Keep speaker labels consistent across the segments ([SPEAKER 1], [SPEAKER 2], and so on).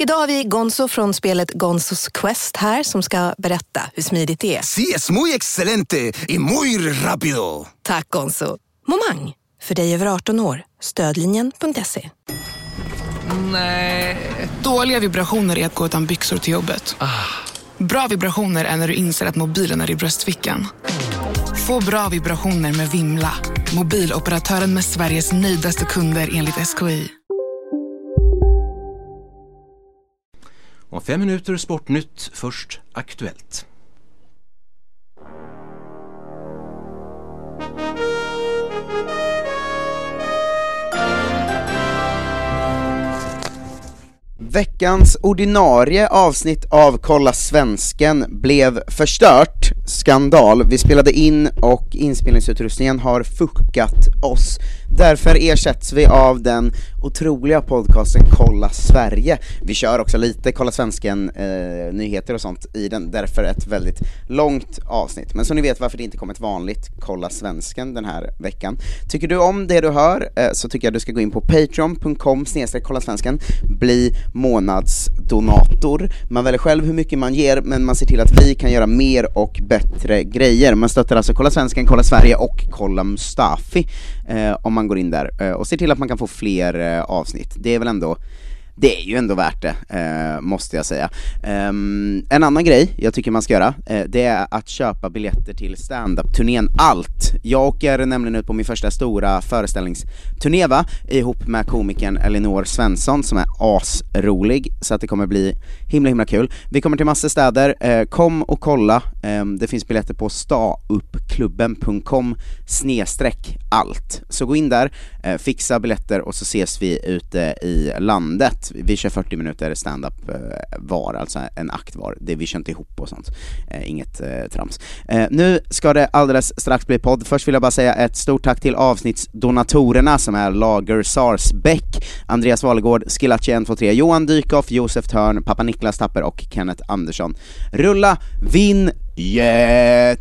[SPEAKER 1] Idag har vi Gonzo från spelet Gonzos Quest här som ska berätta hur smidigt det är.
[SPEAKER 2] Sí, es muy excelente y muy rápido.
[SPEAKER 1] Tack Gonzo! Momang, för dig över 18 år. Stödlinjen.se.
[SPEAKER 3] Dåliga vibrationer är att gå utan byxor till jobbet. Bra vibrationer är när du inser att mobilen är i bröstfickan. Få bra vibrationer med Vimla. Mobiloperatören med Sveriges nöjdaste kunder enligt SKI.
[SPEAKER 4] Om fem minuter Sportnytt, först Aktuellt.
[SPEAKER 5] Veckans ordinarie avsnitt av Kolla Svensken blev förstört. Skandal. Vi spelade in och inspelningsutrustningen har fuckat oss. Därför ersätts vi av den otroliga podcasten Kolla Sverige. Vi kör också lite Kolla Svensken eh, nyheter och sånt i den, därför ett väldigt långt avsnitt. Men så ni vet varför det inte kom ett vanligt Kolla Svensken den här veckan. Tycker du om det du hör eh, så tycker jag du ska gå in på patreon.com snedstreck kolla svensken, bli månadsdonator. Man väljer själv hur mycket man ger, men man ser till att vi kan göra mer och bättre grejer. Man stöttar alltså Kolla Svensken, Kolla Sverige och Kolla Mustafi eh, om man går in där eh, och ser till att man kan få fler eh, avsnitt. Det är väl ändå det är ju ändå värt det, eh, måste jag säga. Ehm, en annan grej jag tycker man ska göra, eh, det är att köpa biljetter till standup-turnén Allt. Jag åker nämligen ut på min första stora föreställningsturné va, ihop med komikern Elinor Svensson som är asrolig, så att det kommer bli himla himla kul. Vi kommer till massor städer, eh, kom och kolla, Ehm, det finns biljetter på stauppklubben.com snedstreck allt. Så gå in där, eh, fixa biljetter och så ses vi ute i landet. Vi kör 40 minuter standup eh, var, alltså en akt var. Det, vi kör inte ihop och sånt. Eh, inget eh, trams. Eh, nu ska det alldeles strax bli podd. Först vill jag bara säga ett stort tack till avsnittsdonatorerna som är Lager Sarsbäck, Andreas Valegård, Skillachi123, Johan Dykhoff, Josef Törn, pappa Niklas Tapper och Kenneth Andersson. Rulla vinjett!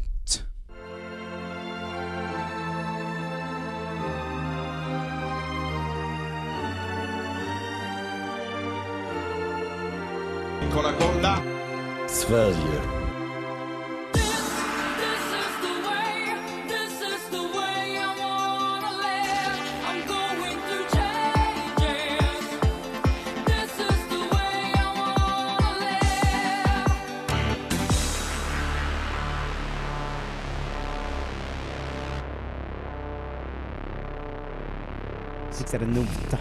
[SPEAKER 5] Fixade nota.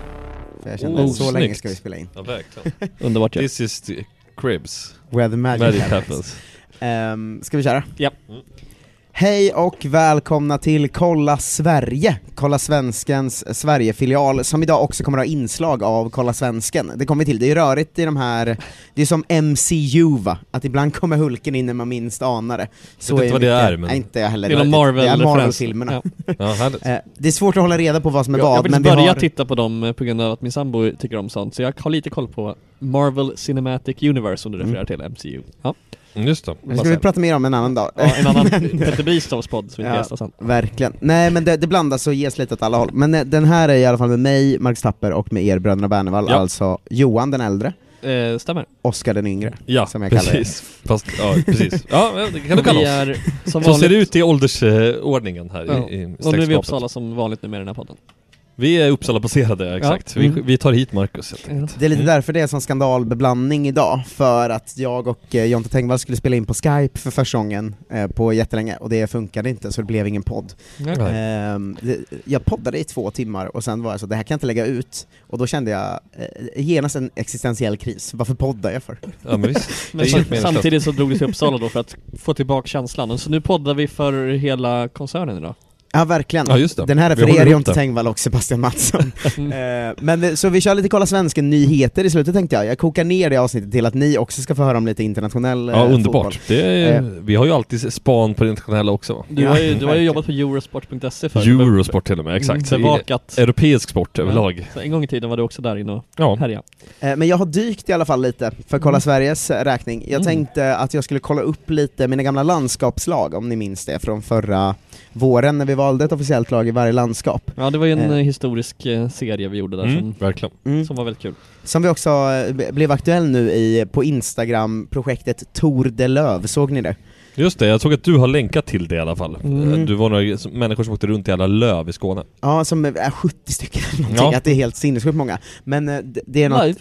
[SPEAKER 5] För jag kände
[SPEAKER 6] Oh,
[SPEAKER 5] så länge
[SPEAKER 6] snyggt.
[SPEAKER 5] ska vi spela in.
[SPEAKER 6] Ja, verkligen.
[SPEAKER 7] Underbart ju.
[SPEAKER 6] This is the cribs.
[SPEAKER 5] Where the magic,
[SPEAKER 6] Magic
[SPEAKER 5] happens.
[SPEAKER 6] happens.
[SPEAKER 5] Ehm, ska vi köra?
[SPEAKER 7] Ja.
[SPEAKER 5] Hej och välkomna till Kolla Sverige, Kolla Svenskens Sverigefilial, som idag också kommer ha inslag av Kolla Svensken. Det kommer vi till, det är ju rörigt i de här, det är som MCU va, att ibland kommer Hulken in när man minst anar det. Så
[SPEAKER 6] vet
[SPEAKER 5] ju
[SPEAKER 6] inte vad det
[SPEAKER 5] mycket-
[SPEAKER 6] är, men-
[SPEAKER 5] Nej, inte jag heller.
[SPEAKER 7] Det är någon
[SPEAKER 5] Det
[SPEAKER 7] Marvel
[SPEAKER 5] är
[SPEAKER 7] referens.
[SPEAKER 5] Marvel-filmerna.
[SPEAKER 7] Ja.
[SPEAKER 6] Ja, härligt.
[SPEAKER 5] Eh, det är svårt att hålla reda på vad som är
[SPEAKER 7] Jag, jag
[SPEAKER 5] vad,
[SPEAKER 7] vill
[SPEAKER 5] men vi
[SPEAKER 7] börja
[SPEAKER 5] har...
[SPEAKER 7] titta på dem eh, på grund av att min sambo tycker om sånt, så jag har lite koll på Marvel Cinematic Universe som du refererar till, MCU. Ja,
[SPEAKER 6] Mm, Just det.
[SPEAKER 5] Det Mm. ska vi prata mer om en annan dag.
[SPEAKER 7] ja en annan Petter Bristovs podd som vi
[SPEAKER 5] Ja.
[SPEAKER 7] inte gästar sen.
[SPEAKER 5] Verkligen. Nej men det, det blandas och ges lite åt alla håll. Men eh, den här är i alla fall med mig, Marcus Tapper och med er bröderna Bernevall,
[SPEAKER 6] Ja.
[SPEAKER 5] alltså Johan den äldre,
[SPEAKER 7] Eh, stämmer.
[SPEAKER 5] Oskar den yngre.
[SPEAKER 6] Ja,
[SPEAKER 5] Som jag kallar det.
[SPEAKER 6] precis. Fast, ja, precis. Ja, det kan du
[SPEAKER 7] Och
[SPEAKER 6] kalla
[SPEAKER 7] vi
[SPEAKER 6] oss.
[SPEAKER 7] är som
[SPEAKER 6] Så ser det
[SPEAKER 7] vanligt,
[SPEAKER 6] ut i åldersordningen här
[SPEAKER 7] Ja.
[SPEAKER 6] i, i
[SPEAKER 7] och nu är vi i
[SPEAKER 6] släktskapet.
[SPEAKER 7] Uppsala som vanligt nu med den här podden.
[SPEAKER 6] Vi är Uppsala-baserade, exakt.
[SPEAKER 7] Ja. Mm.
[SPEAKER 6] Vi, vi tar hit Marcus helt enkelt.
[SPEAKER 5] Det är lite därför det är sån skandalbeblandning idag, för att jag och eh, Jonte Tengvall skulle spela in på Skype för första gången eh, på jättelänge, och det funkade inte så det blev ingen podd.
[SPEAKER 6] Nej.
[SPEAKER 5] Ehm, det, jag poddade i två timmar och sen var jag så, det här kan jag inte lägga ut, och då kände jag eh, genast en existentiell kris, varför poddar jag för?
[SPEAKER 6] Ja, men visst.
[SPEAKER 7] Men
[SPEAKER 6] Det är
[SPEAKER 7] sam-
[SPEAKER 6] helt meningslöst.
[SPEAKER 7] samtidigt så drog vi till Uppsala då för att få tillbaka känslan, Och så nu poddar vi för hela koncernen idag.
[SPEAKER 5] Ja verkligen.
[SPEAKER 6] Ja, just det.
[SPEAKER 5] Den här är
[SPEAKER 6] Vi
[SPEAKER 5] för
[SPEAKER 6] håller
[SPEAKER 5] er
[SPEAKER 6] ihop
[SPEAKER 5] Jonte
[SPEAKER 6] det.
[SPEAKER 5] Tengvall och Sebastian Mattsson. Eh, Men vi- så vi kör lite Kolla Svensken-nyheter i slutet tänkte jag. Jag kokar ner det avsnittet till att ni också ska få höra om lite internationell eh,
[SPEAKER 6] Ja, underbart.
[SPEAKER 5] fotboll.
[SPEAKER 6] Det är,
[SPEAKER 5] Eh.
[SPEAKER 6] vi har ju alltid span på det internationella också va?
[SPEAKER 7] Du har ju, du har ju jobbat på Eurosport.se förut.
[SPEAKER 6] Eurosport till och med, exakt.
[SPEAKER 7] Mm, bevakat.
[SPEAKER 6] I- Europeisk sport överlag.
[SPEAKER 7] Så en gång i tiden var du också där inne och
[SPEAKER 6] Ja.
[SPEAKER 7] härjade.
[SPEAKER 5] Eh, Men jag har dykt i alla fall lite för
[SPEAKER 6] Mm.
[SPEAKER 5] Kolla Sveriges eh, räkning. Jag
[SPEAKER 7] Mm.
[SPEAKER 5] tänkte att jag skulle kolla upp lite mina gamla landskapslag, om ni minns det, från förra våren när vi valde ett officiellt lag i varje landskap.
[SPEAKER 7] Ja, det var ju en
[SPEAKER 5] Eh.
[SPEAKER 7] eh, historisk eh, serie vi gjorde där
[SPEAKER 6] Mm,
[SPEAKER 7] som,
[SPEAKER 6] verkligen.
[SPEAKER 5] Mm.
[SPEAKER 7] som var väldigt kul.
[SPEAKER 5] Som vi också eh, b- blev aktuell nu i, på Instagram, projektet Tor de Löv, såg ni det?
[SPEAKER 6] Just det, jag såg att du har länkat till det i alla fall.
[SPEAKER 5] Mm.
[SPEAKER 6] Du var några som- människor som åkte runt i alla löv i Skåne.
[SPEAKER 5] Ja, som är 70 stycken eller någonting,
[SPEAKER 6] Ja.
[SPEAKER 5] att det är helt sinnessjukt många. Men eh, d- det är något
[SPEAKER 7] Live.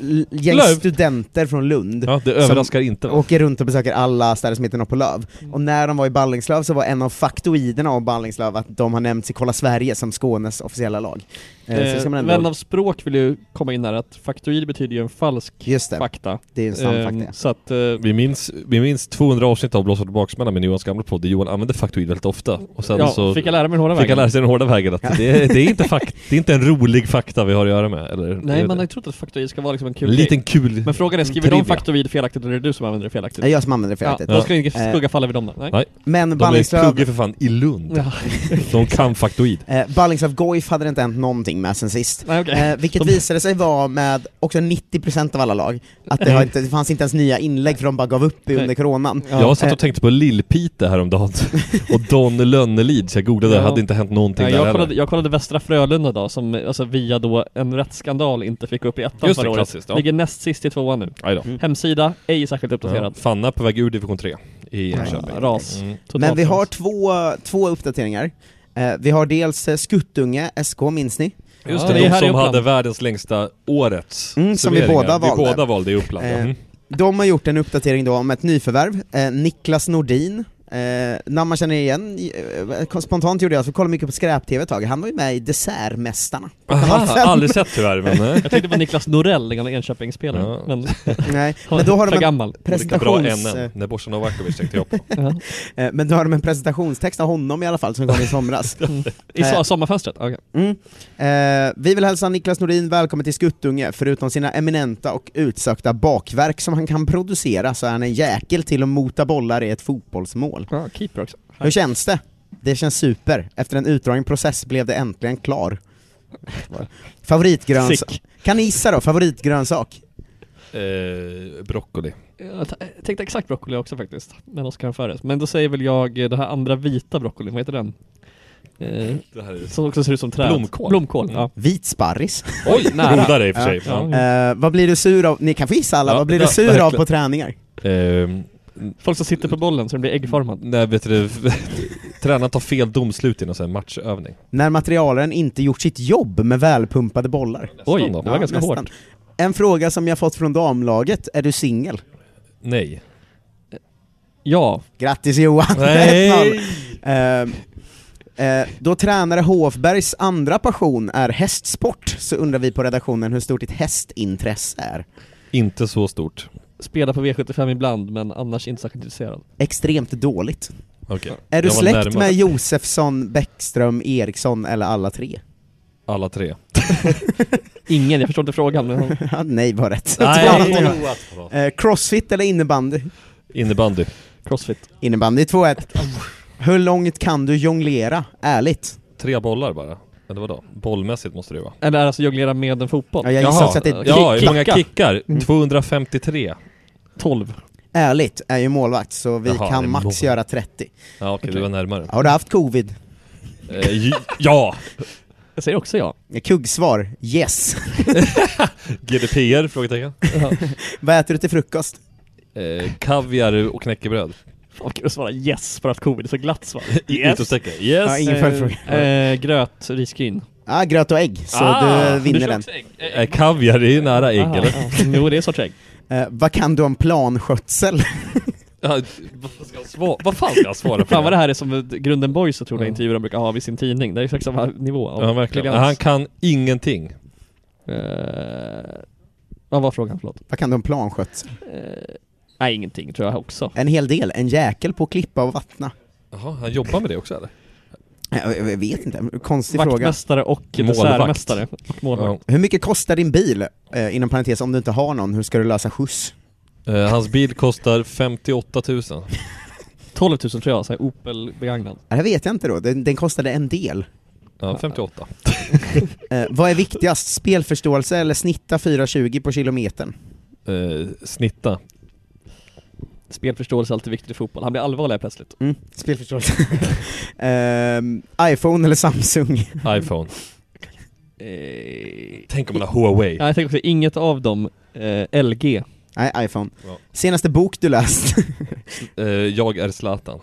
[SPEAKER 5] l- gäng
[SPEAKER 6] Löv.
[SPEAKER 5] studenter från Lund
[SPEAKER 6] Ja, det
[SPEAKER 5] Som-
[SPEAKER 6] överraskar inte. va?
[SPEAKER 5] åker runt och besöker alla städer som heter något på Löv.
[SPEAKER 7] Mm.
[SPEAKER 5] Och när de var i Ballingslöv så var en av faktoiderna om Ballingslöv att de har nämnts i Kolla Sverige som Skånes officiella lag. Eh, så det ska
[SPEAKER 7] Eh,
[SPEAKER 5] man ändå...
[SPEAKER 7] vän av språk vill ju komma in här att faktoid betyder ju en falsk
[SPEAKER 5] Just det,
[SPEAKER 7] fakta.
[SPEAKER 5] det är en sann fakta.
[SPEAKER 7] Ehm, så att eh,
[SPEAKER 6] Vi minns, vi minns 200 avsnitt av Blåsvart och baksmälla med Johans gamla podd där Johan använde faktoid väldigt ofta. Och sen
[SPEAKER 7] ja,
[SPEAKER 6] så
[SPEAKER 7] fick jag lära mig den hårda
[SPEAKER 6] fick
[SPEAKER 7] vägen.
[SPEAKER 6] han lära sig den hårda vägen att det, är- det, är inte fakt, det är inte en rolig fakta vi har att göra med. Eller,
[SPEAKER 7] Nej, man har
[SPEAKER 6] en
[SPEAKER 7] ju trott att faktoid ska vara liksom en kul
[SPEAKER 6] liten
[SPEAKER 7] grej.
[SPEAKER 6] kul...
[SPEAKER 7] Men frågan är, skriver de
[SPEAKER 6] trivia.
[SPEAKER 7] faktoid felaktigt eller är det du som använder det felaktigt?
[SPEAKER 5] Det är jag som använder det
[SPEAKER 7] Ja,
[SPEAKER 5] felaktigt.
[SPEAKER 7] då ska ingen
[SPEAKER 5] Eh.
[SPEAKER 7] skugga falla vid dem då. Nej.
[SPEAKER 6] Nej.
[SPEAKER 5] Men
[SPEAKER 6] De är
[SPEAKER 5] Ballingslöv,
[SPEAKER 6] pluggar för fan i Lund.
[SPEAKER 7] Ja.
[SPEAKER 6] De kan faktoid.
[SPEAKER 5] eh, Ballingslöv Goif hade det inte hänt någonting med sen sist.
[SPEAKER 7] Nej, okej.
[SPEAKER 5] Eh, vilket
[SPEAKER 7] De-
[SPEAKER 5] visade sig vara med också 90% av alla lag, att det, har inte, det fanns inte ens nya inlägg för de bara gav upp i
[SPEAKER 7] Nej.
[SPEAKER 5] under coronan.
[SPEAKER 6] Jag satt
[SPEAKER 5] Eh.
[SPEAKER 6] och tänkte på Lill-Pite häromdagen och Don Lönnelid, så jag googlade,
[SPEAKER 7] Ja.
[SPEAKER 6] det hade inte hänt någonting
[SPEAKER 7] Nej,
[SPEAKER 6] där
[SPEAKER 7] jag, kollade,
[SPEAKER 6] heller.
[SPEAKER 7] jag kollade Västra Frölunda då, som alltså, via då en rättsskandal inte fick upp i ettan
[SPEAKER 6] Just det,
[SPEAKER 7] förra året.
[SPEAKER 6] klassiskt, ja.
[SPEAKER 7] Ligger näst sist i tvåan nu.
[SPEAKER 6] Aj då.
[SPEAKER 5] Mm.
[SPEAKER 7] Hemsida, ej särskilt
[SPEAKER 6] Ja.
[SPEAKER 7] uppdaterad.
[SPEAKER 6] Fanna på väg ur division 3 i Enköping.
[SPEAKER 7] Ja, ras.
[SPEAKER 6] Mm.
[SPEAKER 7] Totalt
[SPEAKER 5] Men vi
[SPEAKER 7] ras.
[SPEAKER 5] har två, två uppdateringar. Eh, vi har dels eh, Skuttunge SK, minns ni?
[SPEAKER 6] Just
[SPEAKER 7] Ja,
[SPEAKER 6] det,
[SPEAKER 7] det är
[SPEAKER 6] de
[SPEAKER 7] här i
[SPEAKER 6] som
[SPEAKER 7] Uppland.
[SPEAKER 6] hade världens längsta årets
[SPEAKER 5] Mm, som vi
[SPEAKER 6] serveringar.
[SPEAKER 5] båda valde.
[SPEAKER 6] Vi båda valde i Uppland. ja.
[SPEAKER 5] Eh,
[SPEAKER 6] Mm.
[SPEAKER 5] De har gjort en uppdatering då om ett nyförvärv, eh, Niklas Nordin, eh, namn man känner igen, eh, spontant gjorde jag, så kollade mycket på skräp-tv ett tag, han var ju med i Dessertmästarna.
[SPEAKER 6] Aha, aldrig sett tyvärr men... eh.
[SPEAKER 7] Jag tänkte på Niklas Norell, den gamla Enköpingsspelaren.
[SPEAKER 6] Ja.
[SPEAKER 7] Men,
[SPEAKER 5] Nej, men då har
[SPEAKER 7] för
[SPEAKER 5] de en
[SPEAKER 7] gammal.
[SPEAKER 6] Lika bra
[SPEAKER 5] presentations...
[SPEAKER 6] NN, när Borsa Novakovic tänkte jag på.
[SPEAKER 7] Ja.
[SPEAKER 5] eh, men då har de en presentationstext av honom i alla fall som kom i somras.
[SPEAKER 6] Mm.
[SPEAKER 7] I
[SPEAKER 5] Eh.
[SPEAKER 7] so- sommarfönstret? Okej.
[SPEAKER 5] Mm. Eh, vi vill hälsa Niklas Nordin välkommen till Skuttunge, förutom sina eminenta och utsökta bakverk som han kan producera så är han en jäkel till att mota bollar i ett fotbollsmål.
[SPEAKER 7] Ja, keeper också.
[SPEAKER 5] Hur känns det? Det känns super. Efter en utdragen process blev det äntligen klar. Favoritgrönsak.
[SPEAKER 7] Sick.
[SPEAKER 5] Kan ni gissa då? Favoritgrönsak?
[SPEAKER 6] Eh, broccoli.
[SPEAKER 7] Jag t- jag tänkte exakt broccoli också faktiskt, men Oscar Fares. Men då säger väl jag eh, det här andra vita broccolin, vad heter den? Eh,
[SPEAKER 6] Det här är...
[SPEAKER 7] som också ser ut som träd.
[SPEAKER 6] Blomkål. Mm.
[SPEAKER 7] Blomkål, ja.
[SPEAKER 5] Vit sparris.
[SPEAKER 6] Oj, godare i och för sig.
[SPEAKER 7] Ja.
[SPEAKER 5] Eh, vad blir du sur av? Ni kan få gissa alla,
[SPEAKER 6] Ja,
[SPEAKER 5] vad blir
[SPEAKER 6] ja,
[SPEAKER 5] du sur av
[SPEAKER 6] verkligen.
[SPEAKER 5] på träningar?
[SPEAKER 6] Eh,
[SPEAKER 7] Folk som sitter på bollen så den blir äggformad.
[SPEAKER 6] nej, vet du, tränaren tar fel domslut i någon sån här matchövning.
[SPEAKER 5] När materialen inte gjort sitt jobb med välpumpade bollar.
[SPEAKER 7] Oj,
[SPEAKER 6] då.
[SPEAKER 7] det var ganska
[SPEAKER 5] nästan.
[SPEAKER 7] hårt.
[SPEAKER 5] En fråga som jag fått från damlaget, är du singel?
[SPEAKER 6] Nej.
[SPEAKER 7] Ja,
[SPEAKER 5] Grattis Johan!
[SPEAKER 6] Nej!
[SPEAKER 5] 1-0. Eh, eh, då tränare Hofbergs andra passion är hästsport, så undrar vi på redaktionen hur stort ditt hästintresse är.
[SPEAKER 6] Inte så stort.
[SPEAKER 7] spelar på V75 ibland men annars inte särskilt intresserad.
[SPEAKER 5] Extremt dåligt.
[SPEAKER 6] Okej.
[SPEAKER 5] Är du
[SPEAKER 6] Jag var
[SPEAKER 5] släkt
[SPEAKER 6] närmare.
[SPEAKER 5] med Josefsson, Bäckström, Eriksson eller alla tre?
[SPEAKER 6] Alla tre.
[SPEAKER 7] Ingen, jag förstår inte frågan men
[SPEAKER 5] Ja, Nej, var rätt.
[SPEAKER 6] Nej!
[SPEAKER 5] Eh, crossfit eller innebandy?
[SPEAKER 6] Innebandy.
[SPEAKER 7] crossfit.
[SPEAKER 5] Innebandy 2-1. Hur långt kan du jonglera? Ärligt.
[SPEAKER 6] Tre bollar bara. Eller vadå? Bollmässigt måste det ju vara.
[SPEAKER 7] Eller alltså jonglera med en fotboll.
[SPEAKER 5] Ja, jag gissar också att det är Mm.
[SPEAKER 6] ja,
[SPEAKER 7] kick-
[SPEAKER 6] hur många
[SPEAKER 7] klacka.
[SPEAKER 6] kickar? 253.
[SPEAKER 7] 12.
[SPEAKER 5] Ärligt är ju målvakt, så vi
[SPEAKER 6] Jaha, det
[SPEAKER 5] kan
[SPEAKER 6] är
[SPEAKER 5] max
[SPEAKER 6] målvakt.
[SPEAKER 5] göra 30.
[SPEAKER 6] Ja, okej, du var närmare.
[SPEAKER 5] Har du haft covid?
[SPEAKER 6] Eh, ju- ja!
[SPEAKER 7] Jag säger också ja.
[SPEAKER 5] Kuggsvar, yes.
[SPEAKER 6] GDPR? Frågetecken.
[SPEAKER 5] Vad äter du till frukost?
[SPEAKER 6] Eh, kaviar och knäckebröd.
[SPEAKER 7] Fan vad kul att svara yes för att covid är så glatt svar.
[SPEAKER 6] Utropstecken. Yes!
[SPEAKER 5] Ja, ingen följdfråga.
[SPEAKER 7] Eh, gröt, risgryn.
[SPEAKER 5] Ah, gröt och ägg, så
[SPEAKER 6] Ah,
[SPEAKER 5] du vinner den.
[SPEAKER 6] Eh, kaviar, det är ju nära ägg
[SPEAKER 7] Aha,
[SPEAKER 6] eller?
[SPEAKER 7] ja. Jo, det är en sorts ägg.
[SPEAKER 5] Eh, vad kan du om planskötsel?
[SPEAKER 6] Ja, vad, ska jag svara? vad fan ska jag svara på?
[SPEAKER 7] Fan vad det här är som eh, Grunden Boys tror jag intervjuer de brukar ha vid sin tidning. Det är exakt samma nivå av
[SPEAKER 6] Ja, verkligen.
[SPEAKER 7] briljans.
[SPEAKER 6] Han kan ingenting.
[SPEAKER 7] Eh, vad var frågan? Förlåt.
[SPEAKER 5] vad kan du om planskötsel?
[SPEAKER 7] Eh, nej, ingenting tror jag också.
[SPEAKER 5] En hel del, en jäkel på att klippa och vattna. Eh,
[SPEAKER 6] Jaha, han jobbar med det också eller?
[SPEAKER 5] Jag jag vet inte, konstig fråga.
[SPEAKER 7] Vaktmästare och dessertmästare. Och målvakt.
[SPEAKER 5] Hur mycket kostar din bil, eh, inom parentes, om du inte har någon, hur ska du lösa skjuts?
[SPEAKER 6] Eh, hans bil kostar 58 000.
[SPEAKER 7] 12 000 tror jag, så här Opel begagnad.
[SPEAKER 5] Ja, Det vet jag inte då, den, den kostade en del.
[SPEAKER 6] Ja, 58.
[SPEAKER 5] Eh, vad är viktigast, spelförståelse eller snitta 4.20 på kilometern?
[SPEAKER 6] Eh, snitta.
[SPEAKER 7] Spelförståelse är alltid viktigt i fotboll. Han blir allvarlig här plötsligt.
[SPEAKER 5] Mm, spelförståelse. Ehm, iPhone eller Samsung?
[SPEAKER 6] iPhone.
[SPEAKER 7] Eh,
[SPEAKER 6] Tänk om man har Huawei.
[SPEAKER 7] ja, jag tänker också, inget av dem, eh, LG.
[SPEAKER 5] Nej, iPhone.
[SPEAKER 6] Ja.
[SPEAKER 5] Senaste bok du läst?
[SPEAKER 6] Eh, jag är Zlatan.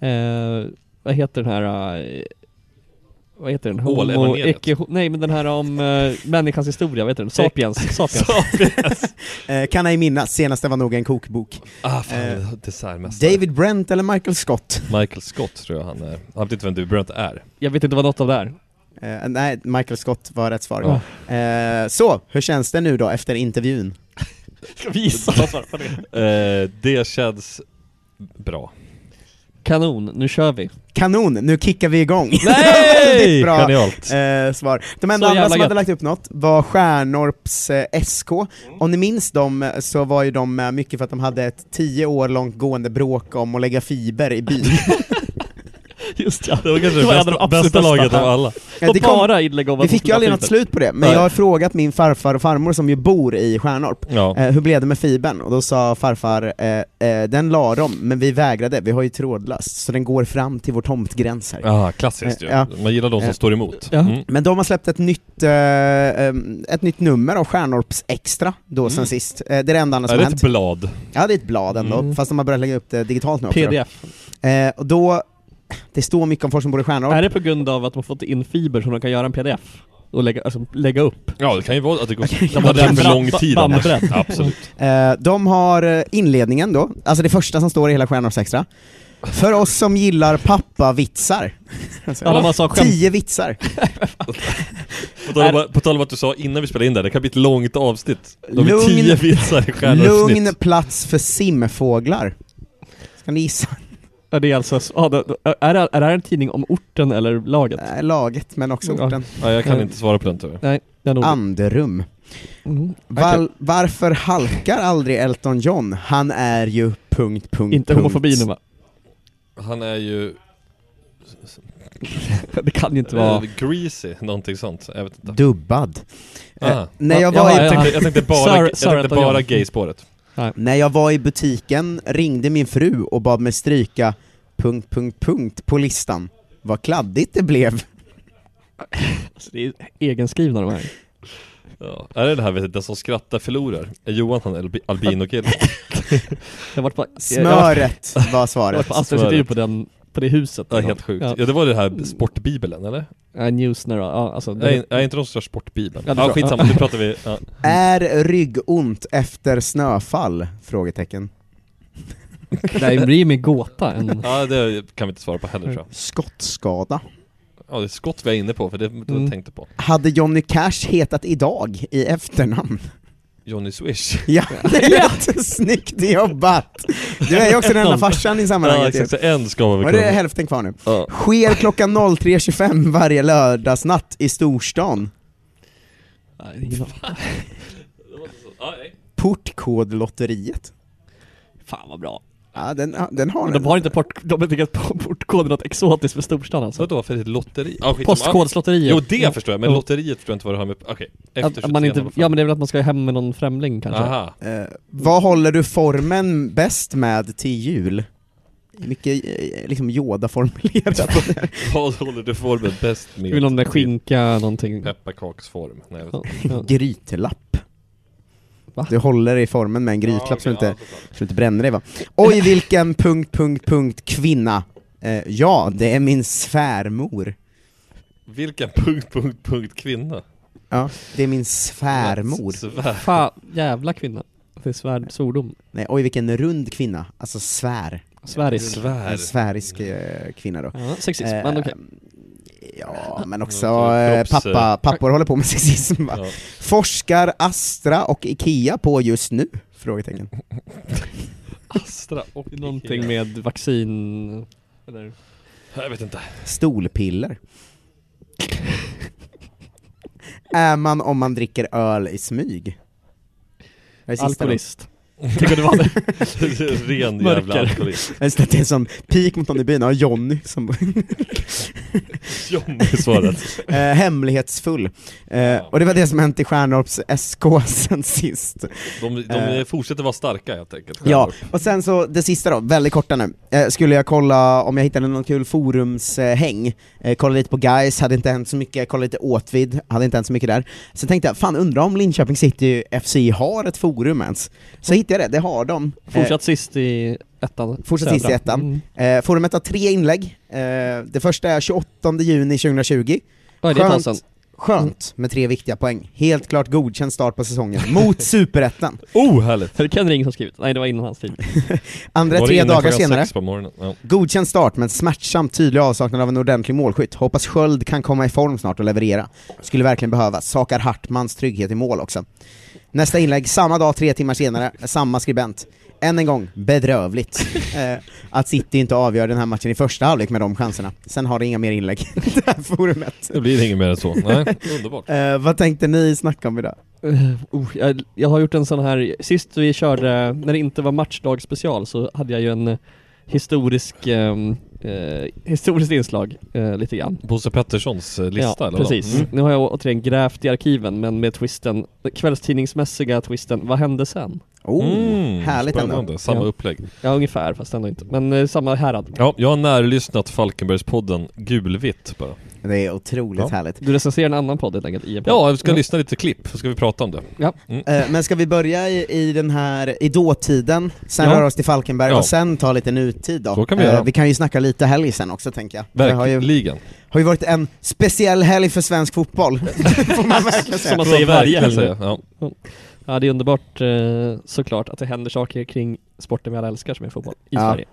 [SPEAKER 7] Eh, vad heter den här... Eh, vad heter den?
[SPEAKER 6] Ålevangeliet.
[SPEAKER 7] icke, nej men den här om eh, människans historia, vad heter den? Sapiens. Sapiens.
[SPEAKER 5] Eh, kan ej minnas, senaste var nog en kokbok.
[SPEAKER 6] Ah, fan,
[SPEAKER 5] Eh,
[SPEAKER 6] dessertmästare.
[SPEAKER 5] David Brent eller Michael Scott?
[SPEAKER 6] Michael Scott tror jag han är. Han vet inte vem du Brent är.
[SPEAKER 7] Jag vet inte vad något av det är.
[SPEAKER 5] Eh, nej, Michael Scott var rätt svar. Eh, så, hur känns det nu då efter intervjun?
[SPEAKER 7] Ska vi gissa vad svaret på det?
[SPEAKER 6] Eh, det känns bra.
[SPEAKER 7] Kanon, nu kör vi.
[SPEAKER 5] Kanon, nu kickar vi igång!
[SPEAKER 6] Nej!
[SPEAKER 5] bra.
[SPEAKER 6] Genialt.
[SPEAKER 5] Eh, svar. De enda
[SPEAKER 7] Så
[SPEAKER 5] andra
[SPEAKER 7] jävla
[SPEAKER 5] som hade
[SPEAKER 7] gött.
[SPEAKER 5] lagt upp något var Stjärnorps eh, SK.
[SPEAKER 7] Mm.
[SPEAKER 5] Om ni minns dem eh, så var ju de med mycket för att de hade ett tio år långt gående bråk om att lägga fiber i byn.
[SPEAKER 7] Just ja.
[SPEAKER 6] Det var kanske det
[SPEAKER 7] en av
[SPEAKER 6] bästa,
[SPEAKER 7] de
[SPEAKER 6] bästa,
[SPEAKER 7] absolut
[SPEAKER 6] laget
[SPEAKER 7] bästa.
[SPEAKER 6] av alla.
[SPEAKER 5] Eh,
[SPEAKER 7] Och
[SPEAKER 5] det kom,
[SPEAKER 7] bara inlägg om
[SPEAKER 5] vi
[SPEAKER 7] att de
[SPEAKER 5] fick ju
[SPEAKER 7] skulle
[SPEAKER 5] aldrig
[SPEAKER 7] ha
[SPEAKER 5] något
[SPEAKER 7] filter.
[SPEAKER 5] slut på det, men
[SPEAKER 6] Nej.
[SPEAKER 5] jag har frågat min farfar och farmor som ju bor i Stjärnorp,
[SPEAKER 6] Ja.
[SPEAKER 5] eh, hur blev det med fibern? Och då sa farfar, eh, eh, den la de, men vi vägrade, vi har ju trådlöst, så den går fram till vår tomtgräns här.
[SPEAKER 6] Ah, klassiskt ju.
[SPEAKER 5] Eh, ja.
[SPEAKER 6] Man gillar de som
[SPEAKER 5] Eh,
[SPEAKER 6] står emot.
[SPEAKER 7] ja.
[SPEAKER 6] Mm.
[SPEAKER 5] Men de har släppt ett nytt, eh, eh, ett nytt nummer av Stjärnorps Extra då sen
[SPEAKER 6] Mm.
[SPEAKER 5] sist. Eh, det är det enda andra
[SPEAKER 6] Är
[SPEAKER 5] som
[SPEAKER 6] det
[SPEAKER 5] hänt.
[SPEAKER 6] ett blad?
[SPEAKER 5] Ja, det är ett blad ändå,
[SPEAKER 7] Mm.
[SPEAKER 5] fast de har börjat lägga upp det digitalt nu också.
[SPEAKER 7] PDF.
[SPEAKER 5] då. Eh, och då, det står mycket om folk som bor i Stjärnorp.
[SPEAKER 7] Är det på grund av att de har fått in fiber som de kan göra en pdf? Och lägga, alltså, lägga upp?
[SPEAKER 6] Ja, det kan ju vara att det går...
[SPEAKER 7] kan
[SPEAKER 6] De
[SPEAKER 7] vara
[SPEAKER 6] hade haft för
[SPEAKER 7] bra-
[SPEAKER 6] lång tid
[SPEAKER 7] ba-
[SPEAKER 6] annars.
[SPEAKER 7] bandbredd.
[SPEAKER 6] Absolut.
[SPEAKER 5] Eh, de har eh, inledningen då, alltså det första som står i hela Stjärnorps Extra. För oss som gillar pappa-vitsar. Alltså,
[SPEAKER 7] Ja, de har så skämt-
[SPEAKER 5] Tio vitsar.
[SPEAKER 6] På tal, om, på tal om att du sa innan vi spelade in det här, det kan bli ett långt avsnitt. De är
[SPEAKER 5] Lugn-
[SPEAKER 6] tio vitsar i stjärnavsnitt.
[SPEAKER 5] Lugn plats för simfåglar. Ska ni gissa?
[SPEAKER 7] Ja, det är alltså, ja, det, är, det, är det här en tidning om orten eller laget?
[SPEAKER 5] Eh, laget, men också
[SPEAKER 7] Ja.
[SPEAKER 5] orten.
[SPEAKER 6] Ja, jag kan inte svara på den tyvärr.
[SPEAKER 7] Nej, det är nog
[SPEAKER 5] Anderum.
[SPEAKER 7] Mm.
[SPEAKER 5] Val- varför halkar aldrig Elton John? Han är ju... Punkt, punkt,
[SPEAKER 7] Inte
[SPEAKER 5] punkt.
[SPEAKER 7] homofobi nu va?
[SPEAKER 6] Han är ju...
[SPEAKER 7] Det kan ju inte
[SPEAKER 6] eh,
[SPEAKER 7] vara...
[SPEAKER 6] Greasy, någonting sånt. Jag vet inte.
[SPEAKER 5] Dubbad. Eh,
[SPEAKER 6] Ah.
[SPEAKER 5] när, jag
[SPEAKER 7] Ja,
[SPEAKER 5] var i,
[SPEAKER 7] ja, ja.
[SPEAKER 6] Jag tänkte, jag tänkte bara,
[SPEAKER 7] Sir-
[SPEAKER 6] jag
[SPEAKER 7] Sir
[SPEAKER 6] tänkte
[SPEAKER 7] Elton
[SPEAKER 6] bara
[SPEAKER 7] John.
[SPEAKER 6] gayspåret.
[SPEAKER 5] när jag var i butiken ringde min fru och bad mig stryka punkt, punkt, punkt på listan. Vad kladdigt det blev.
[SPEAKER 7] Alltså, det är egenskrivna de här.
[SPEAKER 6] Ja. Är det det här vet du, den som skrattar förlorar? Är Johan han albi- albinokille?
[SPEAKER 7] Jag har varit på... Jag har varit-
[SPEAKER 5] Smöret var
[SPEAKER 7] jag har varit
[SPEAKER 5] svaret.
[SPEAKER 7] på Astras
[SPEAKER 6] Smöret.
[SPEAKER 7] intervju på, den, på det huset.
[SPEAKER 6] Ja, helt sjukt.
[SPEAKER 7] Ja.
[SPEAKER 6] Ja. det var det här sportbibeln eller?
[SPEAKER 7] Ja, Newsner, ja alltså... det-
[SPEAKER 6] Nej, nej inte de som kör sportbibeln. Ja,
[SPEAKER 7] Ja, det tror jag.
[SPEAKER 6] skitsamma, nu pratar vi... Ja.
[SPEAKER 5] Är ryggont efter snöfall? Frågetecken.
[SPEAKER 7] Det här blir ju mer gåta än... Mm.
[SPEAKER 6] ja, det kan vi inte svara på heller tror jag.
[SPEAKER 5] Skottskada.
[SPEAKER 6] Ja, det är skott vi är inne på, för det var det
[SPEAKER 7] Mm.
[SPEAKER 6] jag tänkte på.
[SPEAKER 5] Hade Johnny Cash hetat idag i efternamn?
[SPEAKER 6] Johnny Swish.
[SPEAKER 5] Ja, det är rätt snyggt jobbat! Du är ju också den enda farsan i
[SPEAKER 6] Ja,
[SPEAKER 5] sammanhanget. typ.
[SPEAKER 6] exakt. Så En ska vara
[SPEAKER 5] Var det
[SPEAKER 6] kung.
[SPEAKER 5] hälften kvar nu?
[SPEAKER 6] Ja.
[SPEAKER 5] Sker klockan 03.25 varje lördagsnatt i storstan.
[SPEAKER 7] Nej, det är ingen aning.
[SPEAKER 5] Portkodlotteriet.
[SPEAKER 7] Fan vad bra.
[SPEAKER 5] Ja, den, den har
[SPEAKER 7] Men
[SPEAKER 5] den.
[SPEAKER 7] de har inte port, de har inte gett på portkoden något exotiskt för storstan alltså.
[SPEAKER 6] Vadå, för det är ett lotteri? Ah, skitsamma.
[SPEAKER 7] Postkodslotteriet.
[SPEAKER 6] Jo, det förstår jag, men
[SPEAKER 7] Ja.
[SPEAKER 6] lotteriet förstår jag inte vad det har med... Okej,
[SPEAKER 7] Att,
[SPEAKER 6] efter
[SPEAKER 7] att man
[SPEAKER 6] 23,
[SPEAKER 7] inte,
[SPEAKER 6] vad fan.
[SPEAKER 7] ja men det är väl att man ska hem med någon främling kanske?
[SPEAKER 6] Aha.
[SPEAKER 5] Eh, vad håller du formen bäst med till jul? Mycket eh, liksom Yoda-formulerat.
[SPEAKER 6] Vad håller du formen bäst
[SPEAKER 7] Det är väl någon med
[SPEAKER 6] med?
[SPEAKER 7] skinka någonting.
[SPEAKER 6] Pepparkaksform? Nej, jag vet
[SPEAKER 7] Ja,
[SPEAKER 6] inte.
[SPEAKER 7] ja.
[SPEAKER 5] Grytlapp.
[SPEAKER 7] Va?
[SPEAKER 5] Du håller i formen med en grytlapp
[SPEAKER 6] Ja, okej,
[SPEAKER 5] så, du inte,
[SPEAKER 6] ja, såklart.
[SPEAKER 5] så du inte bränner dig va? Oj vilken punkt, punkt, punkt kvinna. Eh, ja, det är min svärmor.
[SPEAKER 6] Vilken punkt, punkt, punkt kvinna?
[SPEAKER 5] Ja, det är min svärmor.
[SPEAKER 6] Svär.
[SPEAKER 7] Fan, jävla kvinna. Det är svärd, svordom.
[SPEAKER 5] Nej, oj vilken rund kvinna. Alltså svär.
[SPEAKER 7] Sväris.
[SPEAKER 6] Svär.
[SPEAKER 5] En svärisk eh, kvinna då.
[SPEAKER 7] Ja, sexism,
[SPEAKER 5] Eh,
[SPEAKER 7] men okej.
[SPEAKER 5] Ja, men också
[SPEAKER 6] Ja,
[SPEAKER 5] eh,
[SPEAKER 6] kropps-
[SPEAKER 5] pappa, pappor håller på med sexism va?
[SPEAKER 6] Ja.
[SPEAKER 5] Forskar Astra och Ikea på just nu? Frågetecken.
[SPEAKER 6] Astra och
[SPEAKER 7] Någonting
[SPEAKER 6] Ikea.
[SPEAKER 7] med vaccin... Eller
[SPEAKER 6] Jag vet inte.
[SPEAKER 5] Stolpiller. är man om man dricker öl i smyg? Det är sista då.
[SPEAKER 7] Alkoholist. Tycker du vad det?
[SPEAKER 6] Ren jävla
[SPEAKER 7] Mörker.
[SPEAKER 6] alkoholist.
[SPEAKER 5] Jag vet inte, Det är som pik mot någon i byn, ja Johnny som...
[SPEAKER 6] Johnny svaret.
[SPEAKER 5] Eh, hemlighetsfull. Eh, och det var det som hänt i Stjärnorps SK sen sist.
[SPEAKER 6] De, de
[SPEAKER 5] Eh.
[SPEAKER 6] fortsätter vara starka helt enkelt.
[SPEAKER 5] Ja, och sen så det sista då, väldigt korta nu. Eh, skulle jag kolla om jag hittade någon kul forumshäng, eh, kolla lite på guys hade inte hänt så mycket, kolla lite Åtvid, hade inte hänt så mycket där. Sen tänkte jag, fan undrar om Linköping City FC har ett forum ens? Så hittade jag det, det har de. Eh,
[SPEAKER 7] Fortsatt sist i ettan.
[SPEAKER 5] Fortsatt sist i
[SPEAKER 7] Södra. Mm.
[SPEAKER 5] ettan. Eh, forumet har tre inlägg, eh, det första är 28 juni 2020.
[SPEAKER 7] Vad är det
[SPEAKER 5] Skönt,
[SPEAKER 7] ett tag sedan?
[SPEAKER 5] skönt med tre viktiga poäng. Helt klart godkänd start på säsongen, mot superettan.
[SPEAKER 6] Oh, härligt!
[SPEAKER 7] Är det Ken Ring som skrivit? Nej, det var innan hans tid.
[SPEAKER 5] Andra
[SPEAKER 6] Var
[SPEAKER 5] tre
[SPEAKER 6] inne
[SPEAKER 5] dagar
[SPEAKER 6] klockan
[SPEAKER 5] senare.
[SPEAKER 6] sex på morgonen. Ja.
[SPEAKER 5] Godkänd start men smärtsamt tydlig avsaknad av en ordentlig målskytt. Hoppas Sköld kan komma i form snart och leverera. Skulle verkligen behövas. Sakar Hartmans trygghet i mål också. Nästa inlägg, samma dag tre timmar senare, samma skribent. Än en gång, bedrövligt. Eh, att City inte avgör den här matchen i första halvlek med de chanserna. Sen har det inga mer inlägg i det här forumet.
[SPEAKER 6] Det blir inget mer än så. Nej, underbart.
[SPEAKER 5] Eh, vad tänkte ni snacka om idag?
[SPEAKER 7] Oh, jag, jag har gjort en sån här, sist vi körde, när det inte var matchdag special så hade jag ju en eh, historisk, ehm, eh, historiskt inslag eh, lite grann.
[SPEAKER 6] Bosse Petterssons eh, lista
[SPEAKER 7] ja,
[SPEAKER 6] eller vadå?
[SPEAKER 7] precis.
[SPEAKER 6] Mm.
[SPEAKER 7] Nu har jag å- återigen grävt i arkiven men med twisten, den kvällstidningsmässiga twisten, vad hände sen?
[SPEAKER 5] Oh,
[SPEAKER 6] Mm,
[SPEAKER 5] härligt ändå.
[SPEAKER 6] spännande. Samma
[SPEAKER 7] Ja.
[SPEAKER 6] upplägg.
[SPEAKER 7] Ja ungefär fast ändå inte, men eh, samma härad.
[SPEAKER 6] Ja, jag har närlyssnat Falkenbergspodden Gulvitt bara.
[SPEAKER 5] Det är otroligt
[SPEAKER 6] Ja.
[SPEAKER 5] härligt.
[SPEAKER 7] Du recenserar en annan podd helt enkelt i en podd.
[SPEAKER 6] Ja, vi ska lyssna lite klipp, så ska vi prata om det. Mm.
[SPEAKER 5] Eh, Men ska vi börja i, i den här, i dåtiden, sen
[SPEAKER 7] Ja.
[SPEAKER 5] röra oss till Falkenberg
[SPEAKER 6] Ja.
[SPEAKER 5] och sen ta lite nutid då?
[SPEAKER 6] Så kan vi
[SPEAKER 5] Eh,
[SPEAKER 6] göra.
[SPEAKER 5] vi kan ju snacka lite helg sen också tänker jag. Det har ju,
[SPEAKER 6] Verkligen.
[SPEAKER 5] har ju varit en speciell helg för svensk fotboll, får man verkligen
[SPEAKER 7] Som
[SPEAKER 5] säga.
[SPEAKER 7] man säger varje
[SPEAKER 6] Verkligen
[SPEAKER 7] helg.
[SPEAKER 6] säga, ja.
[SPEAKER 7] Ja det är underbart eh, såklart att det händer saker kring sporten vi alla älskar som är fotboll i
[SPEAKER 5] Ja.
[SPEAKER 7] Sverige.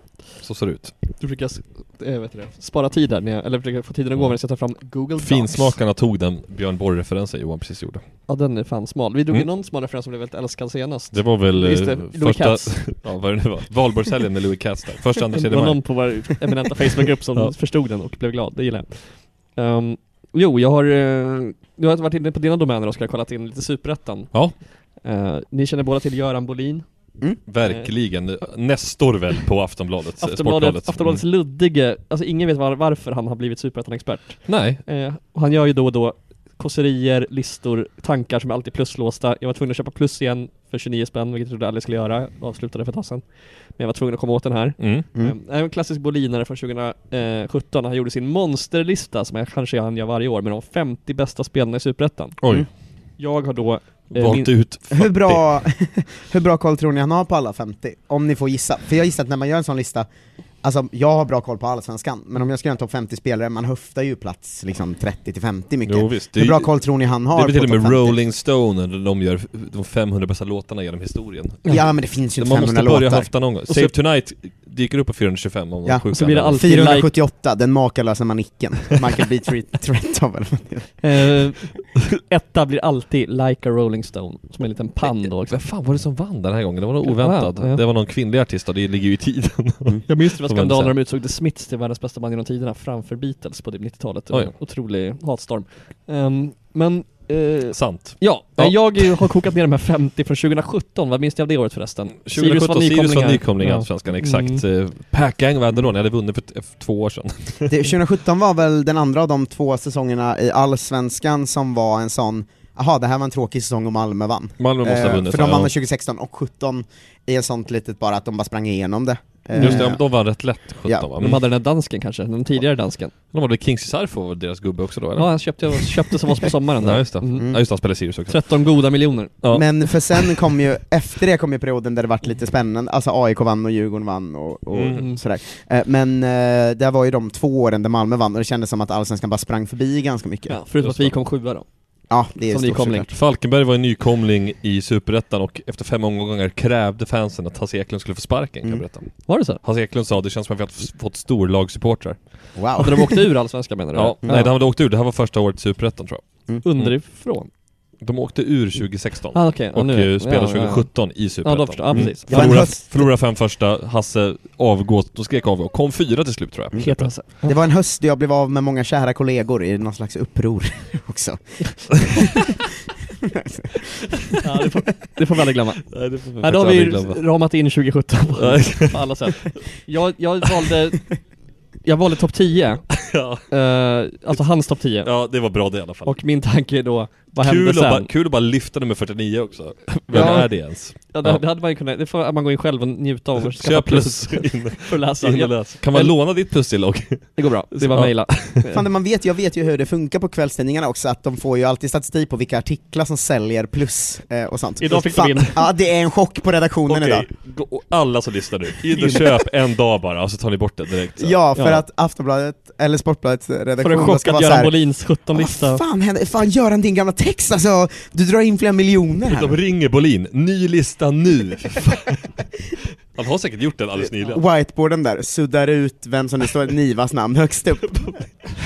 [SPEAKER 6] Så ser det ut.
[SPEAKER 7] Du brukar s- eh, vet du det, spara tid där, när jag, eller försöka få tiden att gå medan jag tar fram Google Docs.
[SPEAKER 6] Mm. Finsmakarna tog den Björn Borg-referensen Johan precis gjorde.
[SPEAKER 7] Ja den är fan smal. Vi drog ju
[SPEAKER 6] Mm.
[SPEAKER 7] någon smal referens som blev väldigt älskad senast.
[SPEAKER 6] Det var väl eh,
[SPEAKER 7] Just det, Louis
[SPEAKER 6] första...
[SPEAKER 7] Katz.
[SPEAKER 6] ja, vad det nu var. Valborgshelgen med Louis Katz där. Första andra
[SPEAKER 7] Det
[SPEAKER 6] tredje
[SPEAKER 7] var
[SPEAKER 6] maj.
[SPEAKER 7] någon på vår eminenta Facebookgrupp som
[SPEAKER 6] Ja.
[SPEAKER 7] förstod den och blev glad, det gillar jag. Ehm, jo, jag har, eh, du har varit inne på dina domäner och ska ha kollat in lite Superettan.
[SPEAKER 6] Ja.
[SPEAKER 7] Eh, ni känner båda till Göran Bolin,
[SPEAKER 6] Verkligen. Nestor väl på Aftonbladet, eh,
[SPEAKER 7] Aftonbladet,
[SPEAKER 6] Sportbladet.
[SPEAKER 7] Aftonbladets luddige, alltså ingen vet var, varför han har blivit Superettan-expert.
[SPEAKER 6] Mm. Nej,
[SPEAKER 7] Eh, och han gör ju då och då kosserier, listor, tankar som är alltid pluslåsta. Jag var tvungen att köpa plus igen för 29 spänn, vilket jag trodde jag aldrig skulle göra. Jag avslutade för ett tag sedan. Men jag var tvungen att komma åt den här.
[SPEAKER 6] mm.
[SPEAKER 5] Mm.
[SPEAKER 7] Mm. En klassisk bolinare från 2017, han gjorde sin monsterlista som jag kanske han gör varje år med de 50 bästa spelarna i Superettan.
[SPEAKER 6] oj.
[SPEAKER 5] Mm.
[SPEAKER 7] Jag har då... eh,
[SPEAKER 6] Valt
[SPEAKER 7] min-
[SPEAKER 6] ut 40.
[SPEAKER 5] Hur bra, hur bra koll tror ni han har på alla 50? Om ni får gissa. För jag gissar att när man gör en sån lista, alltså jag har bra koll på Allsvenskan, men om jag ska göra en topp 50 spelare, man höftar ju plats liksom 30-50 mycket.
[SPEAKER 6] Jo, visst. Det är
[SPEAKER 5] hur bra
[SPEAKER 6] ju-
[SPEAKER 5] koll tror ni han har
[SPEAKER 6] Det blir till
[SPEAKER 5] på
[SPEAKER 6] och med
[SPEAKER 5] topp 50?
[SPEAKER 6] Rolling Stone när de gör de 500 bästa låtarna genom historien.
[SPEAKER 5] Ja men det finns ju inte
[SPEAKER 6] Man måste
[SPEAKER 5] 500
[SPEAKER 6] börja
[SPEAKER 5] låtar.
[SPEAKER 6] höfta någon gång.
[SPEAKER 7] så-
[SPEAKER 6] Save Tonight dyker upp på 425 om
[SPEAKER 5] Ja,
[SPEAKER 6] ja,
[SPEAKER 5] och
[SPEAKER 7] så blir det alltid-
[SPEAKER 5] 478, den makalösa manicken. Michael B. Tre- Trethov eller vad det är.
[SPEAKER 7] Eh, etta blir alltid Like a Rolling Stone, som är en liten pann då också.
[SPEAKER 6] Vem fan var det som vann den här gången? Det var någon oväntad.
[SPEAKER 7] Ja, Mm. ja.
[SPEAKER 6] Det var någon kvinnlig artist och det ligger ju i tiden.
[SPEAKER 7] Jag minns det var
[SPEAKER 6] Som
[SPEAKER 7] skandal när
[SPEAKER 6] hände
[SPEAKER 7] de utsåg The Smiths till världens bästa band genom tiderna framför Beatles på det 90-talet. Det
[SPEAKER 6] Oj.
[SPEAKER 7] var en Otrolig hatstorm. Ehm, men... eh,
[SPEAKER 6] Sant.
[SPEAKER 7] Ja,
[SPEAKER 6] Ja.
[SPEAKER 7] nej, jag eh, har kokat ner de här 50 från 2017, vad minns ni av det året förresten?
[SPEAKER 6] 2017, Sirius var nykomling i
[SPEAKER 7] Ja.
[SPEAKER 6] Allsvenskan, exakt. Mm. Packgang vann då, ni hade vunnit för t- för två år sedan.
[SPEAKER 5] Det- 2017 var väl den andra av de två säsongerna i Allsvenskan som var en sån, jaha det här var en tråkig säsong och Malmö vann.
[SPEAKER 6] Malmö måste ha
[SPEAKER 5] Eh,
[SPEAKER 6] vunnit.
[SPEAKER 5] för de
[SPEAKER 6] ja.
[SPEAKER 5] vann väl 2016 och 17 i ett sånt litet bara att de bara sprang igenom det. Eh,
[SPEAKER 6] Just det, ja, men de vann rätt lätt 17
[SPEAKER 5] Ja,
[SPEAKER 6] va? Mm.
[SPEAKER 7] De hade den där dansken kanske, den tidigare dansken.
[SPEAKER 6] de hade Kingsley Sarfo var deras gubbe också då eller?
[SPEAKER 7] Ja, han köpte, köpte som oss på sommaren
[SPEAKER 6] ja
[SPEAKER 7] där.
[SPEAKER 6] just det.
[SPEAKER 7] Mm.
[SPEAKER 6] Ja just det, han spelade Sirius också.
[SPEAKER 7] 13 goda miljoner.
[SPEAKER 6] Ja.
[SPEAKER 5] Men för sen kom ju, efter det kom ju perioden där det vart lite spännande, alltså AIK vann och Djurgården vann och, och
[SPEAKER 6] Mm.
[SPEAKER 5] sådär. Eh, Men eh, det var ju de två åren där Malmö vann och det kändes som att Allsvenskan bara sprang förbi ganska mycket. Ja,
[SPEAKER 7] Ja, förutom
[SPEAKER 6] Just
[SPEAKER 7] att vi
[SPEAKER 6] det.
[SPEAKER 7] kom sjua då.
[SPEAKER 5] det är ju
[SPEAKER 7] Som
[SPEAKER 5] stort
[SPEAKER 7] nykomling.
[SPEAKER 5] såklart.
[SPEAKER 6] Falkenberg var en nykomling i Superettan och efter fem omgångar krävde fansen att Hasse Eklund skulle få sparken kan jag
[SPEAKER 5] Mm.
[SPEAKER 6] berätta.
[SPEAKER 7] Var det så?
[SPEAKER 6] Hasse Eklund sa det känns som att vi har f- fått storlagssupportrar.
[SPEAKER 5] Wow.
[SPEAKER 7] Hade de åkt ur Allsvenskan menar du?
[SPEAKER 6] Mm. Ja, nej de hade åkt ur, det här var första året i Superettan tror jag.
[SPEAKER 7] Underifrån.
[SPEAKER 6] De åkte ur 2016
[SPEAKER 7] Ah, okej. Ja,
[SPEAKER 6] och
[SPEAKER 7] nu
[SPEAKER 6] eh,
[SPEAKER 7] vet jag.
[SPEAKER 6] spelade
[SPEAKER 7] Ja,
[SPEAKER 6] 2017
[SPEAKER 7] ja.
[SPEAKER 6] i Superettan.
[SPEAKER 7] Ja, då förstår jag. Ja, precis.
[SPEAKER 6] Mm.
[SPEAKER 7] Ja, en
[SPEAKER 6] Förlora,
[SPEAKER 7] höst.
[SPEAKER 6] förlora fem första, Hasse avgå, då skrek avgå, kom fyra till slut tror jag.
[SPEAKER 7] Peter Hasse.
[SPEAKER 5] Det var en höst där jag blev av med många kära kollegor i någon slags uppror också.
[SPEAKER 7] Ja, det, får, det får vi aldrig glömma.
[SPEAKER 6] Nej, det får vi
[SPEAKER 7] Nej, då har
[SPEAKER 6] faktiskt
[SPEAKER 7] vi
[SPEAKER 6] aldrig glömma.
[SPEAKER 7] ramat in 2017
[SPEAKER 6] Ja.
[SPEAKER 7] på- på alla sätt. Jag, jag valde, jag valde topp 10.
[SPEAKER 6] Ja.
[SPEAKER 7] Eh, alltså hans topp 10.
[SPEAKER 6] Ja, det var bra det i alla fall.
[SPEAKER 7] Och min tanke är då, vad
[SPEAKER 6] kul,
[SPEAKER 7] hände
[SPEAKER 6] att
[SPEAKER 7] sen?
[SPEAKER 6] bara, kul att bara lyfta nummer 49 också. Vem
[SPEAKER 7] Ja.
[SPEAKER 6] är det ens?
[SPEAKER 7] Ja, det, det hade man ju kunnat, det får man gå in själv och njuta av och skaffa
[SPEAKER 6] Köp
[SPEAKER 7] plus
[SPEAKER 6] plus. In,
[SPEAKER 7] för att läsa.
[SPEAKER 6] in och
[SPEAKER 7] Ja,
[SPEAKER 6] läs. Kan man
[SPEAKER 7] Eller-
[SPEAKER 6] låna ditt plus till och...
[SPEAKER 7] det går bra, det är bara
[SPEAKER 6] Ja.
[SPEAKER 7] mejla.
[SPEAKER 5] Fan, det man vet, jag vet ju hur det funkar på kvällstidningarna också, att de får ju alltid statistik på vilka artiklar som säljer plus eh, och sånt.
[SPEAKER 7] Idag fick de
[SPEAKER 5] Fan,
[SPEAKER 7] in.
[SPEAKER 5] Ja, det är en chock på redaktionen idag.
[SPEAKER 6] Okej, gå- alla som lyssnar nu, in och köp en dag bara och så tar ni bort det direkt. Så.
[SPEAKER 5] Ja, för
[SPEAKER 7] Ja.
[SPEAKER 5] att Aftonbladet, eller Sportbladets eh,
[SPEAKER 7] Får en
[SPEAKER 5] redaktion
[SPEAKER 7] chock att Göran Bolins
[SPEAKER 5] Vad
[SPEAKER 7] 17-lista.
[SPEAKER 5] fan händer? Fan Göran, din gamla text alltså! Du drar in flera miljoner här.
[SPEAKER 6] De ringer Bolin, ny lista nu! Han har säkert gjort den alldeles nyligen.
[SPEAKER 5] Whiteboarden där suddar ut vem som det står Nivas namn högst upp.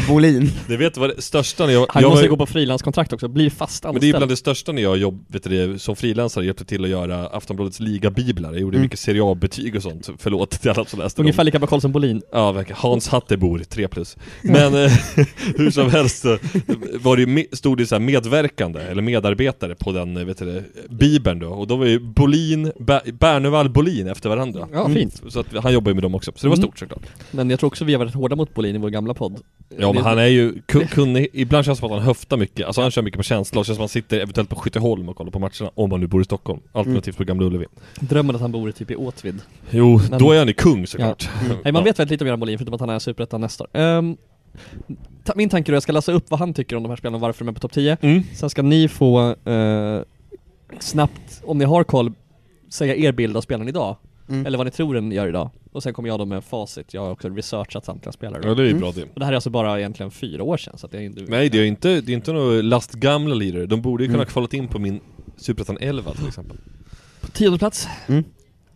[SPEAKER 5] Bolin.
[SPEAKER 6] Ni vet vad det största när jag...
[SPEAKER 7] Han
[SPEAKER 6] jag
[SPEAKER 7] måste
[SPEAKER 6] var-
[SPEAKER 7] gå på frilanskontrakt också, bli fast
[SPEAKER 6] men det är bland
[SPEAKER 7] anställd.
[SPEAKER 6] det största när jag jobbade som frilansare, hjälpte till att göra Aftonbladets ligabiblar. Jag gjorde mycket Serie A-betyg och sånt, förlåt till alla som läste dem.
[SPEAKER 7] Mm. Ungefär lika bra koll som Bolin.
[SPEAKER 6] Ja, verkligen. Hans Hattebor, 3 plus. Men eh, hur som helst eh, var det, ju me- stod det så här medverkande, eller medarbetare på den, eh, vet du det, bibeln då. Och då var ju Bolin, Ber- Bernevall Bolin efter varandra. Mm.
[SPEAKER 7] Ja, fint.
[SPEAKER 6] Så att han jobbar ju med dem också, så det var
[SPEAKER 7] Mm.
[SPEAKER 6] stort såklart.
[SPEAKER 7] Men jag tror också vi har varit hårda mot Bolin i vår gamla podd.
[SPEAKER 6] Ja men han är ju kun- kunnig, ibland känns det som att han höftar mycket, alltså han kör mycket på känsla och känns som att han sitter eventuellt på Skytteholm och kollar på matcherna, om han nu bor i Stockholm. Alternativt på Gamla Ullevi.
[SPEAKER 7] Drömmer att han bor typ i Åtvid.
[SPEAKER 6] Jo,
[SPEAKER 7] Men- Mm.
[SPEAKER 6] då är han ju kung såklart.
[SPEAKER 7] Nej, man vet väldigt lite om Göran Bolin förutom att han är superettan nästa år. Ehm, ta, min tanke då, jag ska läsa upp vad han tycker om de här spelarna och varför de är på topp 10.
[SPEAKER 6] Mm.
[SPEAKER 7] Sen ska ni få eh, snabbt, om ni har koll, säga er bild av spelaren idag.
[SPEAKER 5] Mm.
[SPEAKER 7] Eller vad ni tror den gör idag. Och sen kommer jag då med facit, jag har också researchat samtliga spelare.
[SPEAKER 6] Ja det är ju
[SPEAKER 5] Mm.
[SPEAKER 6] bra det.
[SPEAKER 7] Och det här är alltså bara egentligen fyra år sedan så att det är inte...
[SPEAKER 6] Nej det är inte, det är inte några lastgamla lirare, de borde ju
[SPEAKER 5] Mm.
[SPEAKER 6] kunna kvalat in på min Superettan 11 till exempel.
[SPEAKER 7] På tionde plats,
[SPEAKER 5] Mm.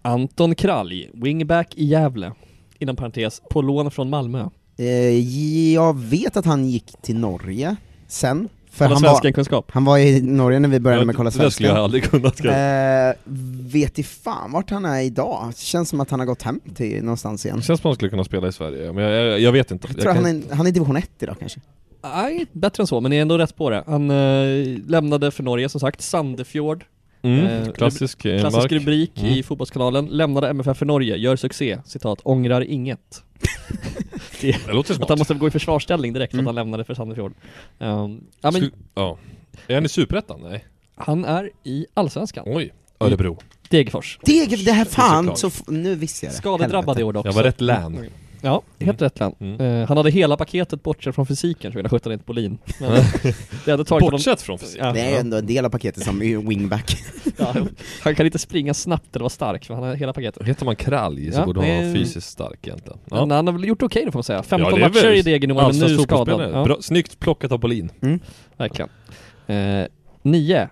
[SPEAKER 7] Anton Kralj, wingback i Gävle. Inom parentes, på lån från Malmö.
[SPEAKER 5] Eh, jag vet att han gick till Norge sen. För
[SPEAKER 7] Kolla
[SPEAKER 5] han var,
[SPEAKER 7] svenskenkunskap.
[SPEAKER 5] han var i Norge när vi började
[SPEAKER 6] Ja,
[SPEAKER 5] med Kolla
[SPEAKER 6] det där skulle jag
[SPEAKER 5] Svenskan.
[SPEAKER 6] aldrig kunnat kanske.
[SPEAKER 5] Eh, vet i fan vart han är idag. Känns som att han har gått hem till någonstans igen.
[SPEAKER 6] Det känns som att han skulle kunna spela i Sverige, men jag, jag, jag vet inte.
[SPEAKER 5] Jag tror
[SPEAKER 6] kan-
[SPEAKER 5] han är, han är i division 1 idag kanske.
[SPEAKER 7] Nej, bättre än så, men ni är ändå rätt på det. Han eh, lämnade för Norge som sagt, Sandefjord,
[SPEAKER 6] mm,
[SPEAKER 7] eh,
[SPEAKER 6] klassisk, eh,
[SPEAKER 7] klassisk
[SPEAKER 6] mark.
[SPEAKER 7] rubrik
[SPEAKER 6] Mm.
[SPEAKER 7] i Fotbollskanalen, lämnade MFF för Norge, gör succé, citat, ångrar inget.
[SPEAKER 6] Det låter
[SPEAKER 7] Att han
[SPEAKER 6] smart.
[SPEAKER 7] måste gå i försvarsställning direkt för
[SPEAKER 5] Mm.
[SPEAKER 7] att han lämnade för Sandefjord. Ehm, ja, men
[SPEAKER 6] Skulle- Ja. Är han i Superettan? Nej.
[SPEAKER 7] han är i Allsvenskan,
[SPEAKER 6] Oj. Örebro.
[SPEAKER 7] Degerfors.
[SPEAKER 5] Det, det här
[SPEAKER 6] Det
[SPEAKER 5] fan,
[SPEAKER 6] är
[SPEAKER 5] så
[SPEAKER 6] såklart.
[SPEAKER 5] f- nu visste jag det.
[SPEAKER 7] Skadedrabbad i
[SPEAKER 5] Helvete.
[SPEAKER 7] år dock.
[SPEAKER 6] Jag var rätt län.
[SPEAKER 7] Ja, helt rätt län.
[SPEAKER 6] Mm.
[SPEAKER 7] Eh, han hade hela paketet bortsett från fysiken 2017 enligt Bolin. Men det hade tagit honom...
[SPEAKER 6] Bortsett från fysik.
[SPEAKER 7] Ja.
[SPEAKER 5] Det är ju ändå en del av paketet som är wingback.
[SPEAKER 7] Ja, han kan inte springa snabbt eller vara stark, för han har hela paketet.
[SPEAKER 6] Heter man Kralj så
[SPEAKER 7] Ja,
[SPEAKER 6] borde han
[SPEAKER 7] men-
[SPEAKER 6] vara fysiskt stark egentligen.
[SPEAKER 7] Men han har väl gjort okej då får man säga.
[SPEAKER 6] Ja,
[SPEAKER 7] 15
[SPEAKER 6] det är
[SPEAKER 7] matcher
[SPEAKER 6] väl
[SPEAKER 7] i Degen i år, men
[SPEAKER 6] Allsvensk
[SPEAKER 7] nu skadad.
[SPEAKER 6] fotbollsspelare.
[SPEAKER 7] Ja, Mm.
[SPEAKER 6] Bra, snyggt plockat av Bolin.
[SPEAKER 7] verkligen. Eh, nio.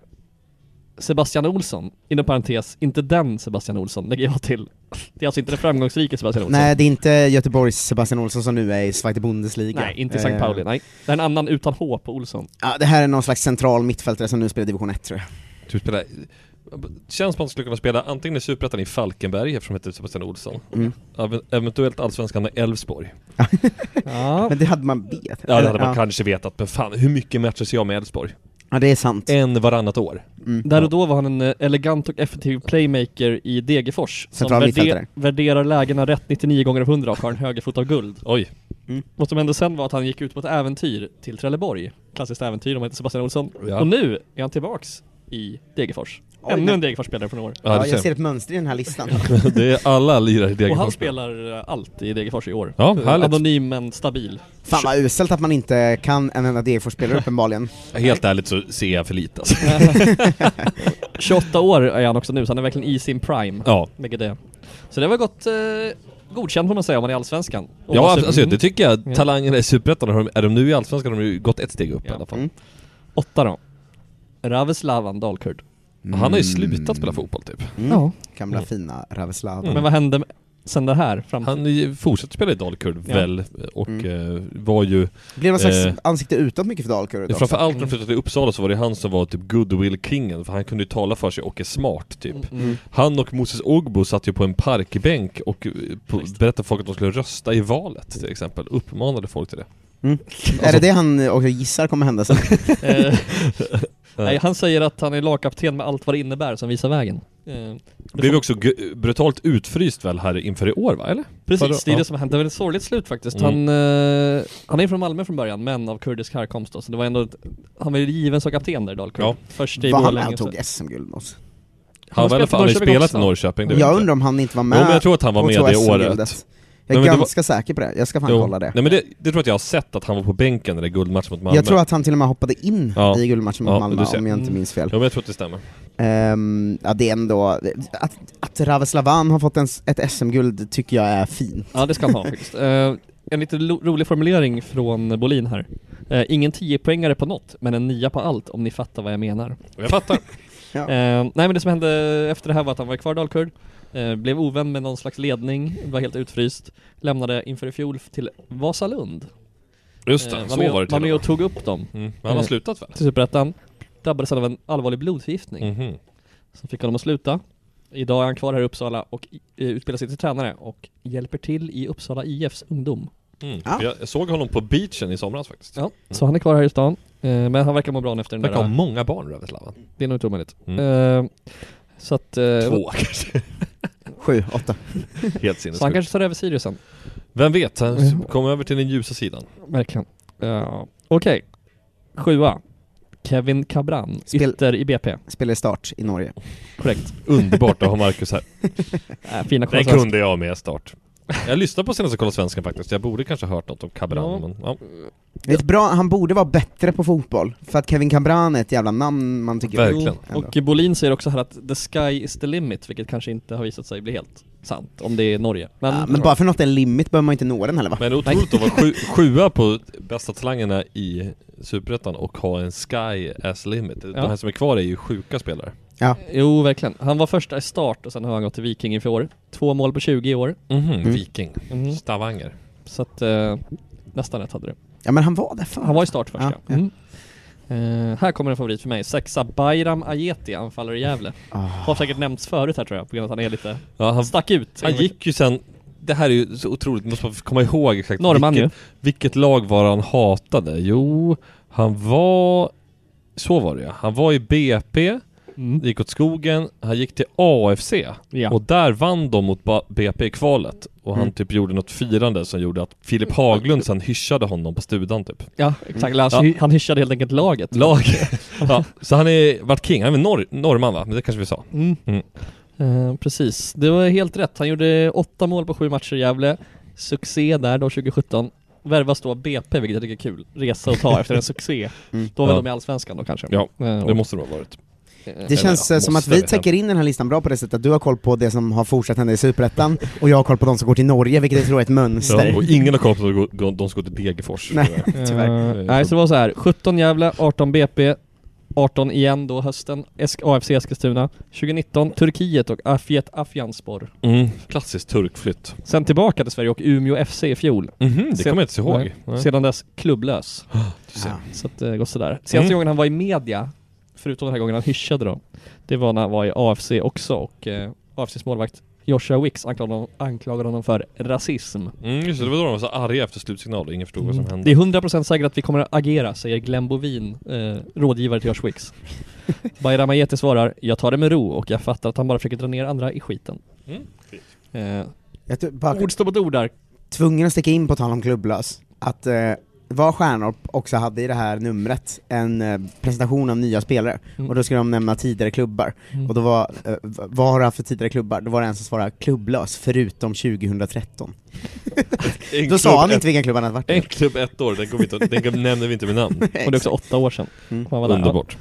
[SPEAKER 7] Sebastian Olsson, inom parentes, inte den Sebastian Olsson lägger jag till. Det är alltså inte den framgångsrike Sebastian Olsson.
[SPEAKER 5] Nej, det är inte Göteborgs Sebastian Olsson som nu är i Zweite Bundesliga.
[SPEAKER 7] Nej, inte i
[SPEAKER 5] Eh,
[SPEAKER 7] St. Pauli, nej. Det är en annan utan H på Olsson.
[SPEAKER 5] Ja, det här är någon slags central mittfältare som nu spelar i division 1 tror jag.
[SPEAKER 6] Typ spela... Känns som att han skulle kunna spela antingen i Superettan i Falkenberg eftersom han heter Sebastian Olsson.
[SPEAKER 5] Mm.
[SPEAKER 6] Ev- Eventuellt Allsvenskan med Elfsborg.
[SPEAKER 7] Ja,
[SPEAKER 5] Men det hade man vet.
[SPEAKER 6] Ja det
[SPEAKER 5] Eller,
[SPEAKER 6] hade man kanske vetat, men fan hur mycket matcher ser jag med Elfsborg?
[SPEAKER 5] Ja, det är sant.
[SPEAKER 6] En varannat år.
[SPEAKER 5] Mm.
[SPEAKER 7] Där och då var han en eh, elegant och effektiv playmaker i Degerfors Som
[SPEAKER 5] Central mittfältare.
[SPEAKER 7] värde- värderar lägena rätt 99 gånger av 100 och har en högerfot av guld
[SPEAKER 6] Oj.
[SPEAKER 5] Mm.
[SPEAKER 7] Vad som hände sen var att han gick ut på ett äventyr till Trelleborg Klassiskt äventyr om man heter Sebastian Olsson
[SPEAKER 6] Ja.
[SPEAKER 7] Och nu är han tillbaks i Degerfors
[SPEAKER 5] Oj,
[SPEAKER 7] Ännu
[SPEAKER 5] men-
[SPEAKER 7] en Degerfors-spelare från i år
[SPEAKER 6] Ja,
[SPEAKER 5] Ja,
[SPEAKER 6] du ser.
[SPEAKER 5] jag ser ett mönster i den här listan.
[SPEAKER 6] det är alla lirare i
[SPEAKER 7] Och
[SPEAKER 6] Degerfors.
[SPEAKER 7] han spelar eh, allt i Degerfors i år
[SPEAKER 6] Ja,
[SPEAKER 7] Eh,
[SPEAKER 6] härligt.
[SPEAKER 7] Anonym men stabil
[SPEAKER 5] Fan vad uselt att man inte kan en enda Degerfors-spelare uppenbarligen.
[SPEAKER 6] Helt ärligt så ser jag för lite alltså.
[SPEAKER 7] 28 år är han också nu så han är verkligen i sin prime
[SPEAKER 6] Ja.
[SPEAKER 7] Vilket det är. Så det har väl gått eh, godkänt får man säga om man är i Allsvenskan Och
[SPEAKER 6] Ja,
[SPEAKER 7] dessutom-
[SPEAKER 6] alltså, det tycker jag.
[SPEAKER 7] Ja.
[SPEAKER 6] Talangerna i Superettan, har de- är de nu i Allsvenskan har de ju gått ett steg upp i
[SPEAKER 7] Ja.
[SPEAKER 6] alla fall.
[SPEAKER 5] Mm.
[SPEAKER 7] Åtta då. Raveslavan Dalkurd.
[SPEAKER 6] Han har ju slutat spela fotboll typ.
[SPEAKER 5] Mm.
[SPEAKER 7] Ja.
[SPEAKER 6] Mm.
[SPEAKER 5] Gamla fina Raveslav.
[SPEAKER 7] Men vad hände sen det här fram
[SPEAKER 6] Han i- fortsätter spela i Dalkurd
[SPEAKER 7] Ja.
[SPEAKER 6] väl och
[SPEAKER 5] Mm.
[SPEAKER 6] eh, var ju...
[SPEAKER 5] Blev någon slags
[SPEAKER 6] eh,
[SPEAKER 5] ansikte utåt mycket för Dalkurd
[SPEAKER 6] Ja,
[SPEAKER 5] också? Mm.
[SPEAKER 6] Framförallt när de flyttade till Uppsala så var det han som var typ goodwill-kingen, för han kunde ju tala för sig och är smart typ.
[SPEAKER 7] Mm.
[SPEAKER 6] Han och Moses Ogbo satt ju på en parkbänk och eh, på, berättade för folk att de skulle rösta i valet
[SPEAKER 7] Mm.
[SPEAKER 6] till exempel, uppmanade folk till det.
[SPEAKER 5] Mm.
[SPEAKER 7] Alltså,
[SPEAKER 5] Är det det han eh, också gissar kommer hända sen?
[SPEAKER 7] Eh, Nej, han säger att han är lagkapten med allt vad det innebär som visar vägen. Eh,
[SPEAKER 6] Blev ju också gu- brutalt utfryst väl här inför i år va, eller? Förra-
[SPEAKER 7] Precis, det är
[SPEAKER 6] ja.
[SPEAKER 7] det som har hänt. Det var ett sorgligt slut faktiskt.
[SPEAKER 6] Mm.
[SPEAKER 7] Han, eh, han är från Malmö från början, men av kurdisk härkomst då, så det var ändå ett, Han var ju given som kapten där i Dalkurd.
[SPEAKER 6] Ja.
[SPEAKER 7] Först i
[SPEAKER 5] Var han med
[SPEAKER 7] Borlänge.
[SPEAKER 5] och
[SPEAKER 7] så-
[SPEAKER 5] tog SM-guld med oss?
[SPEAKER 6] Han var i alla fall aldrig
[SPEAKER 7] Norrköping
[SPEAKER 6] spelat i
[SPEAKER 7] också.
[SPEAKER 6] Norrköping, det vet
[SPEAKER 5] Jag
[SPEAKER 6] inte.
[SPEAKER 5] undrar om han inte var med
[SPEAKER 6] Jo, men jag tror att han var
[SPEAKER 5] och
[SPEAKER 6] med
[SPEAKER 5] tog
[SPEAKER 6] det
[SPEAKER 5] SM-guldet.
[SPEAKER 6] året.
[SPEAKER 5] Jag är
[SPEAKER 6] Nej, men det
[SPEAKER 5] ganska säker på det, jag ska fan
[SPEAKER 6] Jo.
[SPEAKER 5] kolla det.
[SPEAKER 6] Nej men det, det tror jag att jag har sett att han var på bänken i den där guldmatchen mot Malmö.
[SPEAKER 5] Jag tror att han till och med hoppade in
[SPEAKER 6] Ja.
[SPEAKER 5] i guldmatchen mot
[SPEAKER 6] Ja,
[SPEAKER 5] Malmö
[SPEAKER 6] du ser.
[SPEAKER 5] om jag inte
[SPEAKER 7] Mm.
[SPEAKER 5] minns fel.
[SPEAKER 6] Ja men jag tror att det stämmer.
[SPEAKER 5] Ehm, ja, det är ändå, att, att Raveslavan har fått en, ett SM-guld tycker jag är fint.
[SPEAKER 7] Ja, det ska han ha faktiskt. Eh, en lite lo- rolig formulering från Bolin här. Eh, ingen 10-poängare på något, men en nia på allt om ni fattar vad jag menar.
[SPEAKER 6] Och jag fattar.
[SPEAKER 5] Ja.
[SPEAKER 7] Eh, nej men det som hände efter det här var att han var kvar i Dalkurd, eh, blev ovän med någon slags ledning, var helt utfryst, lämnade inför i fjol till Vasalund.
[SPEAKER 6] Just det,
[SPEAKER 7] Eh,
[SPEAKER 6] så
[SPEAKER 7] med, och-
[SPEAKER 6] var det
[SPEAKER 7] Var med
[SPEAKER 6] till och
[SPEAKER 7] och tog upp dem
[SPEAKER 6] med. Mm. Men han har
[SPEAKER 7] Eh.
[SPEAKER 6] slutat väl?
[SPEAKER 7] till Superettan, drabbades han av en allvarlig blodförgiftning
[SPEAKER 6] Mhm.
[SPEAKER 7] som fick honom att sluta. Idag är han kvar här i Uppsala och eh, utbildar sig till tränare och hjälper till i Uppsala IFs ungdom.
[SPEAKER 6] Mm.
[SPEAKER 5] Ja.
[SPEAKER 6] För Jag, jag såg honom på beachen i somras faktiskt. Mm.
[SPEAKER 7] Ja, så han är kvar här i stan. Eh, men han verkar må bra nu efter den
[SPEAKER 6] Verkar ha
[SPEAKER 7] där.
[SPEAKER 6] många barn Röveslavan.
[SPEAKER 7] Det är nog inte omöjligt.
[SPEAKER 6] Mm.
[SPEAKER 7] Eh, så att... Eh,
[SPEAKER 6] Två kanske.
[SPEAKER 5] Sju, åtta.
[SPEAKER 6] Helt
[SPEAKER 7] så han
[SPEAKER 6] sinnessjukt.
[SPEAKER 7] kanske tar över Sirius sen. Mm.
[SPEAKER 6] Vem vet, han kom över till den ljusa sidan.
[SPEAKER 7] Verkligen. Ja. Okej. Sjua. Kevin Cabran.
[SPEAKER 5] Spel-
[SPEAKER 7] Ytter i BP.
[SPEAKER 5] Spelar i start i Norge.
[SPEAKER 7] Korrekt.
[SPEAKER 6] Underbart att ha Marcus här.
[SPEAKER 7] Äh, fina
[SPEAKER 6] Den
[SPEAKER 7] kolla
[SPEAKER 6] kunde jag med start. Jag lyssnade på senaste Kolla Svensken faktiskt, jag borde kanske ha hört något om Cabran
[SPEAKER 7] Ja.
[SPEAKER 6] men ja,
[SPEAKER 5] Ett bra, han borde vara bättre på fotboll, för att Kevin Cabran är ett jävla namn man tycker
[SPEAKER 6] verkligen.
[SPEAKER 5] ändå.
[SPEAKER 7] Och Bolin säger också här att the sky is the limit, vilket kanske inte har visat sig bli helt sant, om det är Norge. Men,
[SPEAKER 5] Ja, men bara för något är en limit behöver man inte nå den heller va?
[SPEAKER 6] Men det är otroligt att vara sju, sjua på bästa talangerna i Superettan och ha en sky as limit. De här som är kvar är ju sjuka spelare.
[SPEAKER 7] Jo, verkligen. Han var första i start och sen har han gått till Viking i år. Två mål på 20 i år. Mhm.
[SPEAKER 6] Mhm,
[SPEAKER 5] Mm.
[SPEAKER 6] Viking. Stavanger.
[SPEAKER 7] Så att eh, nästan rätt hade du.
[SPEAKER 5] Ja men han var där förr.
[SPEAKER 7] Han var i start först
[SPEAKER 5] Ja,
[SPEAKER 7] ja. Mm. Eh, här kommer en favorit för mig. Sexa Bayram Ajeti, anfallare i Gävle. Har säkert nämnts förut här tror jag, på grund av att han är lite...
[SPEAKER 6] Ja, han,
[SPEAKER 7] Stack ut.
[SPEAKER 6] han gick ju sen, det här är ju så otroligt, måste man komma ihåg exakt
[SPEAKER 7] Norrman ju.
[SPEAKER 6] vilket, vilket lag var han hatade? Jo, han var, så var det ja. Han var i BP, det gick åt skogen, han gick till AFC
[SPEAKER 7] Mm. Ja.
[SPEAKER 6] och där vann de mot Ba- BP i kvalet och han
[SPEAKER 5] Mm.
[SPEAKER 6] typ gjorde något firande som gjorde att Filip Haglund sen hyschade honom på studan typ.
[SPEAKER 7] Ja, exakt. Eller Han,
[SPEAKER 6] Ja.
[SPEAKER 7] han hyschade helt enkelt laget.
[SPEAKER 6] Lag. ja, så han är, vart king, han är väl norr, norrman va? Men det kanske vi sa.
[SPEAKER 7] Mm.
[SPEAKER 6] Mm.
[SPEAKER 7] Eh, precis. Det var helt rätt. Han gjorde åtta mål på sju matcher i Gävle. Succé där då 2017. Värvas då av BP, vilket jag tycker är kul. Resa och ta efter en succé.
[SPEAKER 5] Mm.
[SPEAKER 7] Då var
[SPEAKER 6] Ja.
[SPEAKER 7] de i Allsvenskan då kanske.
[SPEAKER 6] Ja,
[SPEAKER 7] Eh,
[SPEAKER 6] Det
[SPEAKER 7] och-
[SPEAKER 6] måste det ha varit.
[SPEAKER 5] Det känns
[SPEAKER 6] ja,
[SPEAKER 5] eh, som att
[SPEAKER 6] måste
[SPEAKER 5] vi
[SPEAKER 6] vi.
[SPEAKER 5] täcker in den här listan bra på det sättet att du har koll på det som har fortsatt hända i Superettan och jag har koll på de som går till Norge, vilket jag tror är ett mönster.
[SPEAKER 6] Ja, och ingen har koll på att de- de ska gå till Degerfors.
[SPEAKER 5] Nej.
[SPEAKER 7] Eh,
[SPEAKER 5] Tyvärr.
[SPEAKER 7] nej, så det var så här. 17 Gävle, 18 BP, 18 igen då hösten, Esk- AFC Eskilstuna, 2019 Turkiet och Afiet Afyanspor.
[SPEAKER 6] Mm, klassisk turkflytt.
[SPEAKER 7] Sen tillbaka till Sverige och Umeå FC i fjol.
[SPEAKER 6] Mhm, det
[SPEAKER 7] Se-
[SPEAKER 6] kommer jag inte ihåg.
[SPEAKER 7] Nej.
[SPEAKER 6] Nej.
[SPEAKER 7] Sedan dess klubblös.
[SPEAKER 6] Du ser.
[SPEAKER 5] Ja.
[SPEAKER 7] Så att det går sådär. Senaste
[SPEAKER 6] Mm.
[SPEAKER 7] gången han var i media, förutom den här gången han hyschade då, det var när han var i AFC också och eh, AFCs målvakt Joshua Wicks anklagade honom, anklagade honom för rasism. Mm.
[SPEAKER 6] Mm, just det, det var då de var så arga efter slutsignal och ingen förstod vad som hände.
[SPEAKER 7] Det är 100% säkert att vi kommer att agera, säger Glenn Bovin, eh, rådgivare till Josh Wicks. Bayram Ajeti svarar, jag tar det med ro och jag fattar att han bara försöker dra ner andra i skiten.
[SPEAKER 6] Mm.
[SPEAKER 7] Eh,
[SPEAKER 5] Jag tror- bara
[SPEAKER 7] ord står mot ord där.
[SPEAKER 5] tvungen att sticka in på tal om klubblös, att eh, var Stjärnorp också hade i det här numret en eh, presentation av nya spelare,
[SPEAKER 7] Mm.
[SPEAKER 5] och då skulle de nämna tidigare klubbar,
[SPEAKER 7] Mm.
[SPEAKER 5] och då var, eh, v- vad har du haft för tidigare klubbar? Då var det en som svarade klubblös, förutom 2013.
[SPEAKER 6] En
[SPEAKER 5] Då
[SPEAKER 6] klubb Eh,
[SPEAKER 5] sa han
[SPEAKER 6] ett-
[SPEAKER 5] inte vilken klubb han hade varit
[SPEAKER 6] En
[SPEAKER 5] i.
[SPEAKER 6] klubb ett år, den, går vi inte, den nämner vi inte med namn.
[SPEAKER 7] Och det är också åtta år sedan.
[SPEAKER 5] Mm.
[SPEAKER 7] Han var där. Ja.
[SPEAKER 6] Underbart.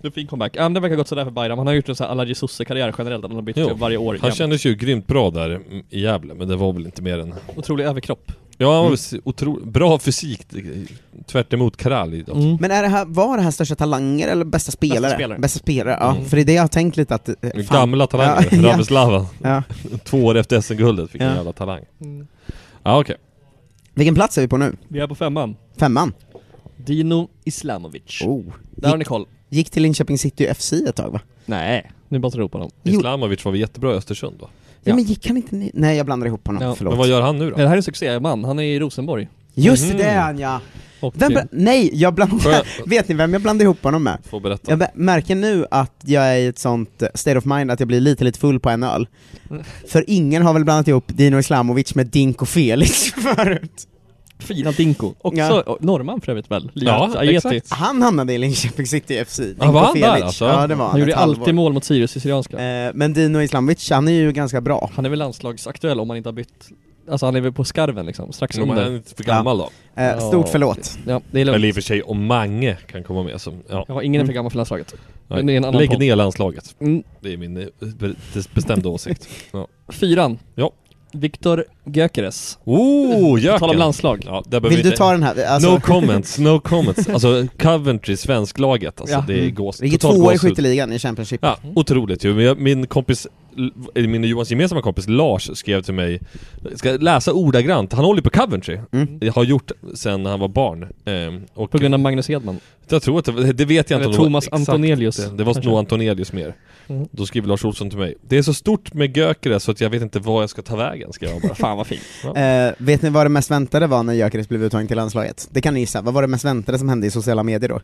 [SPEAKER 7] Det är en fin comeback. Ja, men det verkar gått sådär för Bayram. Han har gjort en sån här alla Jesus karriär generellt, att han har bytt
[SPEAKER 6] Jo.
[SPEAKER 7] klubb varje år.
[SPEAKER 6] Han
[SPEAKER 7] jämt.
[SPEAKER 6] kändes ju grymt bra där mm, i Gävle, men det var väl inte mer än...
[SPEAKER 7] Otrolig överkropp.
[SPEAKER 6] Ja, han var
[SPEAKER 5] Mm.
[SPEAKER 6] s- otroligt bra fysik. Tvärt emot Kralj.
[SPEAKER 7] Mm.
[SPEAKER 5] Men är det här, var det här största talanger eller bästa spelare?
[SPEAKER 6] Bästa spelare.
[SPEAKER 5] ja.
[SPEAKER 6] Mm.
[SPEAKER 5] För det är det jag har tänkt lite att... eh, fan.
[SPEAKER 6] Gamla talanger,
[SPEAKER 5] Ja, ja.
[SPEAKER 6] Rameslava.
[SPEAKER 5] Ja.
[SPEAKER 6] Två år efter SM-guldet fick
[SPEAKER 5] Ja.
[SPEAKER 6] en jävla talang. Ja, okej.
[SPEAKER 5] Vilken plats är vi på nu?
[SPEAKER 7] Mm. Vi är på femman.
[SPEAKER 5] Femman?
[SPEAKER 7] Dino Islamovic.
[SPEAKER 5] Oh.
[SPEAKER 7] Där har ni koll.
[SPEAKER 5] Gick till Linköping City FC ett tag va?
[SPEAKER 7] Nej, nu bara tror på dem.
[SPEAKER 5] Jo.
[SPEAKER 6] Islamovic var väl jättebra i Östersund då?
[SPEAKER 5] Ja, men gick han inte... ni- Nej jag blandar ihop honom,
[SPEAKER 7] Ja.
[SPEAKER 5] förlåt.
[SPEAKER 6] Men vad gör han nu då?
[SPEAKER 7] Det här är en succéman, han är i Rosenborg.
[SPEAKER 5] Just
[SPEAKER 7] Mhm.
[SPEAKER 5] det är han ja!
[SPEAKER 7] Och
[SPEAKER 5] Vem bla- Nej, jag blandar...
[SPEAKER 6] Skö-
[SPEAKER 5] Vet ni vem jag blandar ihop honom med?
[SPEAKER 6] Får berätta.
[SPEAKER 5] Jag mär- märker nu att jag är i ett sånt eh, state of mind att jag blir lite, lite full på en öl. För ingen har väl blandat ihop Dino Islamovic med Dinko Felix förut?
[SPEAKER 7] fina Dinko. Också
[SPEAKER 5] Ja.
[SPEAKER 7] ja. norrman för övrigt väl?
[SPEAKER 6] Ja,
[SPEAKER 7] Ajeti.
[SPEAKER 6] exakt.
[SPEAKER 5] Han hamnade i Linköping City FC, Dinko
[SPEAKER 6] var han där
[SPEAKER 5] Felix.
[SPEAKER 6] alltså?
[SPEAKER 5] Ja det var han,
[SPEAKER 7] Han gjorde
[SPEAKER 5] ett halvår.
[SPEAKER 7] alltid mål mot Sirius Syrianska.
[SPEAKER 5] Eh, Men Dino Islamovic, han är ju ganska bra.
[SPEAKER 7] Han är väl landslagsaktuell om han inte har bytt Alltså han är väl på skarven liksom, strax
[SPEAKER 6] Om han är
[SPEAKER 7] under.
[SPEAKER 6] inte för gammal då?
[SPEAKER 5] Eh, Stort
[SPEAKER 7] Ja.
[SPEAKER 5] förlåt.
[SPEAKER 7] Ja, det är
[SPEAKER 6] Eller i
[SPEAKER 7] lugnt.
[SPEAKER 6] och för sig om Mange kan komma med som... Ja.
[SPEAKER 7] Ja, ingen är för gammal för landslaget. Men det är en annan
[SPEAKER 6] Lägg
[SPEAKER 7] podd.
[SPEAKER 6] ner landslaget.
[SPEAKER 7] Mm.
[SPEAKER 6] Det är min eh, be- bestämda åsikt. Ja.
[SPEAKER 7] Fyran.
[SPEAKER 6] Ja.
[SPEAKER 7] Viktor Gyökeres.
[SPEAKER 6] Oh,
[SPEAKER 7] På tal om
[SPEAKER 6] Jöken!
[SPEAKER 7] landslag.
[SPEAKER 6] Ja, där behöver vi
[SPEAKER 5] Vill du
[SPEAKER 6] inte-
[SPEAKER 5] ta den här? Alltså,
[SPEAKER 6] No comments, no comments. Alltså Coventry, svensklaget, alltså
[SPEAKER 7] Ja.
[SPEAKER 6] det är
[SPEAKER 7] Mm.
[SPEAKER 6] gås,
[SPEAKER 5] Vi gick
[SPEAKER 6] total
[SPEAKER 5] tvåa i
[SPEAKER 6] gåshud.
[SPEAKER 5] skytteligan i Championship.
[SPEAKER 6] Ja, otroligt ju. Men jag- Min kompis, eller min och Johans gemensamma kompis Lars skrev till mig, ska jag läsa ordagrant, han håller på Coventry.
[SPEAKER 5] Mm.
[SPEAKER 6] Jag har gjort sen han var barn. Ehm, Och
[SPEAKER 7] På grund av Magnus Hedman.
[SPEAKER 6] jag tror att det, det vet jag inte
[SPEAKER 7] Eller
[SPEAKER 6] om det var
[SPEAKER 7] Thomas
[SPEAKER 6] exakt
[SPEAKER 7] Antonielius,
[SPEAKER 6] Det, det var
[SPEAKER 7] kanske.
[SPEAKER 6] nog Antonielius mer.
[SPEAKER 7] Mm.
[SPEAKER 6] Då skriver Lars Olsson till mig, det är så stort med Gökere så att jag vet inte vad jag ska ta vägen, skrev han bara.
[SPEAKER 7] Fan vad fint.
[SPEAKER 5] Eh, vet ni vad det mest väntade var när Gyökeres blev uttagen till landslaget? Det kan ni gissa, vad var det mest väntade som hände i sociala medier då?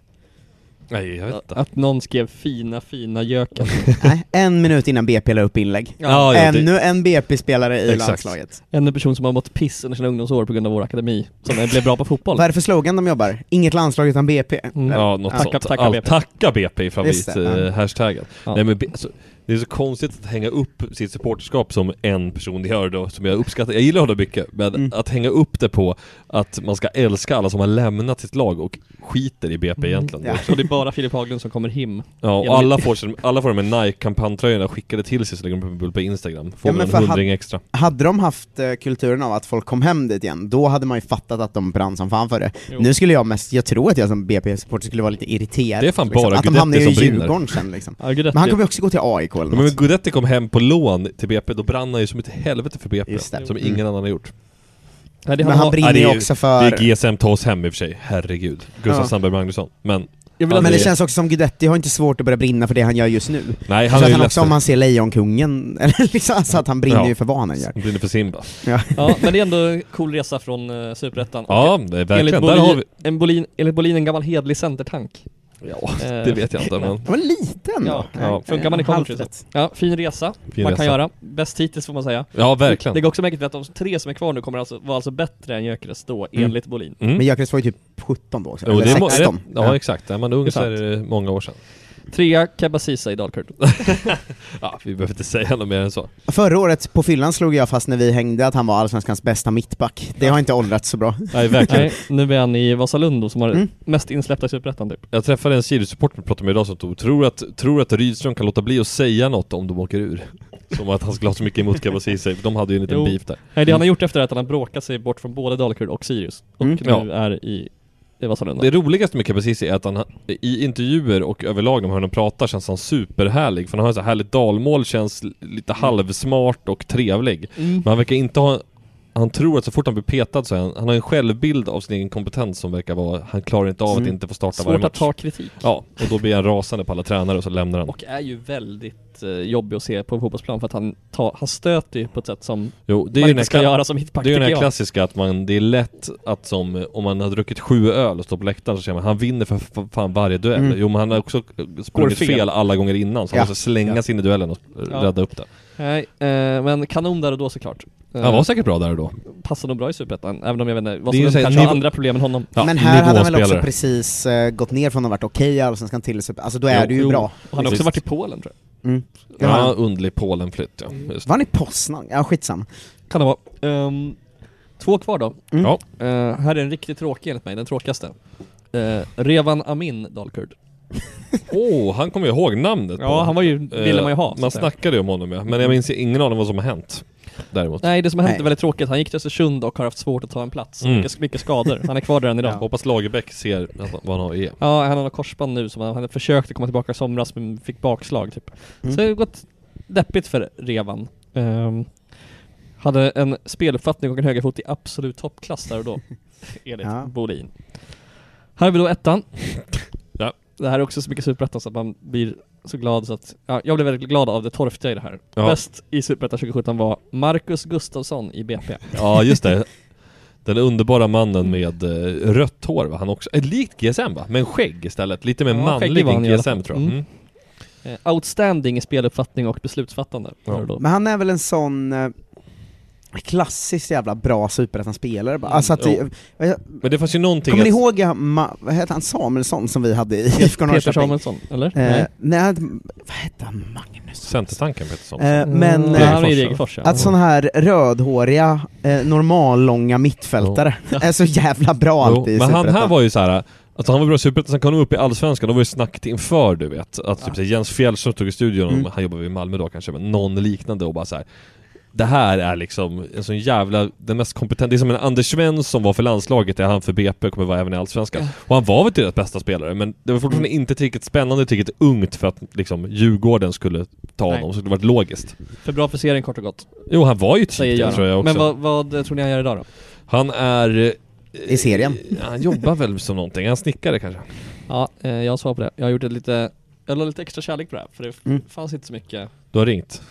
[SPEAKER 6] Nej, jag vet inte.
[SPEAKER 7] Att någon skrev fina, fina Gyöken.
[SPEAKER 5] Nej, en minut innan BP la upp inlägg.
[SPEAKER 6] Ja, ja, det-
[SPEAKER 5] Ännu en BP-spelare i
[SPEAKER 6] Exakt.
[SPEAKER 5] landslaget.
[SPEAKER 7] En person som har mått piss under sina ungdomsår på grund av vår akademi. Som blev bra på fotboll.
[SPEAKER 5] Vad är det för slogan de jobbar? Inget landslag utan BP?
[SPEAKER 7] Mm.
[SPEAKER 6] Ja, något
[SPEAKER 7] Tacka-
[SPEAKER 6] sånt.
[SPEAKER 7] tacka
[SPEAKER 6] Allt-
[SPEAKER 7] BP.
[SPEAKER 6] tacka BP är
[SPEAKER 5] Just det, ja.
[SPEAKER 6] favorit-hashtaggen.
[SPEAKER 7] Ja.
[SPEAKER 6] eh, Nej men B- alltså, det är så konstigt att hänga upp sitt supporterskap som en person gör då, som jag uppskattar. Jag gillar honom mycket, men
[SPEAKER 5] Mm.
[SPEAKER 6] att hänga upp det på att man ska älska alla som har lämnat sitt lag och skiter i BP egentligen.
[SPEAKER 5] Ja.
[SPEAKER 6] Ja.
[SPEAKER 7] Så Mm. det är bara Filip Haglund som kommer hem.
[SPEAKER 6] och alla får, sin- alla får de här Nike-kampanjtröjorna skickade till sig så lägger de upp en bild på Instagram. Får
[SPEAKER 5] Ja,
[SPEAKER 6] man
[SPEAKER 5] men
[SPEAKER 6] en
[SPEAKER 5] för
[SPEAKER 6] hundring extra.
[SPEAKER 5] Hade de haft eh, kulturen av att folk kom hem dit igen, då hade man ju fattat att de brann som fan för det.
[SPEAKER 7] Jo.
[SPEAKER 5] Nu skulle jag mest, jag tror att jag som BP-supporter skulle vara lite irriterad.
[SPEAKER 6] Det är fan
[SPEAKER 5] liksom.
[SPEAKER 6] bara
[SPEAKER 5] Att de
[SPEAKER 6] Guidetti
[SPEAKER 5] hamnade ju i
[SPEAKER 6] som brinner.
[SPEAKER 5] Djurgården sen liksom.
[SPEAKER 7] Ja, Guidetti.
[SPEAKER 5] Men han kommer ju också gå till AIK eller
[SPEAKER 6] Men
[SPEAKER 5] något.
[SPEAKER 6] när Guidetti kom hem på lån till BP, då brann han ju som ett helvete för BP.
[SPEAKER 5] Just det.
[SPEAKER 6] Som
[SPEAKER 5] Mm.
[SPEAKER 6] ingen annan har gjort.
[SPEAKER 7] Nej, det
[SPEAKER 5] Men
[SPEAKER 7] har
[SPEAKER 5] han
[SPEAKER 7] han
[SPEAKER 5] brinner
[SPEAKER 6] det är
[SPEAKER 5] ju
[SPEAKER 6] ju-
[SPEAKER 5] också för...
[SPEAKER 6] Det är GSM ta oss hem i och för sig, herregud. Gustav
[SPEAKER 5] Ja.
[SPEAKER 6] Sandberg Magnusson. Men
[SPEAKER 7] jag vill
[SPEAKER 6] Ja,
[SPEAKER 7] att
[SPEAKER 5] Men
[SPEAKER 6] det-
[SPEAKER 5] det känns också som Guidetti har inte svårt att börja brinna för det han gör just nu.
[SPEAKER 6] nej, han
[SPEAKER 5] Han
[SPEAKER 6] är
[SPEAKER 5] att
[SPEAKER 6] ju
[SPEAKER 5] han också,
[SPEAKER 6] ledsen.
[SPEAKER 5] om man ser Lejonkungen, eller liksom, alltså att han brinner
[SPEAKER 6] Ja.
[SPEAKER 5] ju för vad han än gör.
[SPEAKER 6] Han brinner för Simba.
[SPEAKER 7] Ja, men det är ändå en cool resa från uh, Superettan. Och
[SPEAKER 6] Ja, det är
[SPEAKER 7] enligt
[SPEAKER 6] verkligen. Där
[SPEAKER 7] Bolin,
[SPEAKER 6] har vi...
[SPEAKER 7] en Bolin, enligt Bolin en gammal hedlig centertank.
[SPEAKER 6] Ja,
[SPEAKER 7] Eh,
[SPEAKER 6] det vet jag inte men...
[SPEAKER 5] Han var liten
[SPEAKER 7] Ja,
[SPEAKER 5] då.
[SPEAKER 6] ja.
[SPEAKER 7] Funkar man i Coventry så.
[SPEAKER 5] Halvrätt.
[SPEAKER 7] Ja, fin resa
[SPEAKER 6] Fin
[SPEAKER 7] man
[SPEAKER 6] resa.
[SPEAKER 7] kan göra. Bäst hittills får man säga.
[SPEAKER 6] Ja,
[SPEAKER 7] Det
[SPEAKER 6] verkligen.
[SPEAKER 7] går också märkligt att de tre som är kvar nu kommer alltså, vara alltså bättre än Gyökeres då, enligt Bolin.
[SPEAKER 6] Mm.
[SPEAKER 5] Men Gyökeres var ju typ 17 då också,
[SPEAKER 6] Jo,
[SPEAKER 5] eller
[SPEAKER 6] det är må-
[SPEAKER 5] 16.
[SPEAKER 6] det- ja, exakt. Är man ung
[SPEAKER 7] Det är
[SPEAKER 6] så är det många år sedan.
[SPEAKER 7] Trea, Kebba Ceesay i Dalkurd.
[SPEAKER 6] Ja, vi behöver inte säga något mer än så.
[SPEAKER 5] Förra året på fyllan slog jag fast när vi hängde att han var allsvenskans bästa mittback. Det har inte åldrats så bra.
[SPEAKER 6] Nej, verkligen.
[SPEAKER 7] Nej, nu är han i Vasalund då, som har
[SPEAKER 5] Mm.
[SPEAKER 7] mest insläppta i Superettan typ.
[SPEAKER 6] Jag träffade en Sirius-supporter vi pratade med idag som tog, tror att, tror att Rydström kan låta bli att säga något om de åker ur. Som att han skulle ha så mycket emot Kabasi sig. De hade ju en liten
[SPEAKER 7] Jo.
[SPEAKER 6] beef där.
[SPEAKER 7] Nej, det han har gjort efter är att han har bråkat sig bort från både Dalkurd och Sirius. Och
[SPEAKER 5] Mm.
[SPEAKER 7] nu
[SPEAKER 6] Ja.
[SPEAKER 7] är i, i Vasalund.
[SPEAKER 6] Det roligaste med Kabasisi är att han i intervjuer och överlag när man hör honom prata känns han superhärlig. För han har så här härligt dalmål, känns lite halvsmart och trevlig.
[SPEAKER 7] Mm.
[SPEAKER 6] Men han verkar inte ha... Han tror att så fort han blir petad så är han, han har en självbild av sin egen kompetens som verkar vara... Han klarar inte av att
[SPEAKER 5] Mm.
[SPEAKER 6] inte få starta varje
[SPEAKER 7] Svårt att
[SPEAKER 6] match.
[SPEAKER 7] ta kritik.
[SPEAKER 6] Ja, och då blir han rasande på alla tränare och så lämnar han.
[SPEAKER 7] Och är ju väldigt eh, jobbig att se på en fotbollsplan för att han, tar, han stöter ju på ett sätt som
[SPEAKER 6] Jo, det är ju
[SPEAKER 7] man
[SPEAKER 6] den
[SPEAKER 7] inte
[SPEAKER 6] här
[SPEAKER 7] ska
[SPEAKER 6] kla-
[SPEAKER 7] göra som mittback
[SPEAKER 6] Det är ju den
[SPEAKER 7] tycker
[SPEAKER 6] här
[SPEAKER 7] jag.
[SPEAKER 6] klassiska att man, det är lätt att som, eh, om man har druckit sju öl och står på läktaren så säger man han vinner för f- fan varje duell.
[SPEAKER 5] Mm.
[SPEAKER 6] Jo men han har också eh, sprungit
[SPEAKER 7] fel.
[SPEAKER 6] fel. alla gånger innan så han
[SPEAKER 5] Ja.
[SPEAKER 6] måste slängas in i duellen och eh,
[SPEAKER 7] Ja.
[SPEAKER 6] rädda upp det.
[SPEAKER 7] Nej, eh, men kanon där och då såklart. Eh,
[SPEAKER 6] Han var säkert bra där och då.
[SPEAKER 7] Passar nog bra i Superettan, även om jag vet inte,
[SPEAKER 6] Det är ju
[SPEAKER 7] Vasalund
[SPEAKER 6] så här,
[SPEAKER 7] kanske har
[SPEAKER 6] nivå-
[SPEAKER 7] andra problem än honom.
[SPEAKER 6] Ja,
[SPEAKER 5] Men här hade han väl också
[SPEAKER 6] nivåspelare.
[SPEAKER 5] precis eh, gått ner från att ha varit okej i allsvenskan till super... Alltså då är
[SPEAKER 6] Jo,
[SPEAKER 5] du ju
[SPEAKER 6] jo.
[SPEAKER 5] bra.
[SPEAKER 7] Och han har också
[SPEAKER 6] Precis.
[SPEAKER 7] varit i Polen tror jag.
[SPEAKER 5] Mm. Det har
[SPEAKER 6] Ja,
[SPEAKER 5] han.
[SPEAKER 6] underlig Polenflytt ja. Just.
[SPEAKER 5] Var han i Poznan? Ja, skitsam.
[SPEAKER 7] Kan det vara. Ehm, två kvar då.
[SPEAKER 5] Mm.
[SPEAKER 6] Ja.
[SPEAKER 7] Eh, här är en riktigt tråkig enligt mig, den tråkigaste. Eh, Revan Amin Dalkurd.
[SPEAKER 6] Åh, han kommer ju ihåg namnet på.
[SPEAKER 7] Ja, han var ju, ville
[SPEAKER 6] Eh,
[SPEAKER 7] man ju ha. så
[SPEAKER 6] Man
[SPEAKER 7] att säga.
[SPEAKER 6] snackade ju om honom ja, men jag minns ju ingen aning vad som har hänt. däremot.
[SPEAKER 7] Nej, det som har hänt
[SPEAKER 6] Nej.
[SPEAKER 7] är väldigt tråkigt. Han gick till Östersund och har haft svårt att ta en plats.
[SPEAKER 6] Mm.
[SPEAKER 7] Mycket, mycket skador. Han är kvar där än idag.
[SPEAKER 6] Hoppas Lagerbäck ser vad han har i.
[SPEAKER 7] Ja, han har korsband nu som han hade försökt att komma tillbaka i somras men fick bakslag typ.
[SPEAKER 6] Mm.
[SPEAKER 7] Så det har gått deppigt för Revan. Ehm, hade en speluppfattning och en högerfot i absolut toppklass där och då. Enligt
[SPEAKER 6] Ja.
[SPEAKER 7] Bolin. Här har vi då ettan.
[SPEAKER 6] Ja.
[SPEAKER 7] Det här är också så mycket superettan så att man blir så glad så att... Ja, jag blev väldigt glad av det torftiga i det här.
[SPEAKER 6] Ja.
[SPEAKER 7] Bäst i superettan 2017 var Marcus Gustafsson i BP.
[SPEAKER 6] Ja, just det. Den underbara mannen med eh, rött hår var han också. Eh, likt GSM va? Men skägg istället. Lite mer
[SPEAKER 7] Ja,
[SPEAKER 6] manlig
[SPEAKER 7] skäggig var han
[SPEAKER 6] än
[SPEAKER 7] i alla
[SPEAKER 6] GSM
[SPEAKER 7] fall.
[SPEAKER 6] tror jag.
[SPEAKER 7] Mm.
[SPEAKER 6] Mm.
[SPEAKER 7] Eh, Outstanding i speluppfattning och beslutsfattande. Var det då.
[SPEAKER 5] Men han är väl en sån eh, klassiskt jävla bra superettan-spelare bara. Alltså att det,
[SPEAKER 6] Jo. Men det fanns ju någonting
[SPEAKER 5] Kommer ni
[SPEAKER 6] att-
[SPEAKER 5] ihåg, ja, ma- vad hette han, Samuelsson som vi hade i IFK Norrköping?
[SPEAKER 7] Samuelsson, eller?
[SPEAKER 5] Eh,
[SPEAKER 7] Nej.
[SPEAKER 5] nej, han- vad hette han? Magnus?
[SPEAKER 6] Centertanken heter sånt.
[SPEAKER 5] Eh,
[SPEAKER 7] Mm.
[SPEAKER 5] men
[SPEAKER 6] Degerfors,
[SPEAKER 5] eh,
[SPEAKER 6] va?
[SPEAKER 5] att sådana här rödhåriga, eh, normallånga mittfältare är så jävla bra
[SPEAKER 6] Jo,
[SPEAKER 5] alltid i
[SPEAKER 6] Men han
[SPEAKER 5] Superettan.
[SPEAKER 6] här var ju så här. Alltså han var bra i Superettan, sen kom han upp i Allsvenskan, då var ju snacket inför du vet. Att typ så här, Jens Fjällström stod i studion,
[SPEAKER 5] Mm.
[SPEAKER 6] han jobbar i Malmö då kanske, men någon liknande och bara så här. Det här är liksom en sån jävla, den mest kompetenta, det är som en Anders Svensson var för landslaget, är han för BP, kommer vara även i Allsvenskan. Och han var väl typ deras bästa spelare, men det var fortfarande
[SPEAKER 5] Mm.
[SPEAKER 6] inte tillräckligt spännande, tillräckligt ungt för att liksom Djurgården skulle ta
[SPEAKER 7] Nej.
[SPEAKER 6] honom, så det var logiskt.
[SPEAKER 7] För bra för serien kort och gott.
[SPEAKER 6] Jo, han var ju typ det
[SPEAKER 7] Göran.
[SPEAKER 6] tror jag också.
[SPEAKER 7] Men vad, vad tror ni han gör idag då?
[SPEAKER 6] Han är...
[SPEAKER 5] I serien?
[SPEAKER 6] Han jobbar väl som någonting, han snickare kanske?
[SPEAKER 7] Ja, eh, jag svarar på det. Jag har gjort ett lite, jag la lite extra kärlek på det här för det f-
[SPEAKER 6] Mm.
[SPEAKER 7] fanns inte så mycket.
[SPEAKER 6] Du har ringt?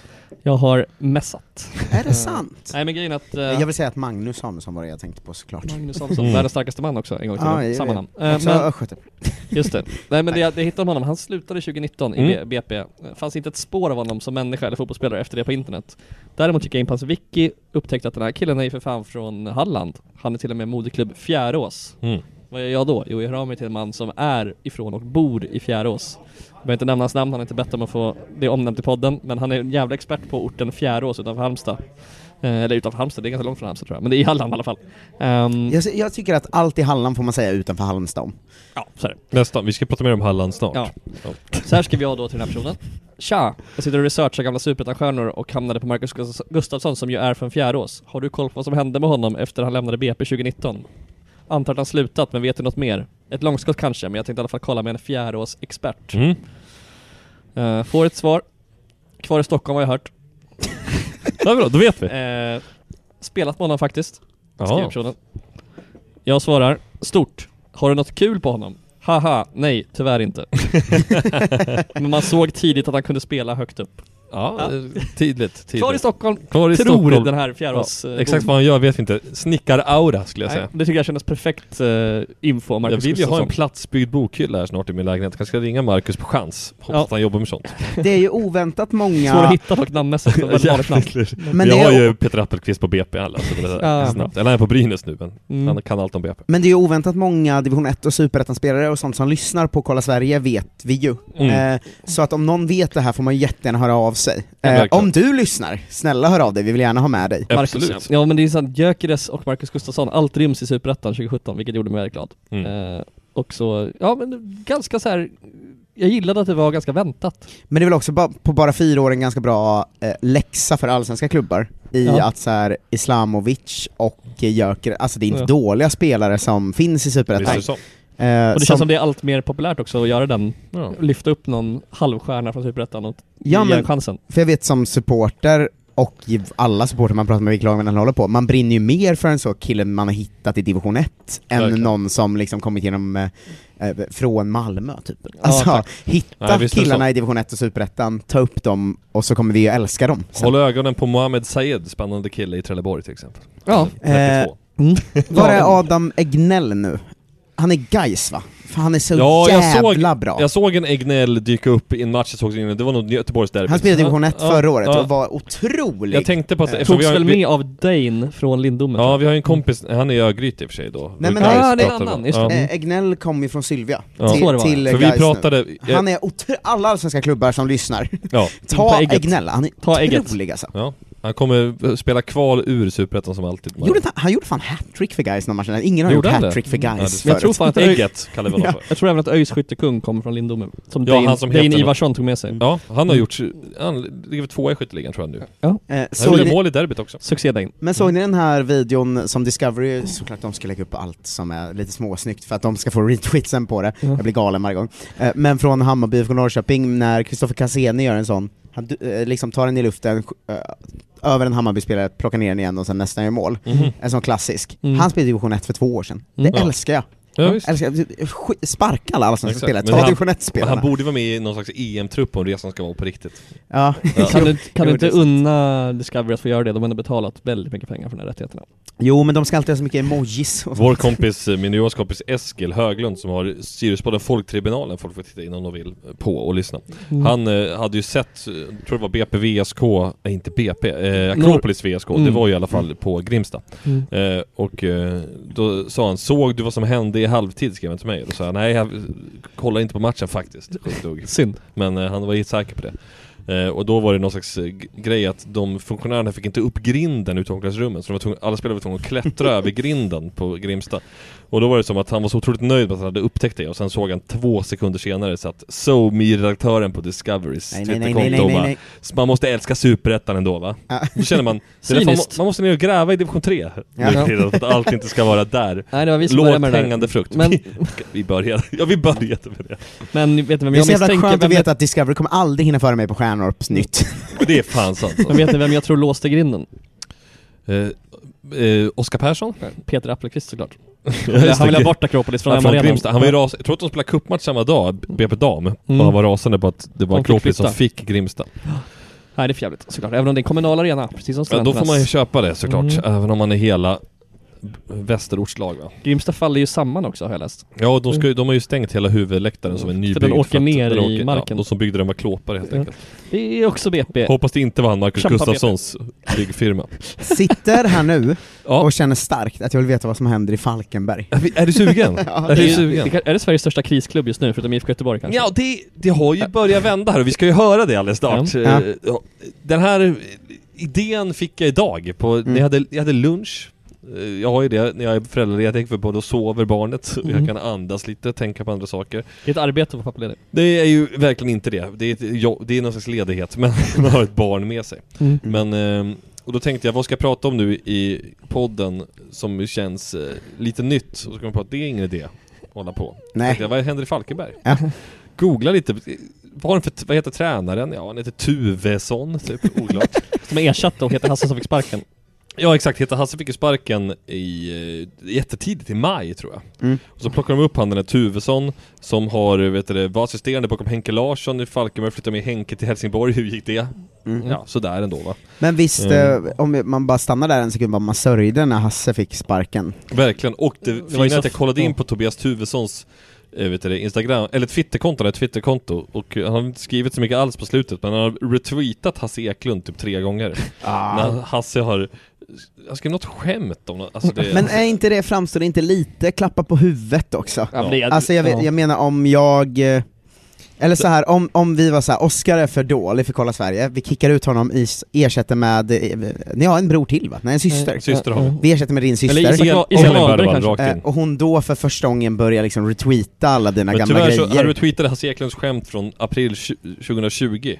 [SPEAKER 7] Jag har messat.
[SPEAKER 5] Är det sant?
[SPEAKER 7] Nej men grejen att... eh,
[SPEAKER 5] Jag vill säga att Magnus Samuelsson var det jag tänkte på såklart.
[SPEAKER 7] Magnus Samuelsson,
[SPEAKER 6] Mm.
[SPEAKER 7] världens starkaste man också en gång till.
[SPEAKER 5] Ja, jag
[SPEAKER 7] Samma
[SPEAKER 5] vet.
[SPEAKER 7] namn. Eh,
[SPEAKER 5] Också östgöte.
[SPEAKER 7] just det. Nej men det, det hittade om honom, han slutade 2019 i
[SPEAKER 6] Mm.
[SPEAKER 7] B- BP. Eh, Fanns inte ett spår av honom som människa eller fotbollsspelare efter det på internet. Däremot gick jag in på hans wiki, upptäckte att den här killen är ju för fan från Halland. Han är till och med moderklubb Fjärås.
[SPEAKER 6] Mm.
[SPEAKER 7] Vad gör jag då? Jo, jag hör av mig till en man som är ifrån och bor i Fjärås. Jag behöver inte nämna hans namn, han har inte bett om att få det omnämnt i podden, men han är en jävla expert på orten Fjärås utanför Halmstad. Eh, eller utanför Halmstad, det är ganska långt från Halmstad tror jag, men det är i Halland i alla fall. Ehm,
[SPEAKER 5] Jag, jag tycker att allt i Halland får man säga utanför Halmstad om.
[SPEAKER 7] Ja, så är det.
[SPEAKER 6] Nästan, vi ska prata mer om Halland snart.
[SPEAKER 7] Ja. Så här skrev jag då till den här personen. Tja! Jag sitter och researchar gamla superettan-stjärnor och hamnade på Marcus Gust- Gustafsson som ju är från Fjärås. Har du koll på vad som hände med honom efter han lämnade BP 2019? Antar att han slutat, men vet du något mer? Ett långskott kanske, men jag tänkte i alla fall kolla med en Fjärås-expert.
[SPEAKER 6] Mm.
[SPEAKER 7] Eh, får ett svar. Kvar i Stockholm har jag hört.
[SPEAKER 6] Ja, bra, då vet vi.
[SPEAKER 7] Eh, spelat med honom faktiskt.
[SPEAKER 6] Jaha.
[SPEAKER 7] Skriver personen. Jag svarar, stort. Har du något kul på honom? Haha, nej, tyvärr inte. Men man såg tidigt att han kunde spela högt upp.
[SPEAKER 6] Ja, Tidligt, tidligt.
[SPEAKER 7] Kvar i Stockholm,
[SPEAKER 6] Kvar i
[SPEAKER 7] tror
[SPEAKER 6] Stockholm.
[SPEAKER 7] den här fjärrås...
[SPEAKER 6] Ja,
[SPEAKER 7] eh,
[SPEAKER 6] Exakt
[SPEAKER 7] bon.
[SPEAKER 6] vad han gör vet vi inte. Snickar-aura skulle jag
[SPEAKER 7] Nej,
[SPEAKER 6] säga.
[SPEAKER 7] Det tycker jag kändes perfekt eh, info om
[SPEAKER 6] jag
[SPEAKER 7] Marcus
[SPEAKER 6] vill ju ha en
[SPEAKER 7] Gustafsson.
[SPEAKER 6] platsbyggd bokhylla här snart i min lägenhet. Kanske ska ringa Marcus på chans. Hoppas
[SPEAKER 7] Ja.
[SPEAKER 6] att han jobbar med sånt.
[SPEAKER 5] Det är ju oväntat många...
[SPEAKER 7] Svår att hitta dock namnmässigt, det var ett vanligt namn.
[SPEAKER 5] Men
[SPEAKER 6] Men jag
[SPEAKER 5] det är-
[SPEAKER 6] har ju Peter Appelqvist på BP alla, så det är
[SPEAKER 5] Ja.
[SPEAKER 6] snabbt. Eller han är på Brynäs nu, men
[SPEAKER 5] Mm.
[SPEAKER 6] han kan allt om BP.
[SPEAKER 5] Men det är ju oväntat många division 1 och superettan-spelare och sånt som lyssnar på Kolla Sverige vet vi ju.
[SPEAKER 6] Mm.
[SPEAKER 5] Eh, så att om någon vet det här får man ju jättegärna höra av sig.
[SPEAKER 7] Ja,
[SPEAKER 5] Eh,
[SPEAKER 7] verkligen.
[SPEAKER 5] om du lyssnar, snälla hör av dig, vi vill gärna ha med dig.
[SPEAKER 7] Marcus, ja. ja men det är sant, Gyökeres och Marcus Gustafsson, allt ryms i Superettan 2017, vilket gjorde mig väldigt glad.
[SPEAKER 6] Mm.
[SPEAKER 7] Eh, och så, ja men ganska så här. jag gillade att det var ganska väntat.
[SPEAKER 5] Men det är väl också ba- på bara fyra år en ganska bra eh, läxa för allsvenska klubbar i
[SPEAKER 7] Ja.
[SPEAKER 5] att så här, Islamovic och Gyökeres, alltså det är inte
[SPEAKER 7] Ja.
[SPEAKER 5] dåliga spelare som finns i
[SPEAKER 7] Visst är
[SPEAKER 5] superettan.
[SPEAKER 7] det så.
[SPEAKER 5] Eh,
[SPEAKER 7] och det
[SPEAKER 5] som-
[SPEAKER 7] känns som det är allt mer populärt också att göra den,
[SPEAKER 6] Ja.
[SPEAKER 7] lyfta upp någon halvstjärna från Superettan och
[SPEAKER 5] Ja,
[SPEAKER 7] ge
[SPEAKER 5] men,
[SPEAKER 7] den chansen.
[SPEAKER 5] För jag vet som supporter och i alla supporter man pratar med vilka lag man håller på, man brinner ju mer för en så kille man har hittat i division 1 än
[SPEAKER 6] Verkligen.
[SPEAKER 5] någon som liksom kommit genom eh, eh, från Malmö typ.
[SPEAKER 6] Ja,
[SPEAKER 5] Alltså,
[SPEAKER 6] tack.
[SPEAKER 5] hitta
[SPEAKER 6] Nej, visst är det
[SPEAKER 5] killarna
[SPEAKER 6] så.
[SPEAKER 5] i division 1 och superettan, ta upp dem och så kommer vi ju älska dem. sen.
[SPEAKER 6] Håll ögonen på Mohamed Said, spännande kille i Trelleborg till exempel.
[SPEAKER 5] Ja. eh, mm.
[SPEAKER 6] 32.
[SPEAKER 5] Var är Adam Egnell nu? Han är Gais va? För han är så
[SPEAKER 6] jag
[SPEAKER 5] jävla
[SPEAKER 6] såg,
[SPEAKER 5] bra.
[SPEAKER 6] Jag såg en Egnell dyka upp i en match jag såg innan, det var nog Göteborgsderbyt.
[SPEAKER 5] Han spelade i division 1
[SPEAKER 6] Ja,
[SPEAKER 5] förra året
[SPEAKER 6] ja.
[SPEAKER 5] och var otrolig.
[SPEAKER 6] Jag tänkte på att... eftersom
[SPEAKER 7] Togs
[SPEAKER 6] vi har-
[SPEAKER 7] väl
[SPEAKER 6] vi-
[SPEAKER 7] med av Dane från Lindomen?
[SPEAKER 6] Ja, vi har ju en kompis, han är i Örgryte i och för sig då.
[SPEAKER 5] Nej
[SPEAKER 6] Och
[SPEAKER 5] men
[SPEAKER 6] Gais
[SPEAKER 5] han,
[SPEAKER 6] pratar vi om. Ja.
[SPEAKER 5] Eh, Egnell kom ju från Sylvia
[SPEAKER 6] Ja. Så
[SPEAKER 5] till,
[SPEAKER 6] det var, ja.
[SPEAKER 5] till
[SPEAKER 6] För vi
[SPEAKER 5] Gais nu.
[SPEAKER 6] pratade- jag-
[SPEAKER 5] Han är otro- alla allsvenska klubbar som lyssnar,
[SPEAKER 6] Ja.
[SPEAKER 5] ta
[SPEAKER 6] Ta ägget.
[SPEAKER 5] Egnell, han är
[SPEAKER 6] Ta ägget.
[SPEAKER 5] otrolig alltså.
[SPEAKER 6] Ja. Han kommer spela kval ur Superettan som alltid.
[SPEAKER 5] Gjorde inte han, han gjorde fan hattrick för guys någon match, ingen har gjort
[SPEAKER 6] Gjorde han det?
[SPEAKER 5] hattrick för
[SPEAKER 6] Mm. Ja, det-
[SPEAKER 5] guys
[SPEAKER 6] Men jag
[SPEAKER 5] förut.
[SPEAKER 6] tror fan att Ägget kallar vi honom för.
[SPEAKER 7] Jag tror även att ÖIS skyttekung kommer från Lindome. Som
[SPEAKER 6] Ja,
[SPEAKER 7] Dane,
[SPEAKER 6] han som
[SPEAKER 7] Dane
[SPEAKER 6] heter-
[SPEAKER 7] Ivarsson tog med sig.
[SPEAKER 6] Ja, han har gjort, han ligger väl tvåa i skytteligan tror jag nu.
[SPEAKER 7] Ja.
[SPEAKER 5] Eh,
[SPEAKER 6] han
[SPEAKER 5] såg
[SPEAKER 6] gjorde
[SPEAKER 5] ni-
[SPEAKER 6] mål i derbyt också.
[SPEAKER 7] Succé Dane.
[SPEAKER 6] Mm.
[SPEAKER 5] Men såg ni den här videon som Discovery, såklart de ska lägga upp allt som är lite småsnyggt för att de ska få retweetsen på det,
[SPEAKER 6] Mm.
[SPEAKER 5] jag blir galen varje gång. Eh, Men från Hammarby från Norrköping när Kristoffer Cassini gör en sån, han du- eh, liksom tar den i luften, sk- eh, över en Hammarby-spelare, plockar ner den igen och sen nästan gör mål.
[SPEAKER 6] Mhm.
[SPEAKER 5] En sån klassisk.
[SPEAKER 6] Mm.
[SPEAKER 5] Han spelade i division 1 för två år sedan.
[SPEAKER 6] Mm.
[SPEAKER 5] Det
[SPEAKER 6] Ja.
[SPEAKER 5] älskar jag.
[SPEAKER 6] Ja, visst.
[SPEAKER 5] älskar, sk- sparka alla, alla som ska
[SPEAKER 6] Exakt.
[SPEAKER 5] spela,
[SPEAKER 6] Men
[SPEAKER 5] ta
[SPEAKER 6] han-
[SPEAKER 5] division
[SPEAKER 6] men
[SPEAKER 5] 1-spelarna.
[SPEAKER 6] Han borde vara med i någon slags EM-trupp om resan ska vara på riktigt.
[SPEAKER 5] Ja.
[SPEAKER 7] Kan du, kan
[SPEAKER 5] Jo,
[SPEAKER 7] du
[SPEAKER 5] det
[SPEAKER 7] inte
[SPEAKER 5] är sant.
[SPEAKER 7] unna Discovery att få göra det? De har ändå betalat väldigt mycket pengar för de här rättigheterna.
[SPEAKER 5] Jo men de ska alltid ha så mycket emojis. och
[SPEAKER 6] Vår
[SPEAKER 5] sånt.
[SPEAKER 6] kompis, eh, min och Johans kompis Eskil Höglund som har Siriuspodden Folktribunalen, folk får titta in om de vill eh, på och lyssna.
[SPEAKER 7] Mm.
[SPEAKER 6] Han eh, hade ju sett, eh, tror det var BP VSK, nej inte BP, eh,
[SPEAKER 7] Nor-
[SPEAKER 6] Akropolis VSK, det
[SPEAKER 7] Mm.
[SPEAKER 6] var ju i alla fall på Grimsta.
[SPEAKER 7] Mm.
[SPEAKER 6] Eh, och eh, då sa han, såg du vad som hände i halvtid? skrev han till mig. Då sa jag, nej jag eh, kollar inte på matchen faktiskt. Sjukt nog.
[SPEAKER 7] Synd.
[SPEAKER 6] Men eh, han var helt säker på det. Eh, och då var det någon slags eh, g- grej att de funktionärerna fick inte upp grinden ut omklädningsrummen så de var tvungna, alla spelare var tvungna att klättra över grinden på Grimsta. Och då var det som att han var så otroligt nöjd med att han hade upptäckt det och sen såg han två sekunder senare så att so me redaktören på Discoverys
[SPEAKER 5] Nej, nej, nej,
[SPEAKER 6] Twitterkonto
[SPEAKER 5] nej, nej,
[SPEAKER 6] bara,
[SPEAKER 5] nej.
[SPEAKER 6] "S- Man måste älska Superettan ändå va?
[SPEAKER 5] Ja.
[SPEAKER 6] Då känner man, det är därför man, må-
[SPEAKER 7] Cyniskt.
[SPEAKER 6] man måste ner och gräva i division 3 nu
[SPEAKER 5] Ja.
[SPEAKER 6] för tiden, för att allt inte ska vara där.
[SPEAKER 7] Nej, det var vi som började med
[SPEAKER 6] Lågt
[SPEAKER 7] det där.
[SPEAKER 6] hängande frukt.
[SPEAKER 7] Men-
[SPEAKER 6] Vi, vi började, ja vi började med det.
[SPEAKER 7] Men vet ni vem
[SPEAKER 5] Det är
[SPEAKER 7] jag
[SPEAKER 5] så jävla
[SPEAKER 7] misstänker?
[SPEAKER 5] skönt
[SPEAKER 7] Vem,
[SPEAKER 5] att veta att Discovery kommer aldrig hinna före mig på Stjärnorps nytt.
[SPEAKER 6] Det är fan sant alltså.
[SPEAKER 7] men vet ni vem jag tror låste grinden?
[SPEAKER 6] Eh, eh, Oskar Persson?
[SPEAKER 7] Peter Appelqvist såklart.
[SPEAKER 6] just det.
[SPEAKER 7] han vill ha bort Akropolis från
[SPEAKER 6] Han, från
[SPEAKER 7] Amarenan.
[SPEAKER 6] Grimsta. han var ju ras... Jag tror att de spelade cupmatch samma dag, BP Dam,
[SPEAKER 7] Mm.
[SPEAKER 6] och han var rasande på att det var
[SPEAKER 7] De fick
[SPEAKER 6] Akropolis som
[SPEAKER 7] flytta.
[SPEAKER 6] fick Grimsta.
[SPEAKER 7] Nej det är för jävligt såklart, även om det är en kommunal arena, precis som
[SPEAKER 6] Ja, då
[SPEAKER 7] studenternas.
[SPEAKER 6] får man ju köpa det såklart,
[SPEAKER 7] Mm.
[SPEAKER 6] även om man är hela västerortslag va?
[SPEAKER 7] Grimsta faller ju samman också har jag läst.
[SPEAKER 6] Ja, och de, ska, ju- de har ju stängt hela huvudläktaren som är nybyggd.
[SPEAKER 7] Mm. den åker
[SPEAKER 6] att
[SPEAKER 7] ner i marken.
[SPEAKER 6] de som byggde den var klåpare helt
[SPEAKER 7] Ja.
[SPEAKER 6] enkelt.
[SPEAKER 7] Det är också BP.
[SPEAKER 6] Hoppas det inte var han Marcus
[SPEAKER 7] Kämpa,
[SPEAKER 6] Gustafssons byggfirma.
[SPEAKER 5] Sitter här nu
[SPEAKER 6] Ja.
[SPEAKER 5] och känner starkt att jag vill veta vad som händer i Falkenberg.
[SPEAKER 6] Är du sugen?
[SPEAKER 5] Ja.
[SPEAKER 6] Är
[SPEAKER 7] Det
[SPEAKER 6] du
[SPEAKER 7] är,
[SPEAKER 6] sugen?
[SPEAKER 7] det, kan- är det Sveriges största krisklubb just nu, förutom IFK Göteborg kanske?
[SPEAKER 6] Ja, det, det har ju börjat vända här och vi ska ju höra det alldeles snart.
[SPEAKER 7] Ja.
[SPEAKER 6] Eh, ja. Den här idén fick jag idag. På,
[SPEAKER 7] Mm.
[SPEAKER 6] när jag, hade, jag hade lunch. Eh, Jag har ju det när jag är föräldraledig för både sover barnet,
[SPEAKER 7] Mm.
[SPEAKER 6] och jag kan andas lite, tänka på andra saker.
[SPEAKER 7] Det är ett arbete att vara pappaledig.
[SPEAKER 6] Det är ju verkligen inte det. Det är, ett, jobb- det är någon slags ledighet, men man har ett barn med sig.
[SPEAKER 7] Mm.
[SPEAKER 6] Men, ehm, och då tänkte jag, vad ska jag prata om nu i podden som ju känns eh, lite nytt? Och så kom jag på att det är ingen idé att hålla på.
[SPEAKER 5] Nej.
[SPEAKER 6] Tänkte jag, vad händer i Falkenberg?
[SPEAKER 5] Ja.
[SPEAKER 6] Googla lite. Vad, har den för, vad heter tränaren? Ja, han heter Tuvesson, typ. Oklart.
[SPEAKER 7] Som ersatte och heter Hasse som fick sparken.
[SPEAKER 6] Ja exakt, Heta Hasse fick ju sparken i eh, jättetidigt, i maj tror jag.
[SPEAKER 5] Mm.
[SPEAKER 6] Och så plockar de upp han den där Tuvesson som har, eh, vet du, det, var assisterande bakom Henke Larsson i Falkenberg, flyttade med Henke till Helsingborg, hur gick det?
[SPEAKER 5] Mm.
[SPEAKER 6] Ja, sådär ändå va.
[SPEAKER 5] Men visst,
[SPEAKER 6] Mm.
[SPEAKER 5] eh, om man bara stannar där en sekund, vad man sörjde när Hasse fick sparken.
[SPEAKER 6] Verkligen, och det,
[SPEAKER 7] Det var
[SPEAKER 6] fina
[SPEAKER 7] ju
[SPEAKER 6] är
[SPEAKER 7] så-
[SPEAKER 6] att jag kollade in
[SPEAKER 7] ja.
[SPEAKER 6] på Tobias Tuvessons eh, vet du det, Instagram, eller Twitterkonto, han har ett Twitterkonto och eh, han har inte skrivit så mycket alls på slutet men han har retweetat Hasse Eklund typ tre gånger.
[SPEAKER 5] Ah.
[SPEAKER 6] När Hasse har, han skrev något skämt om något, alltså det,
[SPEAKER 5] Men är inte det, framstår det inte lite klappa på huvudet också?
[SPEAKER 7] Ja, men det är-
[SPEAKER 5] Alltså jag, vet,
[SPEAKER 7] ja.
[SPEAKER 5] jag menar om jag... eh, Eller så här, om, om vi var så här, Oscar är för dålig för Kolla Sverige, vi kickar ut honom, i, ersätter med, eh, ni har en bror till va? Nej en syster.
[SPEAKER 6] syster har vi.
[SPEAKER 5] Vi ersätter med din syster.
[SPEAKER 7] Mm. Eller Isak- Isak
[SPEAKER 6] Elin
[SPEAKER 7] Ahlberg
[SPEAKER 6] Bergvall,
[SPEAKER 7] kanske.
[SPEAKER 6] rakt in.
[SPEAKER 5] Eh, och hon då för första gången börjar liksom retweeta alla dina
[SPEAKER 6] Men
[SPEAKER 5] gamla
[SPEAKER 6] tyvärr så, han
[SPEAKER 5] grejer.
[SPEAKER 6] retweetade Hasse Eklunds skämt från april tju- 2020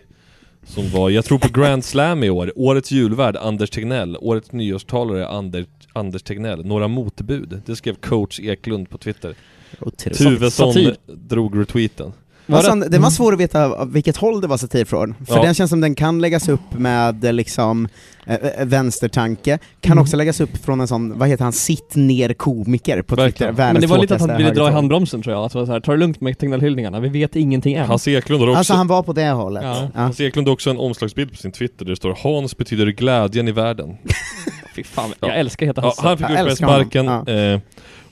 [SPEAKER 6] Som var, jag tror på Grand Slam i år, årets julvärd Anders Tegnell, årets nyårstalare Ander, Anders Tegnell, några motbud. Det skrev coach Eklund på Twitter.
[SPEAKER 5] Otroligt.
[SPEAKER 6] Tuvesson
[SPEAKER 7] Satir.
[SPEAKER 6] drog retweeten.
[SPEAKER 5] Var det? Alltså, det
[SPEAKER 7] Mm.
[SPEAKER 5] var svårt att veta av vilket håll det var satir från, för
[SPEAKER 6] Ja.
[SPEAKER 5] den känns som den kan läggas upp med eh, liksom eh, eh, vänstertanke, kan
[SPEAKER 7] Mm.
[SPEAKER 5] också läggas upp från en sån, vad heter han, sitt ner komiker på Twitter,
[SPEAKER 6] Verkligen.
[SPEAKER 7] Men
[SPEAKER 5] världens
[SPEAKER 7] det var lite att
[SPEAKER 5] tråkigaste
[SPEAKER 7] han ville dra i
[SPEAKER 5] högertorg.
[SPEAKER 7] handbromsen tror jag, att det var så här, ta det lugnt med Tegnell-hyllningarna, vi vet ingenting än.
[SPEAKER 6] Hasse Eklund har också,
[SPEAKER 5] Alltså han var på det hållet.
[SPEAKER 7] Ja.
[SPEAKER 5] Ja.
[SPEAKER 6] Hasse Eklund har också en omslagsbild på sin Twitter där det står Hans betyder glädjen i världen.
[SPEAKER 7] Fy fan,
[SPEAKER 6] Ja.
[SPEAKER 7] jag älskar Heta
[SPEAKER 6] Ja,
[SPEAKER 7] Hasse.
[SPEAKER 6] han fick
[SPEAKER 5] Jag
[SPEAKER 6] upp med
[SPEAKER 5] älskar honom.
[SPEAKER 6] sparken.
[SPEAKER 5] Ja.
[SPEAKER 6] Eh,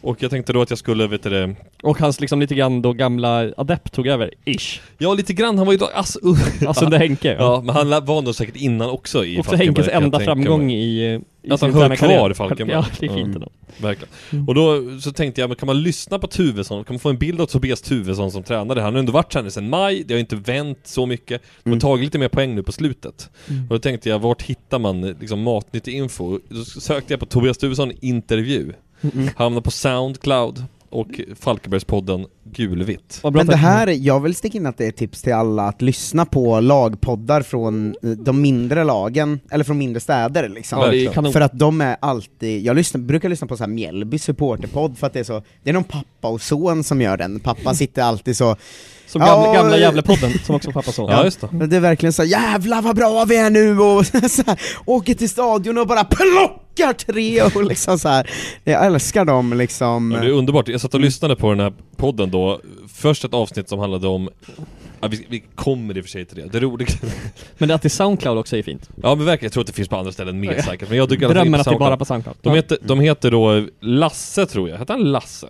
[SPEAKER 6] Och jag tänkte då att jag skulle, vet du det,
[SPEAKER 7] Och hans liksom lite grann då gamla adept tog över, ish.
[SPEAKER 6] Ja lite grann, han var ju då ass...
[SPEAKER 7] Alltså under Henke.
[SPEAKER 6] Ja, men han var nog säkert innan också i
[SPEAKER 7] Också
[SPEAKER 6] Falkenberg,
[SPEAKER 7] Henkes
[SPEAKER 6] kan jag
[SPEAKER 7] enda
[SPEAKER 6] tänka mig.
[SPEAKER 7] framgång i, i
[SPEAKER 6] Att han
[SPEAKER 7] sin
[SPEAKER 6] hör
[SPEAKER 7] interna karriär.
[SPEAKER 6] kvar i Falkenberg.
[SPEAKER 7] Ja, det är fint ändå.
[SPEAKER 6] Mm. Verkligen. Och då så tänkte jag, men kan man lyssna på Tuvesson? Kan man få en bild av Tobias Tuvesson som tränare? Han har ändå varit tränare sedan maj, det har inte vänt så mycket. De har tagit lite mer poäng nu på slutet.
[SPEAKER 7] Mm.
[SPEAKER 6] Och då tänkte jag, vart hittar man eh, liksom matnyttig info? Då sökte jag på Tobias Tuvesson intervju.
[SPEAKER 5] Mm.
[SPEAKER 6] Hamnade på Soundcloud och Falkenbergspodden Gulvitt.
[SPEAKER 5] Men det här, jag vill sticka in att det är ett tips till alla att lyssna på lagpoddar från eh, de mindre lagen, eller från mindre städer liksom.
[SPEAKER 6] Ja, det är kanon.
[SPEAKER 5] för att de är alltid, jag lyssnar, brukar lyssna på så här Mjällby supporterpodd för att det är så, det är någon pappa och son som gör den, pappan sitter alltid så
[SPEAKER 7] Som gamla, gamla Gävlepodden, som också pappa sa.
[SPEAKER 5] Men det är verkligen så här, jävlar vad bra vi är nu och så här, åker till stadion och bara plockar tre och liksom så här. Jag älskar dem liksom.
[SPEAKER 6] Ja, det är underbart. Jag satt och lyssnade på den här podden då. Först ett avsnitt som handlade om... Ja, vi, vi kommer i och för sig till det. Det roliga...
[SPEAKER 7] Men att det är Soundcloud också är fint.
[SPEAKER 6] Ja men verkligen, jag tror att det finns på andra ställen
[SPEAKER 7] Ja.
[SPEAKER 6] mer säkert. Men jag tycker i alla fall
[SPEAKER 7] Drömmen
[SPEAKER 6] in
[SPEAKER 7] att det är bara på Soundcloud.
[SPEAKER 6] De
[SPEAKER 7] Ja.
[SPEAKER 6] heter, de heter då Lasse tror jag. Hette han Lasse?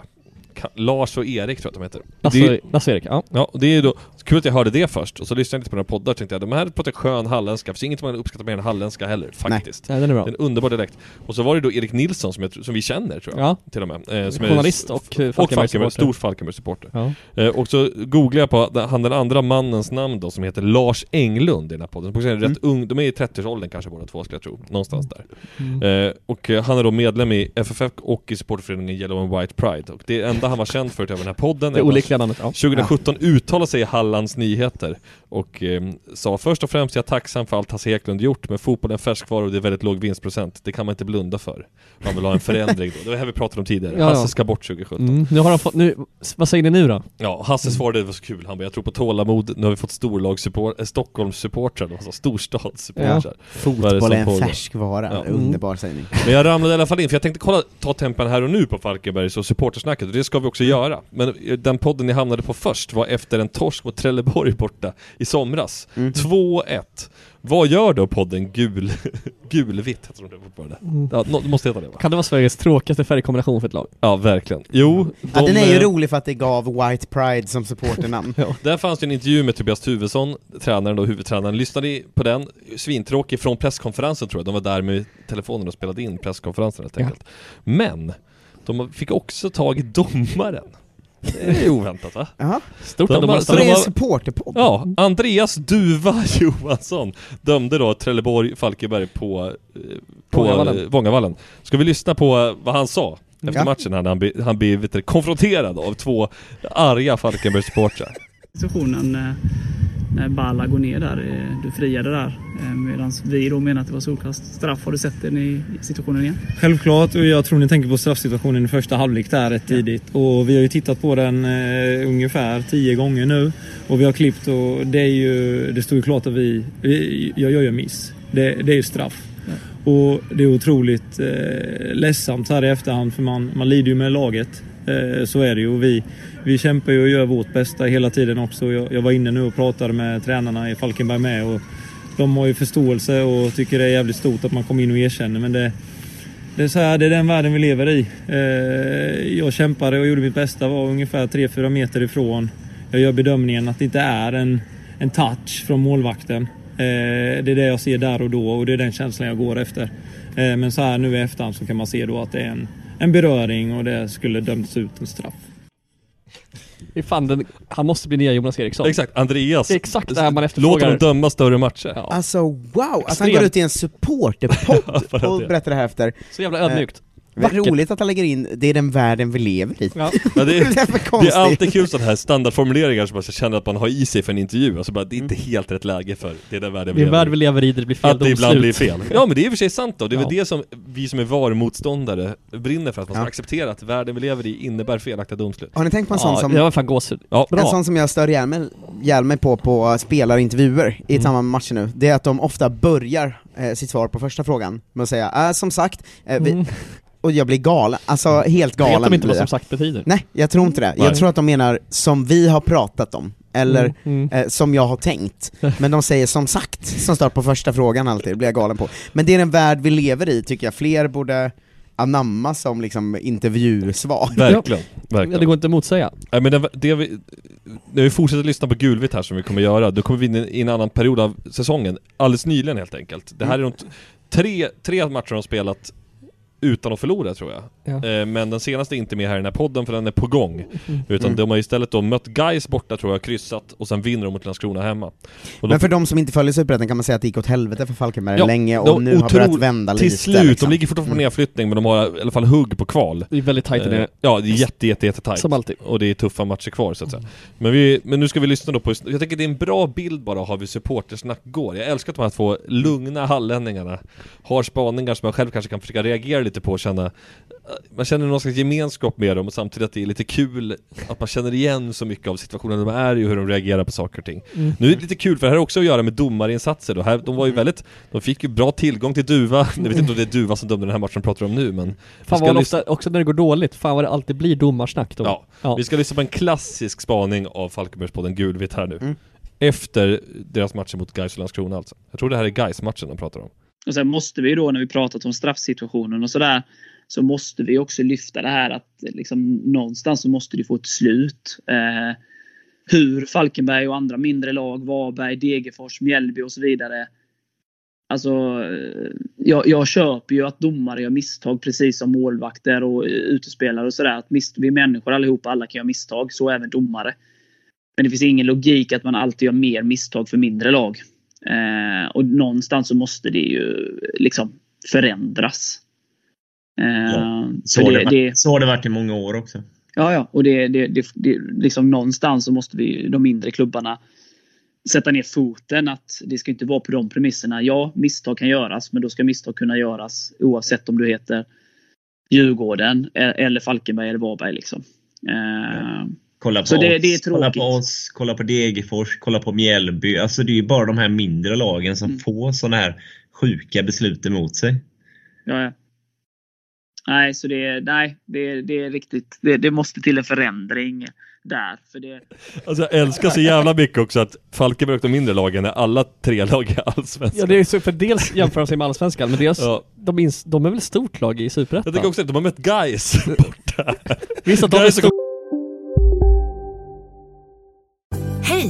[SPEAKER 6] Ka- Lars och Erik tror jag att de heter.
[SPEAKER 7] Lasse-
[SPEAKER 6] Det är-
[SPEAKER 7] Lasse och Erik, ja.
[SPEAKER 6] Ja, och det är ju då kul att jag hörde det först. Och så lyssnade jag lite på några poddar och tänkte jag, de här pratar skön halländska. Det finns inget man uppskattar mer än halländska heller, faktiskt.
[SPEAKER 7] Nej, den är bra.
[SPEAKER 6] En underbar dialekt. Och så var det då Erik Nilsson som, jag, tr- som vi känner tror jag.
[SPEAKER 7] Ja.
[SPEAKER 6] Till och med. Eh, som
[SPEAKER 7] Journalist och, eh,
[SPEAKER 6] och
[SPEAKER 7] Falkenberg-supporter.
[SPEAKER 6] Falkenberg, stor Falkenberg-supporter.
[SPEAKER 7] Ja.
[SPEAKER 6] Eh, och så googlade jag på den- han den andra mannens namn då som heter Lars Englund i den här podden. Som också är en rätt
[SPEAKER 7] Mm.
[SPEAKER 6] ung, de är i 30-årsåldern kanske båda två skulle jag tro. Någonstans där.
[SPEAKER 7] Mm.
[SPEAKER 6] Eh, och eh, han är då medlem i FFF och i supportföreningen Yellow and White Pride. Och det enda han var känd för utöver den här podden
[SPEAKER 7] Det
[SPEAKER 6] är att han
[SPEAKER 7] olyckliga namnet, ja.
[SPEAKER 6] 2017 uttalade sig i Hallands Nyheter och eh, sa först och främst jag är tacksam för allt Hasse Eklund gjort men fotboll är en färskvara och det är väldigt låg vinstprocent. Det kan man inte blunda för. Man vill ha en förändring då. Det var det här vi pratade om tidigare.
[SPEAKER 7] Ja, ja.
[SPEAKER 6] Hasse ska bort 2017.
[SPEAKER 7] Mm. Nu har han fått, nu, vad säger ni nu då?
[SPEAKER 6] Ja, Hasse
[SPEAKER 5] Mm.
[SPEAKER 6] svarade det var så kul, han bara 'Jag tror på tålamod, nu har vi fått storlagssupport, äh, Stockholmssupportrar, alltså storstadssupportrar
[SPEAKER 5] Ja.
[SPEAKER 6] Vad det
[SPEAKER 5] Fotboll
[SPEAKER 6] som
[SPEAKER 5] är en
[SPEAKER 6] pågår?
[SPEAKER 5] färskvara,
[SPEAKER 6] Ja.
[SPEAKER 5] underbar sägning.
[SPEAKER 6] Men jag ramlade i alla fall in, för jag tänkte kolla, ta tempen här och nu på Falkenbergs och supportersnacket, och det ska vi
[SPEAKER 5] Mm.
[SPEAKER 6] också göra. Men eh, den podden ni hamnade på först var efter en torsk mot Trelleborg borta i somras.
[SPEAKER 5] Mm.
[SPEAKER 6] 2-1. Vad gör då podden Gul... Gulvitt heter de det fortfarande?
[SPEAKER 5] Mm.
[SPEAKER 6] Ja, nå- det måste heta det va?
[SPEAKER 7] Kan det vara Sveriges tråkigaste färgkombination för ett lag?
[SPEAKER 6] Ja, verkligen. Jo,
[SPEAKER 5] ja, den är ju
[SPEAKER 6] eh,
[SPEAKER 5] rolig för att det gav White Pride som supporternamn.
[SPEAKER 6] Där fanns det en intervju med Tobias Tuvesson, tränaren då, huvudtränaren. Lyssnade i- på den, svintråkig, från presskonferensen tror jag. De var där med telefonen och spelade in presskonferensen helt enkelt. Men, de fick också tag i domaren. Det är ju oväntat va?
[SPEAKER 5] Jaha.
[SPEAKER 7] Stort
[SPEAKER 6] De
[SPEAKER 7] ändå.
[SPEAKER 6] bara-
[SPEAKER 7] bara-
[SPEAKER 6] så
[SPEAKER 5] Så det
[SPEAKER 6] de
[SPEAKER 5] är en
[SPEAKER 6] var-
[SPEAKER 5] supporterpodd?
[SPEAKER 6] Ja, Andreas Duva Johansson dömde då Trelleborg Falkenberg på, eh, på
[SPEAKER 7] Vångavallen.
[SPEAKER 6] Vångavallen. Vångavallen. Ska vi lyssna på eh, vad han sa efter
[SPEAKER 8] Ja.
[SPEAKER 6] matchen här när han, blir- han blir vet du, konfronterad av två arga Falkenberg-supportrar?
[SPEAKER 8] situationen eh, när Balla går ner där. eh, Du friade där. eh, Medan vi då menar att det var solkast straff. Har du sett den i i situationen igen?
[SPEAKER 9] Självklart, och jag tror ni tänker på straffsituationen i första halvlek där rätt tidigt. Och vi har ju tittat på den eh, ungefär tio gånger nu. Och vi har klippt och det är ju, det står ju klart att vi, vi jag gör ju en miss. Det, det är ju straff. Och det är otroligt eh, ledsamt så här i efterhand för man, man lider ju med laget. Eh, så är det ju. Och vi, vi kämpar ju och gör vårt bästa hela tiden också. Jag, jag var inne nu och pratade med tränarna i Falkenberg med. Och de har ju förståelse och tycker det är jävligt stort att man kommer in och erkänner. Men det, det är, så här, det är den världen vi lever i. Eh, Jag kämpade och gjorde mitt bästa, var ungefär 3-4 meter ifrån. Jag gör bedömningen att det inte är en, en touch från målvakten. Eh, Det är det jag ser där och då och det är den känslan jag går efter. Eh, Men så här nu i efterhand så kan man se då att det är en, en beröring och det skulle dömts ut en straff.
[SPEAKER 7] Det är fan den, han måste bli nya Jonas Eriksson.
[SPEAKER 6] Exakt, Andreas.
[SPEAKER 7] Det är exakt det här man
[SPEAKER 6] Låter
[SPEAKER 7] efterfrågar.
[SPEAKER 6] dem döma större matcher.
[SPEAKER 5] Alltså wow, att han
[SPEAKER 6] Extremt.
[SPEAKER 5] går ut i en supporterpodd
[SPEAKER 6] för att
[SPEAKER 5] och
[SPEAKER 6] det-
[SPEAKER 5] berättar det här efter.
[SPEAKER 7] Så jävla ödmjukt.
[SPEAKER 5] Eh, vad roligt att han lägger in, det är den världen vi lever i.
[SPEAKER 7] Ja.
[SPEAKER 6] Ja, det,
[SPEAKER 5] Det är för
[SPEAKER 6] är, det
[SPEAKER 5] konstigt.
[SPEAKER 6] är alltid kul sådana här standardformuleringar som man känner att man har i sig för en intervju, alltså bara, det är inte helt rätt läge för det är den världen
[SPEAKER 7] Mm. Det är en värld
[SPEAKER 6] i.
[SPEAKER 7] vi lever i där det blir fel
[SPEAKER 6] Att det ibland blir
[SPEAKER 7] domslut.
[SPEAKER 6] fel. Ja men det är i och för sig sant då, det är väl
[SPEAKER 7] Ja.
[SPEAKER 6] det som vi som är VAR-motståndare brinner för, att man ska
[SPEAKER 5] Ja.
[SPEAKER 6] acceptera att världen vi lever i innebär felaktiga domslut.
[SPEAKER 5] Har ni tänkt på en sån som...
[SPEAKER 6] Ja,
[SPEAKER 5] En sån som jag stör ihjäl mig, ihjäl mig på på spelarintervjuer
[SPEAKER 7] Mm.
[SPEAKER 5] i samband med matcher nu, det är att de ofta börjar eh, sitt svar på första frågan med att säga äh, som sagt, eh, vi... och jag blir galen, alltså helt galen
[SPEAKER 7] Mm. Vet de inte
[SPEAKER 5] blir
[SPEAKER 7] vad
[SPEAKER 5] jag.
[SPEAKER 7] som sagt betyder?
[SPEAKER 5] Nej, jag tror inte det.
[SPEAKER 7] Nej.
[SPEAKER 5] Jag tror att de menar som vi har pratat om, eller
[SPEAKER 7] Mm, mm.
[SPEAKER 5] Eh, som jag har tänkt. Men de säger som sagt, som står på första frågan alltid, det blir jag galen på. Men det är den värld vi lever i tycker jag, fler borde anamma som liksom intervjusvar.
[SPEAKER 6] Verkligen, verkligen.
[SPEAKER 7] Ja, det går inte att motsäga.
[SPEAKER 6] Nej men det, det vi, när vi fortsätter lyssna på Gulvitt här som vi kommer göra, då kommer vi in i en annan period av säsongen, alldeles nyligen helt enkelt. Det
[SPEAKER 7] Mm.
[SPEAKER 6] här är de t- tre, tre matcher de spelat utan att förlora tror jag.
[SPEAKER 7] Ja.
[SPEAKER 6] Eh, Men den senaste är inte med här i den här podden för den är på gång.
[SPEAKER 5] Mm.
[SPEAKER 6] Utan
[SPEAKER 5] Mm.
[SPEAKER 6] de har istället då mött Gais borta tror jag, kryssat och sen vinner de mot Landskrona hemma. Och
[SPEAKER 5] Men för de som inte följer Superettan kan man säga att det gick åt helvete för Falkenberg
[SPEAKER 6] Ja,
[SPEAKER 5] länge och
[SPEAKER 6] de
[SPEAKER 5] nu har
[SPEAKER 6] otro-
[SPEAKER 5] börjat vända
[SPEAKER 6] Till
[SPEAKER 5] lite.
[SPEAKER 6] slut,
[SPEAKER 5] liksom.
[SPEAKER 6] de ligger fortfarande på
[SPEAKER 5] Mm.
[SPEAKER 6] nedflyttning men de har i alla fall hugg på kval.
[SPEAKER 7] Det är väldigt tajt där
[SPEAKER 6] Eh,
[SPEAKER 7] nere.
[SPEAKER 6] Ja, det är jätte, jätte, jätte tajt.
[SPEAKER 7] Som alltid. Mm.
[SPEAKER 6] Och det är tuffa matcher kvar så att säga. Men, vi, men nu ska vi lyssna då på, jag tänker det är en bra bild bara av hur supportersnack går. Jag älskar att de här två lugna hallänningarna har spaningar som man själv kanske kan försöka reagera lite på och känna eh, man känner någon slags gemenskap med dem och samtidigt att det är lite kul att man känner igen så mycket av situationen de är i och hur de reagerar på saker och ting.
[SPEAKER 7] Mm.
[SPEAKER 6] Nu är det lite kul för det här har också att göra med domarinsatser då. Här, de var ju väldigt, de fick ju bra tillgång till Duva. Jag vet inte om det är Duva som dömde den här matchen vi pratar om nu men vi
[SPEAKER 7] Fan
[SPEAKER 6] ska
[SPEAKER 7] vad det
[SPEAKER 6] lyssna-
[SPEAKER 7] ofta, också när det går dåligt, fan vad det alltid blir domarsnack då.
[SPEAKER 6] Ja. Vi ska lyssna på en klassisk spaning av Falkenbergspodden Gulvitt här nu. Efter deras matcher mot Gais och Landskrona alltså. Jag tror det här är gais matchen de pratar om.
[SPEAKER 8] Och sen måste vi ju då när vi pratat om straffsituationen och sådär. Så måste vi också lyfta det här att liksom, någonstans så måste det få ett slut. Eh, hur Falkenberg och andra mindre lag, Varberg, Degerfors, Mjällby och så vidare. Alltså, eh, jag, jag köper ju att domare gör misstag precis som målvakter och eh, utespelare och sådär. Att mis- vi är människor allihopa, alla kan göra misstag. Så även domare. Men det finns ingen logik att man alltid gör mer misstag för mindre lag. Eh, och någonstans så måste det ju liksom förändras. Eh,
[SPEAKER 10] Så,
[SPEAKER 8] för
[SPEAKER 10] har
[SPEAKER 8] det-
[SPEAKER 10] det, varit-
[SPEAKER 8] det-
[SPEAKER 10] så har det varit i många år också.
[SPEAKER 8] Ja, ja. Och det, det, det, det, liksom någonstans så måste vi, de mindre klubbarna sätta ner foten att det ska inte vara på de premisserna. Ja, misstag kan göras, men då ska misstag kunna göras oavsett om du heter Djurgården e- eller Falkenberg eller Varberg. Liksom. Eh,
[SPEAKER 10] Kolla på
[SPEAKER 8] så det,
[SPEAKER 10] oss,
[SPEAKER 8] det är
[SPEAKER 10] kolla
[SPEAKER 8] tråkigt.
[SPEAKER 10] på oss, kolla på Degerfors, kolla på Mjällby. Alltså det är ju bara de här mindre lagen
[SPEAKER 8] Mm.
[SPEAKER 10] som får sådana här sjuka beslut emot sig.
[SPEAKER 8] Ja, ja. Nej, så det, nej, det, det är riktigt. Det, det måste till en förändring där. För det,
[SPEAKER 6] Alltså jag älskar så jävla mycket också att Falkenberg och de mindre lagen är alla tre lag i Allsvenskan.
[SPEAKER 7] Ja det är så, för dels jämför de sig med Allsvenskan, men dels,
[SPEAKER 6] Ja.
[SPEAKER 7] de, ins, de är väl stort lag i Superettan?
[SPEAKER 6] Jag tänker också att de har mött Gais borta.
[SPEAKER 7] Visst att de är
[SPEAKER 6] Gais
[SPEAKER 7] stor...
[SPEAKER 11] Hej,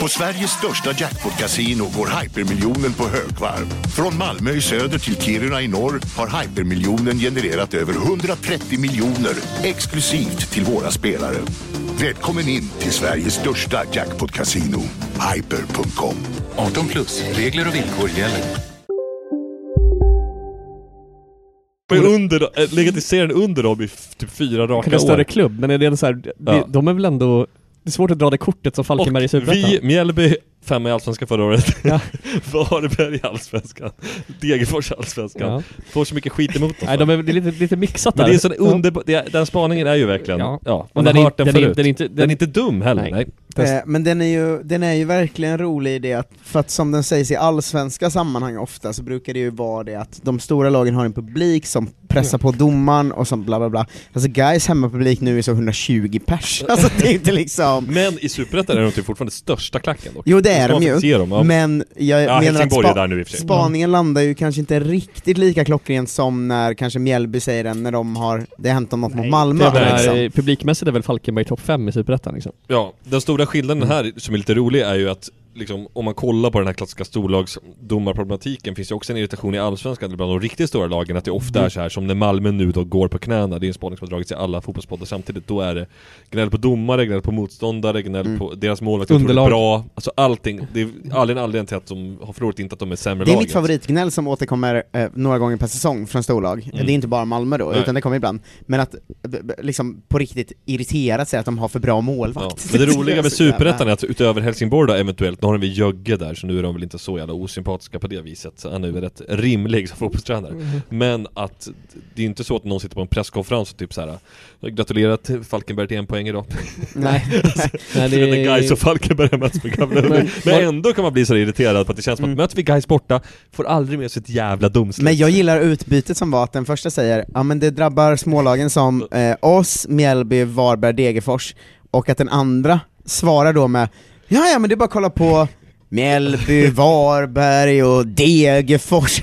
[SPEAKER 12] På Sveriges största jackpot-kasino går hypermiljonen på högvarv. Från Malmö i söder till Kiruna i norr har hypermiljonen genererat över 130 miljoner exklusivt till våra spelare. Välkommen in till Sveriges största jackpot-kasino, hyper.com. 18 plus, regler och villkor gäller.
[SPEAKER 6] De är under, äh, legat i serien under dem i f- typ fyra raka
[SPEAKER 7] Kanske en större
[SPEAKER 6] år.
[SPEAKER 7] klubb, men är det en så här, det-
[SPEAKER 6] Ja.
[SPEAKER 7] de är väl ändå... Det är svårt att dra det kortet som Falkenberg i Superettan.
[SPEAKER 6] Vi, Mjällby, femma i Allsvenskan förra året. Varberg i Allsvenskan. Degerfors i Allsvenskan.
[SPEAKER 7] Ja.
[SPEAKER 6] Får så mycket skit emot dem.
[SPEAKER 7] Nej, de är, det är lite, lite mixat där.
[SPEAKER 6] Men det är sån
[SPEAKER 7] Ja.
[SPEAKER 6] underbar, det är, den spaningen är ju verkligen, ja,
[SPEAKER 7] Ja.
[SPEAKER 6] man
[SPEAKER 7] Men
[SPEAKER 6] har
[SPEAKER 7] den är-
[SPEAKER 6] hört den,
[SPEAKER 7] den är-
[SPEAKER 6] förut.
[SPEAKER 7] den är inte-
[SPEAKER 6] den, är inte dum heller, nej.
[SPEAKER 5] Eh, men den är, ju, den är ju verkligen rolig i det att, för att som den sägs i allsvenska sammanhang ofta så brukar det ju vara det att de stora lagen har en publik som pressar på domaren och som bla bla bla. Alltså guys hemmapublik nu är så 120 pers. Alltså det är inte liksom...
[SPEAKER 6] Men i Superettan är de typ fortfarande största klacken dock.
[SPEAKER 5] Jo det
[SPEAKER 6] Det
[SPEAKER 5] är
[SPEAKER 6] ska
[SPEAKER 5] de
[SPEAKER 6] man
[SPEAKER 5] ju,
[SPEAKER 6] faktiskt ge dem, ja.
[SPEAKER 5] men jag
[SPEAKER 6] Ja,
[SPEAKER 5] menar att
[SPEAKER 6] Helsingborg är där nu i och för sig. Mm.
[SPEAKER 5] spaningen landar ju kanske inte riktigt lika klockrent som när kanske Mjällby säger den när de har, det har hänt dem något mot Malmö
[SPEAKER 7] Det är väl-
[SPEAKER 5] liksom.
[SPEAKER 7] Publikmässigt är väl Falkenberg topp 5 i Superettan liksom. Mm.
[SPEAKER 6] Ja, den stora skillnaden här som är lite rolig är ju att liksom, om man kollar på den här klassiska storlagsdomarproblematiken finns ju också en irritation i Allsvenskan bland de riktigt stora lagen att det
[SPEAKER 7] Mm.
[SPEAKER 6] ofta är så här som när Malmö nu då går på knäna, det är en spaning som har dragits i alla fotbollspoddar samtidigt, då är det gnäll på domare, gnäll på motståndare, gnäll
[SPEAKER 5] Mm.
[SPEAKER 6] på deras målvakt, jag tror det är
[SPEAKER 7] Underlag.
[SPEAKER 6] bra, alltså allting, det är aldrig en anledning till att de har förlorat, inte att de är sämre
[SPEAKER 5] Det är
[SPEAKER 6] lag
[SPEAKER 5] mitt favoritgnäll som återkommer eh, några gånger per säsong från storlag.
[SPEAKER 6] Mm.
[SPEAKER 5] Det är inte bara Malmö då,
[SPEAKER 6] Nej.
[SPEAKER 5] utan det kommer ibland. Men att eh, b- b- liksom på riktigt irriterat sig att de har för bra målvakt.
[SPEAKER 6] Men det roliga med Superettan är att utöver Helsingborg då eventuellt Nu har de väl Jögge där så nu är de väl inte så jävla osympatiska på det viset. Så Han är väl rätt rimlig som fotbollstränare.
[SPEAKER 13] Mhm.
[SPEAKER 6] Men att det är inte så att någon sitter på en presskonferens och typ såhär Gratulerar till Falkenberg till en poäng idag.
[SPEAKER 7] Nej.
[SPEAKER 6] Nej,
[SPEAKER 7] Nej,
[SPEAKER 6] det
[SPEAKER 7] det
[SPEAKER 6] är...
[SPEAKER 7] är-
[SPEAKER 6] När Gais och Falkenberg har mötts med gamla
[SPEAKER 7] Men-
[SPEAKER 6] men, ändå kan man bli så irriterad på att det känns som att möter vi Gais borta, får aldrig med sig ett jävla domslut.
[SPEAKER 5] Men jag gillar utbytet som var att den första säger ja men det drabbar smålagen som eh, oss, Mjällby, Varberg, Degerfors och att den andra svarar då med ja ja men det är bara att kolla på Mjällby, Varberg och Degerfors.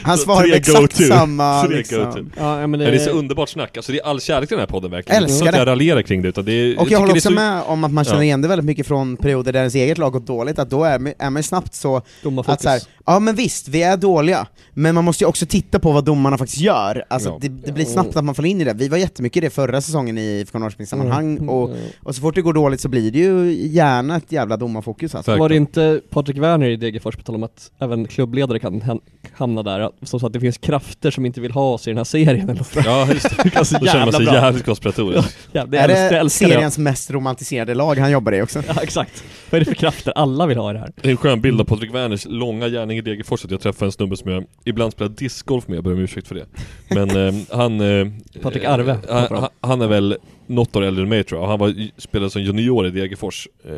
[SPEAKER 5] Han svarar med exakt samma
[SPEAKER 6] Tre
[SPEAKER 5] liksom.
[SPEAKER 6] go-to.
[SPEAKER 7] Ja, men
[SPEAKER 6] men
[SPEAKER 7] det-
[SPEAKER 6] det... är så underbart snack, alltså det är all kärlek till den här podden verkligen.
[SPEAKER 5] Älskar
[SPEAKER 6] Älskar inte så att
[SPEAKER 5] det.
[SPEAKER 6] jag raljerar kring det utan det är,
[SPEAKER 5] Och
[SPEAKER 6] tycker
[SPEAKER 5] jag håller
[SPEAKER 6] det är
[SPEAKER 5] också
[SPEAKER 6] så-
[SPEAKER 5] med om att man känner
[SPEAKER 6] Ja.
[SPEAKER 5] igen det väldigt mycket från perioder där ens eget lag gått dåligt, att då är man, är man snabbt så att
[SPEAKER 7] Domarfokus.
[SPEAKER 5] så här, ja men visst, vi är dåliga, men man måste ju också titta på vad domarna faktiskt gör, alltså
[SPEAKER 7] Ja.
[SPEAKER 5] det, det blir snabbt att man faller in i det. Vi var jättemycket i det förra säsongen i IFK Norrköping-sammanhang,
[SPEAKER 7] Mm.
[SPEAKER 5] och, och så fort det går dåligt så blir det ju gärna ett jävla domarfokus alltså.
[SPEAKER 7] Var det inte Patrik Werner i Degerfors på tal om att även klubbledare kan hän- hamna där, att- som sa att det finns krafter som inte vill ha oss i den här serien eller något
[SPEAKER 6] Ja, just det. Då känner man sig jävligt konspiratorisk.
[SPEAKER 7] Ja, jävla,
[SPEAKER 5] är
[SPEAKER 7] jag
[SPEAKER 5] det
[SPEAKER 7] älskar, älskar det.
[SPEAKER 5] seriens mest romantiserade lag han jobbar i också?
[SPEAKER 7] Ja, exakt. Vad är det för krafter alla vill ha i det här?
[SPEAKER 6] Det är en skön bild av Patrik Werners långa gärning i Degerfors att jag träffade en snubbe som jag ibland spelar discgolf med, jag ber om ursäkt för det. Men eh, han... Eh,
[SPEAKER 7] Patrik Arve,
[SPEAKER 6] eh,
[SPEAKER 7] pratar om.
[SPEAKER 6] han, han är väl något år äldre än mig tror jag, han var, spelade som junior i Degerfors. Eh,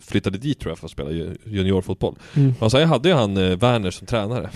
[SPEAKER 6] flyttade dit tror jag för att spela ju- juniorfotboll.
[SPEAKER 7] Mm.
[SPEAKER 6] Han sa, jag hade ju han eh, Werner som tränare.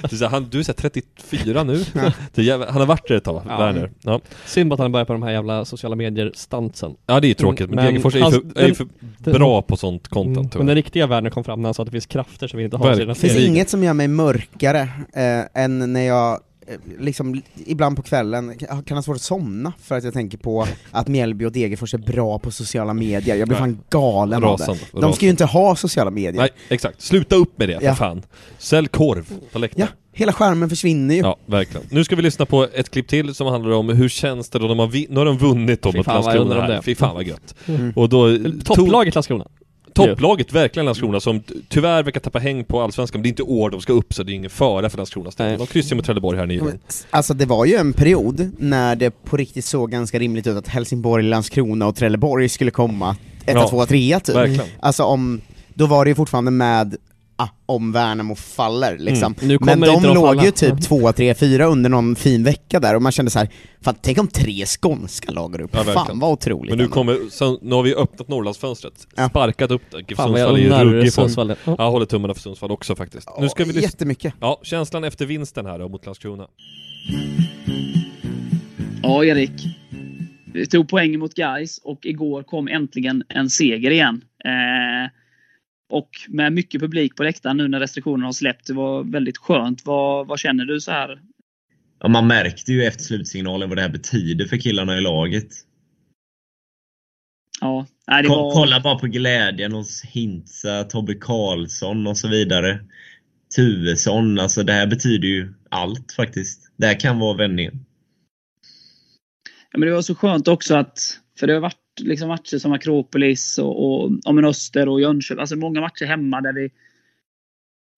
[SPEAKER 6] det är så här, han, du är så här 34 nu.
[SPEAKER 7] Ja.
[SPEAKER 6] det är jävla, han har varit där ett tag,
[SPEAKER 7] Ja.
[SPEAKER 6] Werner. Ja.
[SPEAKER 7] Synd bara att han börjar på de här jävla sociala medier-stansen.
[SPEAKER 6] Ja, det är ju tråkigt, men Degerfors är ju
[SPEAKER 7] alltså,
[SPEAKER 6] för- är ju för bra på sånt content, tyvärr.
[SPEAKER 7] Mm. Men den riktiga Werner kom fram när han sa att det finns krafter som vi inte har i den
[SPEAKER 5] Det
[SPEAKER 7] här
[SPEAKER 5] finns
[SPEAKER 7] serien.
[SPEAKER 5] inget som gör mig mörkare eh, än när jag eh, liksom ibland på kvällen kan ha svårt att somna för att jag tänker på att Mjällby och Degerfors är bra på sociala medier. Jag blir
[SPEAKER 6] Nej.
[SPEAKER 5] fan galen av
[SPEAKER 6] Rasande,
[SPEAKER 5] det. De ska ju inte ha sociala medier.
[SPEAKER 6] Nej, exakt. Sluta upp med det, för
[SPEAKER 5] Ja.
[SPEAKER 6] fan. Sälj korv på läktaren.
[SPEAKER 5] Hela skärmen försvinner ju.
[SPEAKER 6] Ja, verkligen. Nu ska vi lyssna på ett klipp till som handlar om hur känns det då de har, vi- nu har de vunnit då
[SPEAKER 7] Fy
[SPEAKER 6] mot
[SPEAKER 7] fan, vad jag
[SPEAKER 6] Landskrona
[SPEAKER 7] undrar om
[SPEAKER 6] här.
[SPEAKER 7] det.
[SPEAKER 6] Fy fan vad gött.
[SPEAKER 7] Mm.
[SPEAKER 6] Och då,
[SPEAKER 7] Topplaget Landskrona.
[SPEAKER 6] Topplaget, verkligen Landskrona, som t- tyvärr verkar tappa häng på Allsvenskan, men det är inte år de ska upp så det är ingen fara för Landskronas del. De kryssar ju mot Trelleborg här nyligen.
[SPEAKER 5] Alltså det var ju en period när det på riktigt såg ganska rimligt ut att Helsingborg, Landskrona och Trelleborg skulle komma etta,
[SPEAKER 6] Ja,
[SPEAKER 5] tvåa, trea typ.
[SPEAKER 6] verkligen.
[SPEAKER 5] Alltså om, då var det ju fortfarande med ah, om Värnamo faller liksom.
[SPEAKER 7] Mm. Nu kommer
[SPEAKER 5] Men de
[SPEAKER 7] inte de
[SPEAKER 5] låg
[SPEAKER 7] falla.
[SPEAKER 5] ju
[SPEAKER 6] Mm.
[SPEAKER 5] typ tvåa, trea, fyra under någon fin vecka där och man kände så här, fan tänk om tre skånska lag går upp,
[SPEAKER 6] Ja,
[SPEAKER 5] fan
[SPEAKER 6] verkligen.
[SPEAKER 5] vad otroligt.
[SPEAKER 6] Men nu
[SPEAKER 5] ändå.
[SPEAKER 6] kommer, sen, nu har vi öppnat Norrlandsfönstret, sparkat upp det. GIF
[SPEAKER 7] Fan, vad jag
[SPEAKER 6] Sundsvall är ju
[SPEAKER 7] unnar
[SPEAKER 6] ruggig form.
[SPEAKER 7] Sundsvall det.
[SPEAKER 6] Ja, jag håller tummarna för Sundsvall också faktiskt. Nu ska vi lyssna-
[SPEAKER 5] jättemycket.
[SPEAKER 6] Ja, känslan efter vinsten här då mot Landskrona.
[SPEAKER 8] Ja, Erik. Vi tog poäng mot Gais och igår kom äntligen en seger igen. Eh, och med mycket publik på läktaren nu när restriktionerna har släppt. Det var väldigt skönt. Vad, vad känner du så här?
[SPEAKER 10] Ja, man märkte ju efter slutsignalen vad det här betyder för killarna i laget.
[SPEAKER 8] Ja, nej, det
[SPEAKER 10] Ko-
[SPEAKER 8] var...
[SPEAKER 10] Kolla bara på glädjen hos Hintsa, Tobbe Karlsson och så vidare. Tuvesson, alltså det här betyder ju allt faktiskt. Det här kan vara vändningen.
[SPEAKER 8] Ja, men det var så skönt också att, för det har varit liksom matcher som Akropolis och, och ja, men Öster och Jönköping. Alltså många matcher hemma där vi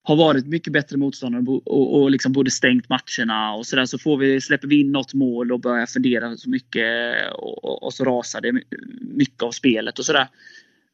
[SPEAKER 8] har varit mycket bättre motståndare och, bo- och, och liksom både stängt matcherna och sådär. Så får vi, släpper vi in något mål och börjar fundera så mycket och, och, och så rasar det my- mycket av spelet och sådär.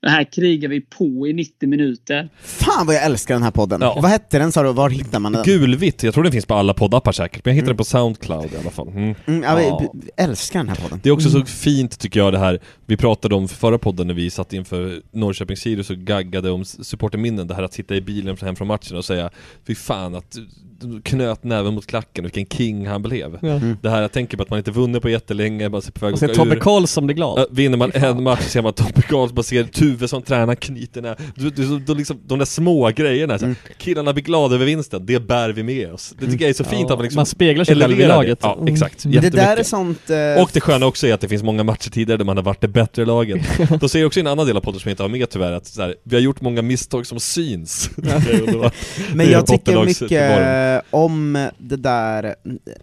[SPEAKER 8] Det här krigar vi på i 90 minuter.
[SPEAKER 5] Fan vad jag älskar den här podden.
[SPEAKER 6] Ja.
[SPEAKER 5] Vad hette den sa du, var hittar man den?
[SPEAKER 6] Gulvitt, jag tror den finns på alla poddappar säkert, men jag hittade den på Soundcloud i alla fall. Mm.
[SPEAKER 5] Mm, ja, vi-
[SPEAKER 6] Ja.
[SPEAKER 5] b- Älskar den här podden.
[SPEAKER 6] Det är också
[SPEAKER 7] Mm.
[SPEAKER 6] så fint tycker jag det här, vi pratade om förra podden när vi satt inför Norrköping Sirius och gaggade om s- supporterminnen, det här att sitta i bilen hem från matchen och säga Fy fan att du knöt näven mot klacken, vilken king han blev.
[SPEAKER 7] Ja. Mm.
[SPEAKER 6] Det här, jag tänker på att man inte vunnit på jättelänge, man ser på väg
[SPEAKER 7] Och sen Tobbe Karlsson blir glad.
[SPEAKER 6] Ja, vinner man en match ser man Tobbe Karlsson, man ser Tuve som tränar knyterna. Du, du, du, du, liksom, de där små grejerna, så här,
[SPEAKER 7] Mm.
[SPEAKER 6] killarna blir glada över vinsten, det bär vi med oss. Det tycker jag är så
[SPEAKER 7] Ja.
[SPEAKER 6] fint att man liksom
[SPEAKER 7] Man speglar sig själv i
[SPEAKER 6] eleverar det.
[SPEAKER 7] laget.
[SPEAKER 6] Ja,
[SPEAKER 7] Mm.
[SPEAKER 6] exakt.
[SPEAKER 7] Men det där är
[SPEAKER 6] Jättemycket.
[SPEAKER 5] sånt, eh,
[SPEAKER 6] Och det sköna också är att det finns många matcher tidigare där man har varit det bättre laget. Då ser jag också i en annan del av podden som jag inte har med tyvärr, att så här, vi har gjort många misstag som syns. Det är underbart.
[SPEAKER 5] Men
[SPEAKER 6] Det är
[SPEAKER 5] jag tycker
[SPEAKER 6] bottenlags- tillvaron.
[SPEAKER 5] mycket eh, om det där,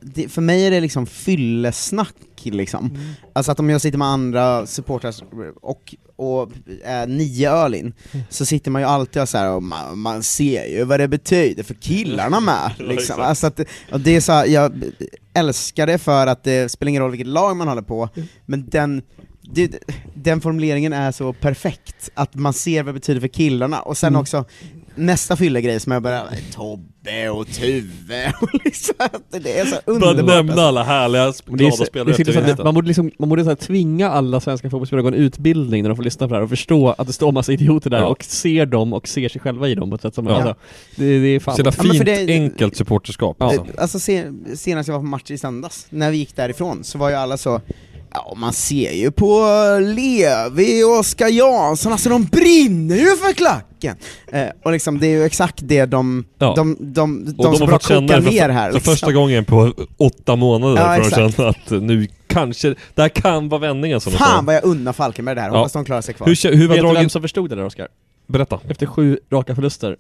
[SPEAKER 5] det, för mig är det liksom fyllesnack liksom.
[SPEAKER 7] Mm.
[SPEAKER 5] Alltså att om jag sitter med andra supportrar och, och är nio öl in,
[SPEAKER 7] Mm.
[SPEAKER 5] så sitter man ju alltid och så här och man, man ser ju vad det betyder för killarna med.
[SPEAKER 7] Ja,
[SPEAKER 5] Liksom.
[SPEAKER 7] exakt.
[SPEAKER 5] Alltså att, och det är
[SPEAKER 7] Mm.
[SPEAKER 5] så här, jag älskar det för att det spelar ingen roll vilket lag man håller på, men den det, den formuleringen är så perfekt, att man ser vad det betyder för killarna, och sen
[SPEAKER 14] Mm.
[SPEAKER 5] också nästa fyllegrej som jag bara Tobbe och Tuve och liksom, att det är så
[SPEAKER 6] Bara
[SPEAKER 5] underbart
[SPEAKER 6] nämna alla härliga,
[SPEAKER 7] Men Det är,
[SPEAKER 6] glada
[SPEAKER 7] så-
[SPEAKER 6] spelare
[SPEAKER 7] det är så
[SPEAKER 6] efter
[SPEAKER 7] intressant,
[SPEAKER 6] vinsten.
[SPEAKER 7] man borde, liksom, man borde så här tvinga alla svenska fotbollsspelare att gå en utbildning när de får lyssna på det här och förstå att det står massa idioter där
[SPEAKER 6] Ja.
[SPEAKER 7] och ser dem och ser sig själva i dem på ett sätt som,
[SPEAKER 6] Ja.
[SPEAKER 7] alltså, det, det är fan...
[SPEAKER 6] Så jävla
[SPEAKER 5] Ja, men för
[SPEAKER 6] fint,
[SPEAKER 5] det-
[SPEAKER 6] enkelt supporterskap
[SPEAKER 5] Ja.
[SPEAKER 6] alltså.
[SPEAKER 5] Alltså se, senast jag var på match i söndags, när vi gick därifrån, så var ju alla så Ja, man ser ju på Levi och Oskar Jansson, alltså de brinner ju för klacken! Eh, och liksom, det är ju exakt det de,
[SPEAKER 6] Ja.
[SPEAKER 5] de, de, de,
[SPEAKER 6] Och de
[SPEAKER 5] som
[SPEAKER 6] har
[SPEAKER 5] bara
[SPEAKER 6] fått känna
[SPEAKER 5] kokar
[SPEAKER 6] det för,
[SPEAKER 5] ner här
[SPEAKER 6] för
[SPEAKER 5] liksom.
[SPEAKER 6] första gången på åtta månader
[SPEAKER 5] Ja,
[SPEAKER 6] får de
[SPEAKER 5] exakt.
[SPEAKER 6] känna att nu kanske, det här kan vara vändningen som de sa.
[SPEAKER 5] Fan vad jag unnar Falkenberg det här,
[SPEAKER 6] Ja.
[SPEAKER 5] hoppas de klarar sig kvar.
[SPEAKER 6] Hur kä- hur var
[SPEAKER 7] Vet du vem
[SPEAKER 6] dragen-
[SPEAKER 7] som förstod det där Oskar?
[SPEAKER 6] Berätta.
[SPEAKER 7] Efter sju raka förluster,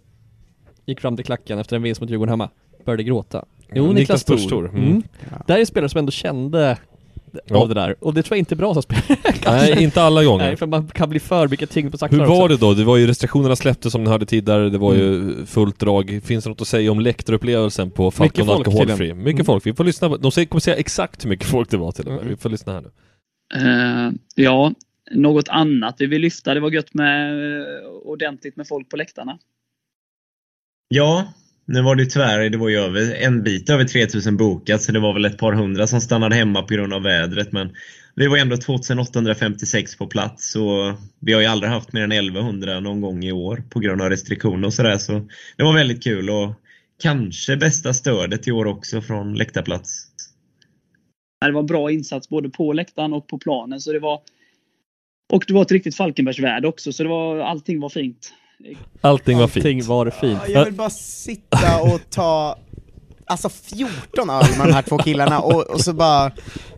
[SPEAKER 7] gick fram till klacken efter en vinst mot Djurgården hemma, började gråta. Jo,
[SPEAKER 6] Ja,
[SPEAKER 7] Niklas
[SPEAKER 6] Niklas
[SPEAKER 7] Thor.
[SPEAKER 6] Thor,
[SPEAKER 7] Mm.
[SPEAKER 6] mm.
[SPEAKER 7] Det här är spelare som ändå kände
[SPEAKER 6] Ja.
[SPEAKER 7] av det där, och det tror jag inte är bra som spelare
[SPEAKER 6] Nej, inte alla gånger.
[SPEAKER 7] Nej, för man kan bli för mycket tyngd på
[SPEAKER 6] Hur
[SPEAKER 7] axlar
[SPEAKER 6] var
[SPEAKER 7] också.
[SPEAKER 6] det då? Det var ju restriktionerna släpptes som ni hörde tidigare, det var
[SPEAKER 7] Mm.
[SPEAKER 6] ju fullt drag. Finns det något att säga om läktarupplevelsen på Falcon
[SPEAKER 7] folk
[SPEAKER 6] Alkoholfri?
[SPEAKER 7] tydligen.
[SPEAKER 6] Mycket
[SPEAKER 7] Mm.
[SPEAKER 6] folk. Vi får lyssna på, de säger- kommer säga exakt hur mycket folk det var till och med. Vi får lyssna här nu.
[SPEAKER 8] Eh, ja, något annat vi vill lyfta. Det var gött med eh, ordentligt med folk på läktarna.
[SPEAKER 10] Ja, nu var det ju tyvärr, det var ju över, en bit över 3000 bokat så det var väl ett par hundra som stannade hemma på grund av vädret men vi var ändå 2856 på plats så vi har ju aldrig haft mer än 1100 någon gång i år på grund av restriktioner och sådär så det var väldigt kul och kanske bästa stödet i år också från läktarplats.
[SPEAKER 8] Det var en bra insats både på läktaren och på planen. Så det var, och det var ett riktigt Falkenbergsvärde också, så det var, allting var fint.
[SPEAKER 6] Allting var fint.
[SPEAKER 7] Allting var fint.
[SPEAKER 5] Ja, Jag vill bara sitta och ta, alltså 14 öl med de här två killarna och, och så bara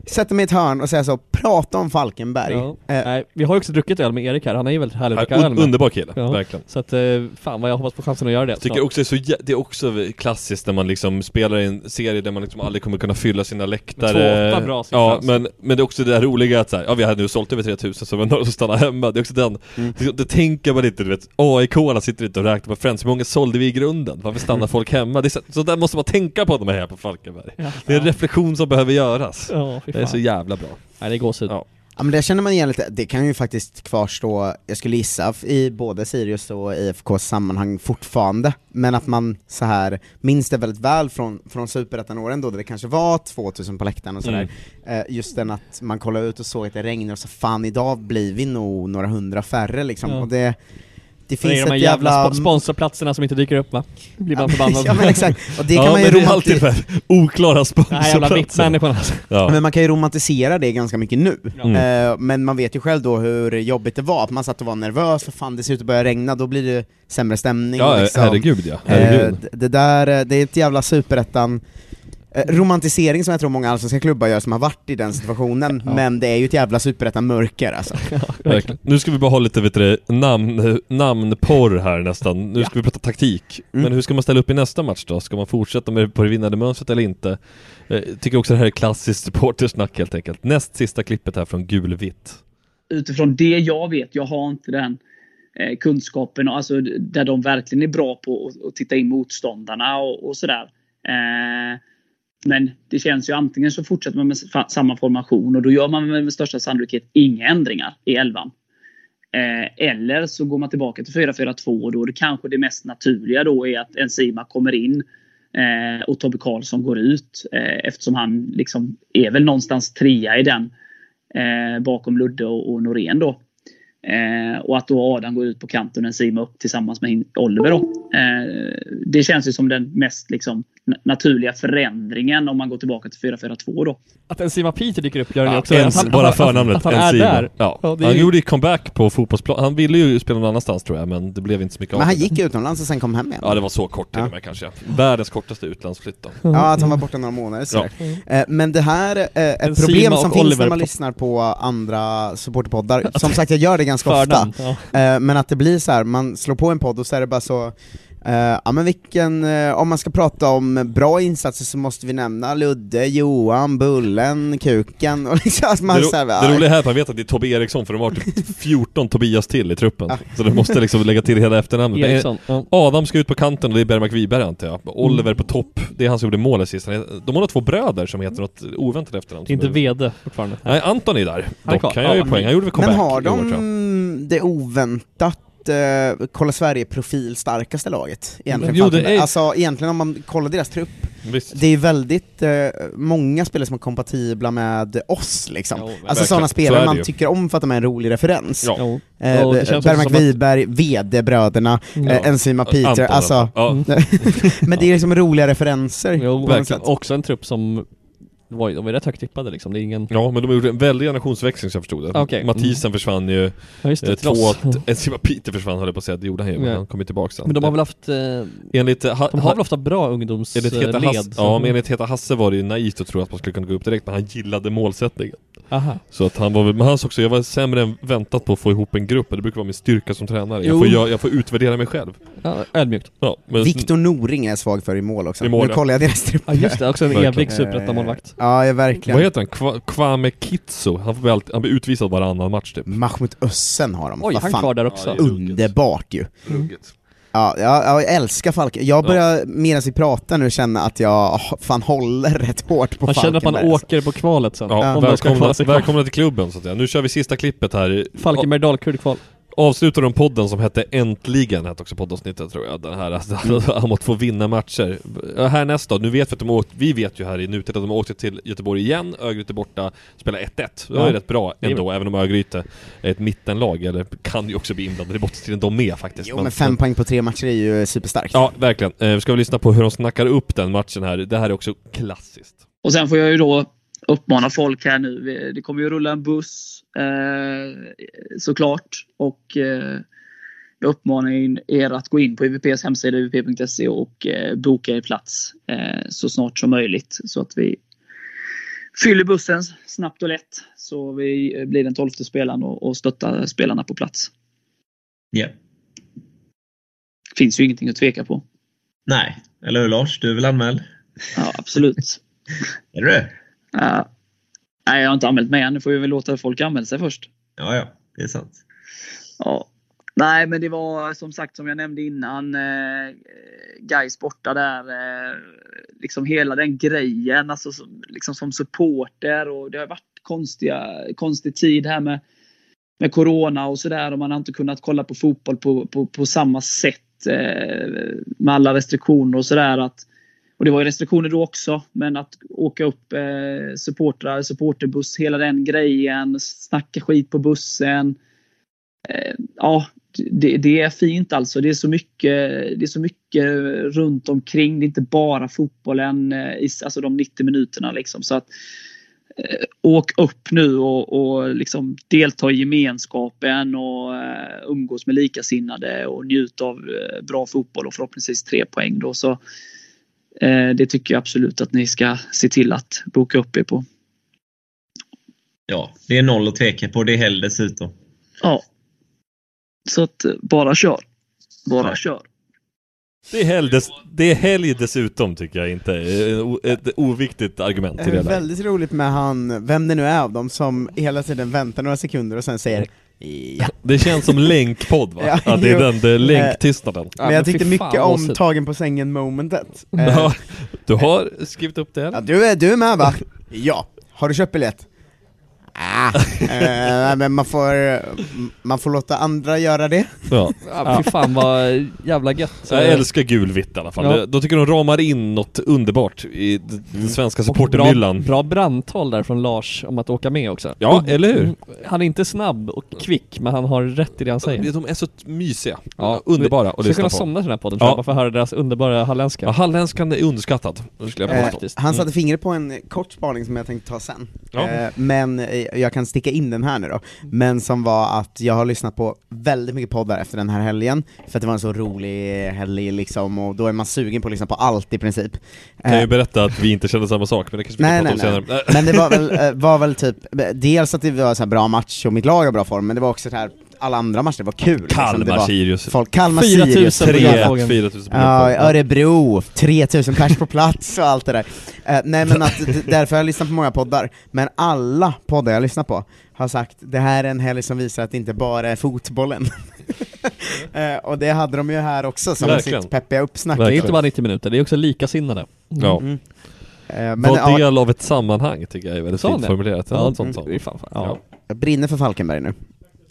[SPEAKER 5] sätta mig i ett hörn och säga så, prata om Falkenberg. Eh,
[SPEAKER 7] Ja. Nej, vi har ju också druckit öl med Erik här, han är ju väldigt härlig att dricka
[SPEAKER 6] Un-
[SPEAKER 7] öl med.
[SPEAKER 6] underbar kille, verkligen.
[SPEAKER 7] Så att, eh, fan vad jag hoppas på chansen att göra det
[SPEAKER 6] Jag tycker
[SPEAKER 7] snart.
[SPEAKER 6] också det är, så, jä- det är också klassiskt när man liksom spelar i en serie där man liksom aldrig kommer kunna fylla sina läktare.
[SPEAKER 7] Men två åtta bra siffror
[SPEAKER 6] Ja,
[SPEAKER 7] alltså.
[SPEAKER 6] men, men det är också det där roliga att så här, ja vi hade nu sålt över 3000 så var det några som stannade hemma. Det är också den,
[SPEAKER 7] Mm.
[SPEAKER 6] det, det tänker man inte du vet, AIK-arna sitter inte och räknar på Friends, hur många sålde vi i grunden? Varför stannar folk hemma? Det är så, så där måste man tänka på när man är här på Falkenberg.
[SPEAKER 7] Ja.
[SPEAKER 6] Det är en reflektion som behöver göras.
[SPEAKER 7] Ja, fy
[SPEAKER 6] det är
[SPEAKER 7] fan.
[SPEAKER 6] så jävla bra.
[SPEAKER 7] Nej, det är gåshud.
[SPEAKER 6] Ja.
[SPEAKER 5] Ja men det känner man igen lite, det kan ju faktiskt kvarstå, jag skulle gissa, f- i både Sirius och IFKs sammanhang fortfarande, men att man så här minns det väldigt väl från, från superettan-åren då, där det kanske var 2000 på läktaren och sådär,
[SPEAKER 7] Mm.
[SPEAKER 5] eh, just den att man kollade ut och såg att det regnade och så fan idag blir vi nog några hundra färre liksom,
[SPEAKER 7] Ja.
[SPEAKER 5] och det, det
[SPEAKER 7] Det
[SPEAKER 5] finns
[SPEAKER 7] är de här
[SPEAKER 5] ett
[SPEAKER 7] jävla,
[SPEAKER 5] jävla...
[SPEAKER 7] sp- sponsorplatserna som inte dyker upp va? Då blir man förbannad.
[SPEAKER 5] ja men exakt, och det kan
[SPEAKER 6] ja,
[SPEAKER 5] man ju
[SPEAKER 6] men det är alltid de
[SPEAKER 5] romantisera
[SPEAKER 6] här oklara
[SPEAKER 7] Nej, jävla
[SPEAKER 6] sponsorplatserna.
[SPEAKER 7] VIP-människorna alltså.
[SPEAKER 6] Ja.
[SPEAKER 5] Men man kan ju romantisera det ganska mycket nu,
[SPEAKER 6] Ja. Mm.
[SPEAKER 5] Eh, men man vet ju själv då hur jobbigt det var, att man satt och var nervös, för fan det ser ut att börja regna, då blir det sämre stämning
[SPEAKER 6] Ja,
[SPEAKER 5] och liksom.
[SPEAKER 6] herregud, ja. Herregud.
[SPEAKER 5] Eh, d- det där, eh, det är ett jävla superettan eh, Romantisering som jag tror många allsvenska klubbar gör som har varit i den situationen, men det är ju ett jävla superettan-mörker alltså.
[SPEAKER 6] Verkligen. Nu ska vi bara ha lite vet du, det, namn, namnporr här nästan. Nu ska vi prata taktik. Men hur ska man ställa upp i nästa match då? Ska man fortsätta med det på det vinnande mönstret eller inte? Eh, tycker också det här är klassiskt supportersnack helt enkelt. Näst sista klippet här från gulvitt.
[SPEAKER 8] utifrån det jag vet, jag har inte den eh, kunskapen, och alltså d- där de verkligen är bra på att, att titta in motståndarna och, och sådär. Eh, men det känns ju antingen så fortsätter man med s- fa- samma formation och då gör man med, med största sannolikhet inga ändringar i elvan. Eh, eller så går man tillbaka till 4-4-2 och då är det kanske det mest naturliga då är att Enzima kommer in eh, och Tobbe Karlsson går ut eh, eftersom han liksom är väl någonstans trea i den eh, bakom Ludde och, och Norén då. Eh, och att då Adam går ut på kanten och Sima upp tillsammans med in- Oliver då. Eh, det känns ju som den mest liksom, na- naturliga förändringen om man går tillbaka till 4-4-2 då.
[SPEAKER 7] Att Enzima Peter dyker upp gör det
[SPEAKER 8] Ja,
[SPEAKER 7] också.
[SPEAKER 6] ens,
[SPEAKER 7] att han,
[SPEAKER 6] bara
[SPEAKER 7] att han-
[SPEAKER 6] förnamnet,
[SPEAKER 7] Att han är
[SPEAKER 6] Enzima.
[SPEAKER 7] där.
[SPEAKER 6] Ja.
[SPEAKER 7] det är
[SPEAKER 6] Han
[SPEAKER 7] ju-
[SPEAKER 6] gjorde ju comeback på fotbollsplan. Han ville ju spela någon annanstans tror jag, men det blev inte så mycket
[SPEAKER 5] Men
[SPEAKER 6] av
[SPEAKER 5] han
[SPEAKER 6] det.
[SPEAKER 5] gick utomlands och sen kom hem igen.
[SPEAKER 6] Ja, det var så kort till och med kanske. Världens kortaste utlandsflytt då.
[SPEAKER 5] Ja, att han var borta några månader sådär. Eh, Men det här eh, är
[SPEAKER 6] En
[SPEAKER 5] ett problem
[SPEAKER 6] Sima
[SPEAKER 5] som
[SPEAKER 6] och
[SPEAKER 5] finns
[SPEAKER 6] Oliver
[SPEAKER 5] när man
[SPEAKER 6] på-
[SPEAKER 5] lyssnar på andra supporterpoddar. Som sagt, jag gör det ganska ofta.
[SPEAKER 6] Förnamn,
[SPEAKER 5] Eh, Men att det blir så här, man slår på en podd och så är det bara så Eh, ja men vilken, eh, om man ska prata om bra insatser så måste vi nämna Ludde, Johan, Bullen, Kuken och liksom att man
[SPEAKER 6] det, ro-
[SPEAKER 5] så här,
[SPEAKER 6] det roliga här är att man vet att det är Tobbe Eriksson för de har typ 14 Tobias till i truppen. Så de måste liksom lägga till hela efternamnet. Men, eh,
[SPEAKER 7] Eriksson,
[SPEAKER 6] Adam ska ut på kanten och det är Bergmark Wiberg antar jag.
[SPEAKER 5] Mm.
[SPEAKER 6] Oliver på topp, det är han som gjorde målet sist. Han heter- De har två bröder som heter något oväntat efternamn.
[SPEAKER 7] Inte
[SPEAKER 6] Som är-
[SPEAKER 7] VD fortfarande.
[SPEAKER 6] Nej, Anton är där.
[SPEAKER 7] Han är kvar.
[SPEAKER 6] Dock, han gör ju
[SPEAKER 7] Ja.
[SPEAKER 6] poäng. Han gjorde väl comeback
[SPEAKER 5] Men har
[SPEAKER 6] i år, tror jag.
[SPEAKER 5] de det oväntat eh, Kolla Sverige-profil starkaste laget egentligen?
[SPEAKER 6] Jo, det är-
[SPEAKER 5] Alltså egentligen om man kollar deras trupp, det är väldigt eh, många spelare som är kompatibla med oss liksom. alltså
[SPEAKER 6] verkligen.
[SPEAKER 5] sådana
[SPEAKER 6] Så är
[SPEAKER 5] spelare
[SPEAKER 6] det
[SPEAKER 5] man
[SPEAKER 6] ju.
[SPEAKER 5] tycker om för att de är en rolig referens.
[SPEAKER 6] Ja. Jo.
[SPEAKER 5] Eh,
[SPEAKER 6] Och det känns också
[SPEAKER 5] Bergmark
[SPEAKER 6] som att-
[SPEAKER 5] Wiberg, VD-bröderna,
[SPEAKER 6] Ja.
[SPEAKER 5] eh, Enzima Peter,
[SPEAKER 6] Anton,
[SPEAKER 5] alltså.
[SPEAKER 6] ja.
[SPEAKER 5] men det är liksom roliga referenser. på något sätt.
[SPEAKER 7] Verkligen. Också en trupp som var, ju- de var ju rätt högt tippade liksom. Det är ingen... Ah,
[SPEAKER 6] Ja, men de har gjort en väldig generationsväxling så jag förstod det.
[SPEAKER 7] Okej. Mm.
[SPEAKER 6] Mathisen försvann ju,
[SPEAKER 7] Ja, just det,
[SPEAKER 6] eh,
[SPEAKER 7] till oss.
[SPEAKER 6] Tvåt, Enzima Peter försvann höll jag på att säga, det gjorde han ju, men
[SPEAKER 7] Ja.
[SPEAKER 6] han kom ju tillbaka sen.
[SPEAKER 7] Men de har väl haft... Eh,
[SPEAKER 6] Enligt, eh, ha,
[SPEAKER 7] de har väl haft bra eh, ungdomsled?
[SPEAKER 6] enligt Heta Hasse, ja, men enligt Heta Hasse var det ju naivt att tro att man skulle kunna gå upp direkt, men han gillade målsättningen.
[SPEAKER 7] Aha.
[SPEAKER 6] Så att han var väl, men han sa också, jag var sämre än väntat på att få ihop en grupp, och det brukar vara min styrka som tränare. Jag
[SPEAKER 5] Jo.
[SPEAKER 6] får, jag, jag får utvärdera mig själv.
[SPEAKER 7] Ja, ödmjukt.
[SPEAKER 6] Ja, men,
[SPEAKER 5] Viktor Noring är jag svag för i mål också.
[SPEAKER 6] I mål,
[SPEAKER 5] nu
[SPEAKER 6] ja.
[SPEAKER 5] kollar jag deras trupp.
[SPEAKER 7] Ja, just det. Också en
[SPEAKER 6] Verkligen.
[SPEAKER 7] evig superettamålvakt.
[SPEAKER 5] Ja, ja, verkligen.
[SPEAKER 6] Vad heter han? Kwa, Kwame Kitso? Han, får väl alltid, han blir utvisad varannan match typ.
[SPEAKER 5] Mahmoud Össen har de.
[SPEAKER 6] Oj,
[SPEAKER 5] Vad
[SPEAKER 6] han
[SPEAKER 5] fan.
[SPEAKER 6] kvar där också. Ja, det är ruggigt.
[SPEAKER 5] Underbart ju.
[SPEAKER 6] Ruggigt.
[SPEAKER 5] Ja, ja, ja, jag älskar Falken. Jag börjar, medan vi pratar nu, känna att jag h- fan håller rätt hårt på
[SPEAKER 7] Man känner att man
[SPEAKER 5] Falkenberg, alltså.
[SPEAKER 7] åker på kvalet sen.
[SPEAKER 6] Ja,
[SPEAKER 7] Om de ska
[SPEAKER 6] välkomna,
[SPEAKER 7] kvala sig kvar.
[SPEAKER 6] välkomna till klubben så att säga. Nu kör vi sista klippet här.
[SPEAKER 7] Falkenberg Dalkurd kval.
[SPEAKER 6] Avslutar de podden som hette Äntligen, hette också poddavsnittet tror jag. Den här att
[SPEAKER 7] Mm.
[SPEAKER 6] Amot får vinna matcher. Ja, Härnäst då, nu vet vi att de åkt, vi vet ju här i nutid att de åkte till Göteborg igen, Örgryte borta, spelar 1-1. Det var ju
[SPEAKER 7] Ja.
[SPEAKER 6] rätt bra
[SPEAKER 7] Det är
[SPEAKER 6] ändå, även om Örgryte är ett mittenlag, eller kan ju också bli inblandade i bottenstriden de med faktiskt.
[SPEAKER 5] Jo men fem poäng på tre matcher är ju superstarkt.
[SPEAKER 6] Ja, verkligen. Eh, Vi ska väl lyssna på hur de snackar upp den matchen här. Det här är också klassiskt.
[SPEAKER 8] Och sen får jag ju då uppmana folk här nu. Vi- Det kommer ju rulla en buss eh, såklart. Och eh, jag uppmanar in er att gå in på UVPs hemsida E uvp.se och eh, boka er plats eh, så snart som möjligt. Så att vi fyller bussen snabbt och lätt. Så vi eh, blir den tolfte spelaren och, och stöttar spelarna på plats.
[SPEAKER 10] Ja.
[SPEAKER 8] Finns ju ingenting att tveka på.
[SPEAKER 10] Nej, eller hur Lars? Du är väl anmäld?
[SPEAKER 8] Ja, absolut.
[SPEAKER 10] Är du det?
[SPEAKER 8] Ja. nej, jag har inte anmält mig än. Nu får vi väl låta folk anmäla sig först.
[SPEAKER 10] Ja, ja. Det är sant.
[SPEAKER 8] Ja. Nej, men det var som sagt som jag nämnde innan. Eh, Gais borta där. Eh, liksom hela den grejen. Alltså som, liksom som supporter. Och det har varit konstiga, konstig tid här med, med corona och sådär. Och man har inte kunnat kolla på fotboll på, på, på samma sätt. Eh, med alla restriktioner och sådär. att- Och det var ju restriktioner då också. Men att åka upp eh, supportrar, supporterbuss, hela den grejen. Snacka skit på bussen eh, ja, det, det är fint alltså. Det är, så mycket, det är så mycket runt omkring. Det är inte bara fotbollen, eh, i, alltså de 90 minuterna. Liksom. Så att, eh, åk upp nu och, och liksom delta i gemenskapen och eh, umgås med likasinnade och njut av eh, bra fotboll och förhoppningsvis tre poäng. Då. Så, eh, det tycker jag absolut att ni ska se till att boka upp er på.
[SPEAKER 10] Ja, det är noll att tveka på. Det är helg dessutom.
[SPEAKER 8] Ja. Så att eh, bara kör. Bara kör.
[SPEAKER 6] Det är, helg dess, det är helg dessutom tycker jag inte, Eh, o- ett oviktigt argument i
[SPEAKER 7] Eh,
[SPEAKER 5] Det
[SPEAKER 6] det
[SPEAKER 5] är
[SPEAKER 6] läget.
[SPEAKER 5] väldigt roligt med han, vem det nu är av dem, som hela tiden väntar några sekunder och sen säger ja.
[SPEAKER 6] Det känns som länkpodd va?
[SPEAKER 5] Ja,
[SPEAKER 6] att det är
[SPEAKER 5] jo.
[SPEAKER 6] den, det är
[SPEAKER 5] Eh,
[SPEAKER 6] länktystnaden.
[SPEAKER 5] Men jag tyckte mycket om tagen på sängen momentet. Eh,
[SPEAKER 6] Ja, du har skrivit upp det här?
[SPEAKER 5] Ja, du, är, du är med va? Ja. Har du köpt biljett? Ah. eh, men man får, man får låta andra göra det.
[SPEAKER 6] Ja.
[SPEAKER 7] Ja, fy fan vad jävla gött.
[SPEAKER 6] Jag älskar gulvitt i alla fall.
[SPEAKER 7] Ja.
[SPEAKER 6] Det- Då tycker jag de ramar in något underbart i d- den svenska
[SPEAKER 7] Bra,
[SPEAKER 6] supportermyllan.
[SPEAKER 7] bra brandtal där från Lars om att åka med också.
[SPEAKER 6] Ja,
[SPEAKER 7] Och-
[SPEAKER 6] eller hur?
[SPEAKER 7] Mm. Han är inte snabb och kvick, men han har rätt i det han säger.
[SPEAKER 6] De är så mysiga. underbara att
[SPEAKER 7] att
[SPEAKER 6] lyssna
[SPEAKER 7] lyssna på. kunna
[SPEAKER 6] på.
[SPEAKER 7] somna till den här podden, tror
[SPEAKER 6] Ja.
[SPEAKER 7] jag, bara för att höra deras underbara halländska.
[SPEAKER 6] Ja, Halländskan är underskattad, det skulle jag
[SPEAKER 5] Eh,
[SPEAKER 6] påstå.
[SPEAKER 5] han satte
[SPEAKER 6] Mm.
[SPEAKER 5] fingret på en kort spaning som jag tänkte ta sen,
[SPEAKER 6] Ja.
[SPEAKER 5] eh, men eh, jag kan sticka in den här nu då, men som var att jag har lyssnat på väldigt mycket poddar efter den här helgen, för att det var en så rolig helg liksom, och då är man sugen på att lyssna på allt i princip.
[SPEAKER 6] Kan
[SPEAKER 5] Eh,
[SPEAKER 6] ju berätta att vi inte känner samma sak, men det kanske vi
[SPEAKER 5] Nej
[SPEAKER 6] kan
[SPEAKER 5] nej
[SPEAKER 6] prata
[SPEAKER 5] nej,
[SPEAKER 6] om senare.
[SPEAKER 5] men det var väl, eh, var väl typ, dels att det var så här bra match och mitt lag var bra form, men det var också så här alla andra matcher var kul. liksom.
[SPEAKER 6] Kalmar,
[SPEAKER 5] det var
[SPEAKER 6] Sirius.
[SPEAKER 5] Folk, Kalmar,
[SPEAKER 6] 4 000
[SPEAKER 5] Sirius.
[SPEAKER 6] på
[SPEAKER 5] det var
[SPEAKER 6] Guldfågeln.
[SPEAKER 5] frågan.
[SPEAKER 6] 4 000 på
[SPEAKER 5] Ja,
[SPEAKER 6] Guldfågeln.
[SPEAKER 5] Örebro, 3000 pers på plats och allt det där. Eh, nej men att, d- därför har jag lyssnat på många poddar, men alla poddar jag lyssnar på har sagt det här är en helg som visar att det inte bara är fotbollen. Eh, och det hade de ju här också som
[SPEAKER 7] Verkligen.
[SPEAKER 5] sitt peppiga uppsnack.
[SPEAKER 7] Det är inte bara 90 minuter, det är också likasinnade.
[SPEAKER 6] Ja.
[SPEAKER 5] Mm. Eh,
[SPEAKER 6] Var
[SPEAKER 5] ja,
[SPEAKER 6] del av ett sammanhang tycker jag är väldigt
[SPEAKER 7] Sa
[SPEAKER 6] fint
[SPEAKER 7] det?
[SPEAKER 6] formulerat.
[SPEAKER 7] Ja,
[SPEAKER 6] Ja,
[SPEAKER 7] mm.
[SPEAKER 6] sånt, sånt.
[SPEAKER 7] Det är fan- fan,
[SPEAKER 6] Ja.
[SPEAKER 5] Jag brinner för Falkenberg nu.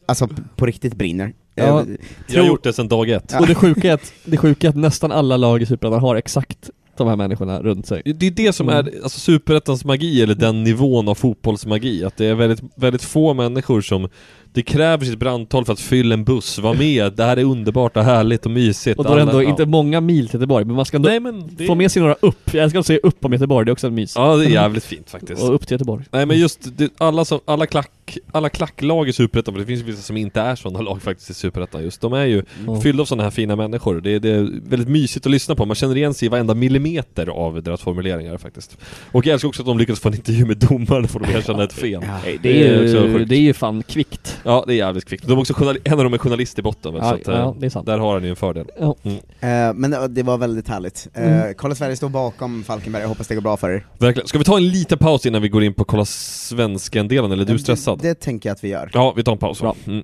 [SPEAKER 5] Alltså p- på riktigt brinner.
[SPEAKER 7] Ja.
[SPEAKER 5] Jag
[SPEAKER 6] Jag har gjort det sedan dag ett.
[SPEAKER 7] Och det sjuka, är att, det sjuka är att nästan alla lag i Superettan har exakt de här människorna runt sig.
[SPEAKER 6] Det är det som
[SPEAKER 7] Mm.
[SPEAKER 6] är alltså, superettans magi, eller den nivån av fotbollsmagi. Att det är väldigt, väldigt få människor som det kräver sitt brandtal för att fylla en buss, vara med, det här är underbart och härligt och mysigt.
[SPEAKER 7] Och då är det
[SPEAKER 6] Alla-
[SPEAKER 7] ändå
[SPEAKER 6] ja.
[SPEAKER 7] inte många mil till Göteborg, men man ska ändå
[SPEAKER 6] Nej, men det-
[SPEAKER 7] få med sig några upp. Jag älskar att säga upp om Göteborg, det är också en mys.
[SPEAKER 6] Ja, det är jävligt fint faktiskt.
[SPEAKER 7] Och upp till Göteborg.
[SPEAKER 6] Nej men just, det, alla, som, alla, klack, alla klacklag i Superettan, för det finns ju vissa som inte är sådana lag faktiskt i Superettan just, de är ju
[SPEAKER 7] Mm.
[SPEAKER 6] fyllda av sådana här fina människor. Det, är- det är väldigt mysigt att lyssna på, man känner igen sig i varenda millimeter av deras formuleringar faktiskt. Och jag älskar också att de lyckades få en intervju med domaren för att de erkänna ett fel.
[SPEAKER 7] Nej, det är ju- det är ju fan kvickt.
[SPEAKER 6] Ja, det är jävligt kvickt. De är också journal- en av dem är journalist i botten väl,
[SPEAKER 7] Ja,
[SPEAKER 6] så att, eh,
[SPEAKER 7] ja, det är sant.
[SPEAKER 6] där har han ju en fördel.
[SPEAKER 7] Ja.
[SPEAKER 6] Mm.
[SPEAKER 5] Eh, men det- det var väldigt härligt. Eh,
[SPEAKER 6] Mm.
[SPEAKER 5] Kolla Sverige står bakom Falkenberg, jag hoppas det går bra för er.
[SPEAKER 6] Verkligen. Ska vi ta en liten paus innan vi går in på kolla svensken-delen, eller är du stressad?
[SPEAKER 5] Det tänker jag att vi gör.
[SPEAKER 6] Ja, vi tar en paus. Bra. Mm.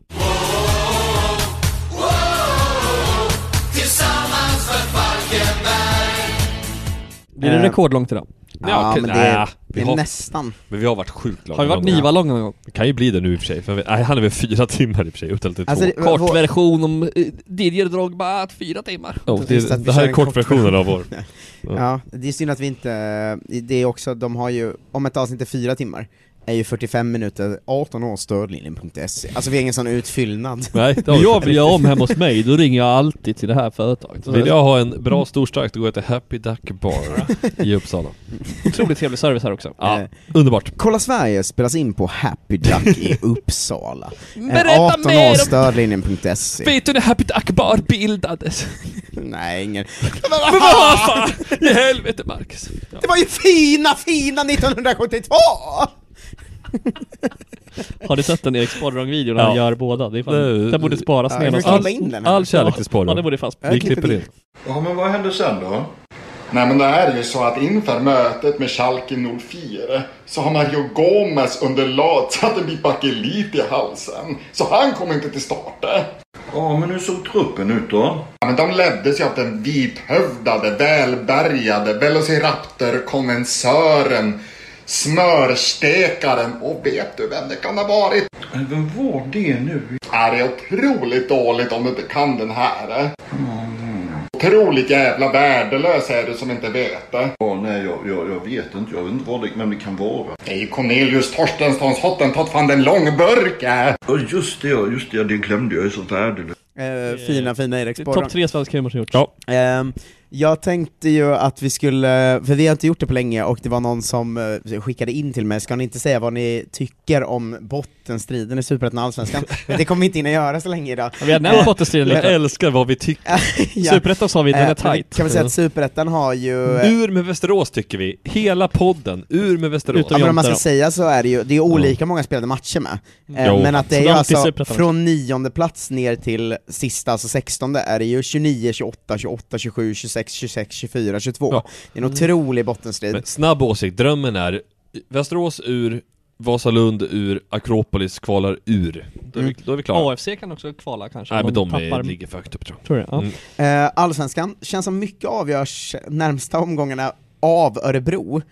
[SPEAKER 13] Tillsammans för Falkenberg
[SPEAKER 7] Blir det
[SPEAKER 5] Eh,
[SPEAKER 7] rekordlångt idag?
[SPEAKER 6] Ja,
[SPEAKER 5] Ja,
[SPEAKER 6] okej.
[SPEAKER 5] men det är-
[SPEAKER 6] Nej,
[SPEAKER 5] det är nästan.
[SPEAKER 6] Men vi har varit sjukt långa.
[SPEAKER 7] Har vi varit
[SPEAKER 6] någon gång.
[SPEAKER 7] Niva-långa någon gång?
[SPEAKER 6] Det kan ju bli det nu i och för sig. För vi, nej, han är väl fyra timmar i och för sig, utan lite
[SPEAKER 7] Alltså,
[SPEAKER 6] två.
[SPEAKER 7] det- Kortversion om eh, Didier Drogba, att fyra timmar.
[SPEAKER 6] Ja, det-
[SPEAKER 5] Just att vi
[SPEAKER 6] det här
[SPEAKER 5] kör
[SPEAKER 6] är
[SPEAKER 5] en
[SPEAKER 6] kortversionen av vår.
[SPEAKER 5] ja. det är synd att vi inte, det är också, de har ju, om ett avsnitt är fyra timmar, är ju 45 minuter, 18 år stödlinjen.se. Alltså vi har ingen sån utfyllnad.
[SPEAKER 7] Vill jag vill jag om hemma hos mig, då ringer jag alltid till det här företaget.
[SPEAKER 6] Vill jag ha en bra stor stark, då går jag till Happy Duck Bar i Uppsala.
[SPEAKER 7] Otroligt trevlig service här också.
[SPEAKER 6] Ja,
[SPEAKER 5] Eh.
[SPEAKER 6] underbart.
[SPEAKER 5] Kolla Sverige spelas in på Happy Duck i Uppsala. Eh,
[SPEAKER 7] Berätta
[SPEAKER 5] 18
[SPEAKER 7] mer
[SPEAKER 5] år
[SPEAKER 7] om-
[SPEAKER 5] stödlinjen.se.
[SPEAKER 7] Vet du när Happy Duck Bar bildades?
[SPEAKER 5] Nej, ingen.
[SPEAKER 7] Men vad fan! I helvete Marcus!
[SPEAKER 5] Det var ju fina, fina 1972!
[SPEAKER 7] Har du sett den Erik Sparrong-videon när han
[SPEAKER 6] Ja.
[SPEAKER 7] gör båda? Det är fan,
[SPEAKER 6] Det-
[SPEAKER 7] den borde sparas
[SPEAKER 6] Ja,
[SPEAKER 7] ner
[SPEAKER 6] vi
[SPEAKER 7] någonstans.
[SPEAKER 6] klipper in den här. All kärlek till Sparrong.
[SPEAKER 7] Ja, den borde fast.
[SPEAKER 6] Vi klipper in.
[SPEAKER 15] Ja, men vad hände sen då? Nej, men det är ju så att inför mötet med Schalke 04 så har Mario Gomez under latsatt en bit bakelit i halsen. Så han kommer inte till starten. Ja, men hur såg truppen ut då? Ja, men de leddes ju av den vithövdade, välbärgade Velociraptor-konnässören, smörstekaren och vet du vem det kan ha varit? Vem var det nu? Ja, det är otroligt dåligt om du inte kan den här. eh? Otroligt jävla värdelös är du som inte vet eh? det.
[SPEAKER 16] Ja, nej, jag, jag, jag vet inte. Jag vet inte vad det, vem det kan vara.
[SPEAKER 15] Det är ju Cornelius Torstenssons Hottentott van den Långburke.
[SPEAKER 16] Ja, just det, ja, just det. ja, Det glömde jag. Jag är så värdelös.
[SPEAKER 5] Eh, fina, fina Erik Sporrong.
[SPEAKER 7] Topp tre svenska humor som gjorts.
[SPEAKER 6] Ja.
[SPEAKER 5] Ehm, jag tänkte ju att vi skulle, för vi har inte gjort det på länge och det var någon som eh, skickade in till mig, ska ni inte säga vad ni tycker om bottenstriden i Superettan och Allsvenskan? Men det kommer vi inte hinna göra så länge idag.
[SPEAKER 7] Vi har nämnt
[SPEAKER 5] Eh,
[SPEAKER 7] bottenstriden
[SPEAKER 6] Jag
[SPEAKER 7] lite.
[SPEAKER 6] älskar vad vi tycker.
[SPEAKER 5] ja.
[SPEAKER 7] Superettan sa vi, den
[SPEAKER 5] Eh,
[SPEAKER 7] är tight.
[SPEAKER 5] Kan vi säga att Superettan har ju... eh,
[SPEAKER 6] Ur med Västerås tycker vi. Hela podden, ur med Västerås.
[SPEAKER 5] Ja, men om man ska säga så är det ju, det är olika många spelade matcher med. Eh,
[SPEAKER 6] Mm. Jo.
[SPEAKER 5] Men att det är
[SPEAKER 6] Så
[SPEAKER 5] ju
[SPEAKER 6] det är alltid
[SPEAKER 5] alltså,
[SPEAKER 6] superettan.
[SPEAKER 5] från nionde plats ner till sista, alltså sextonde, är det ju 29, 28, 28, 27, 26, 26, 24,
[SPEAKER 6] Ja.
[SPEAKER 5] 22.
[SPEAKER 6] Mm.
[SPEAKER 5] Det är en otrolig bottenstrid.
[SPEAKER 6] Men snabb åsikt, drömmen är Västerås ur, Vasalund ur, Akropolis kvalar ur. Då är vi, då är vi klara.
[SPEAKER 7] AFC kan också kvala kanske.
[SPEAKER 6] Nej
[SPEAKER 7] om
[SPEAKER 6] men de är,
[SPEAKER 7] tappar-
[SPEAKER 6] ligger för högt upp tror jag.
[SPEAKER 7] Tror du? Ja.
[SPEAKER 6] Mm.
[SPEAKER 5] Eh, Allsvenskan känns som mycket avgörs närmsta omgångarna av Örebro.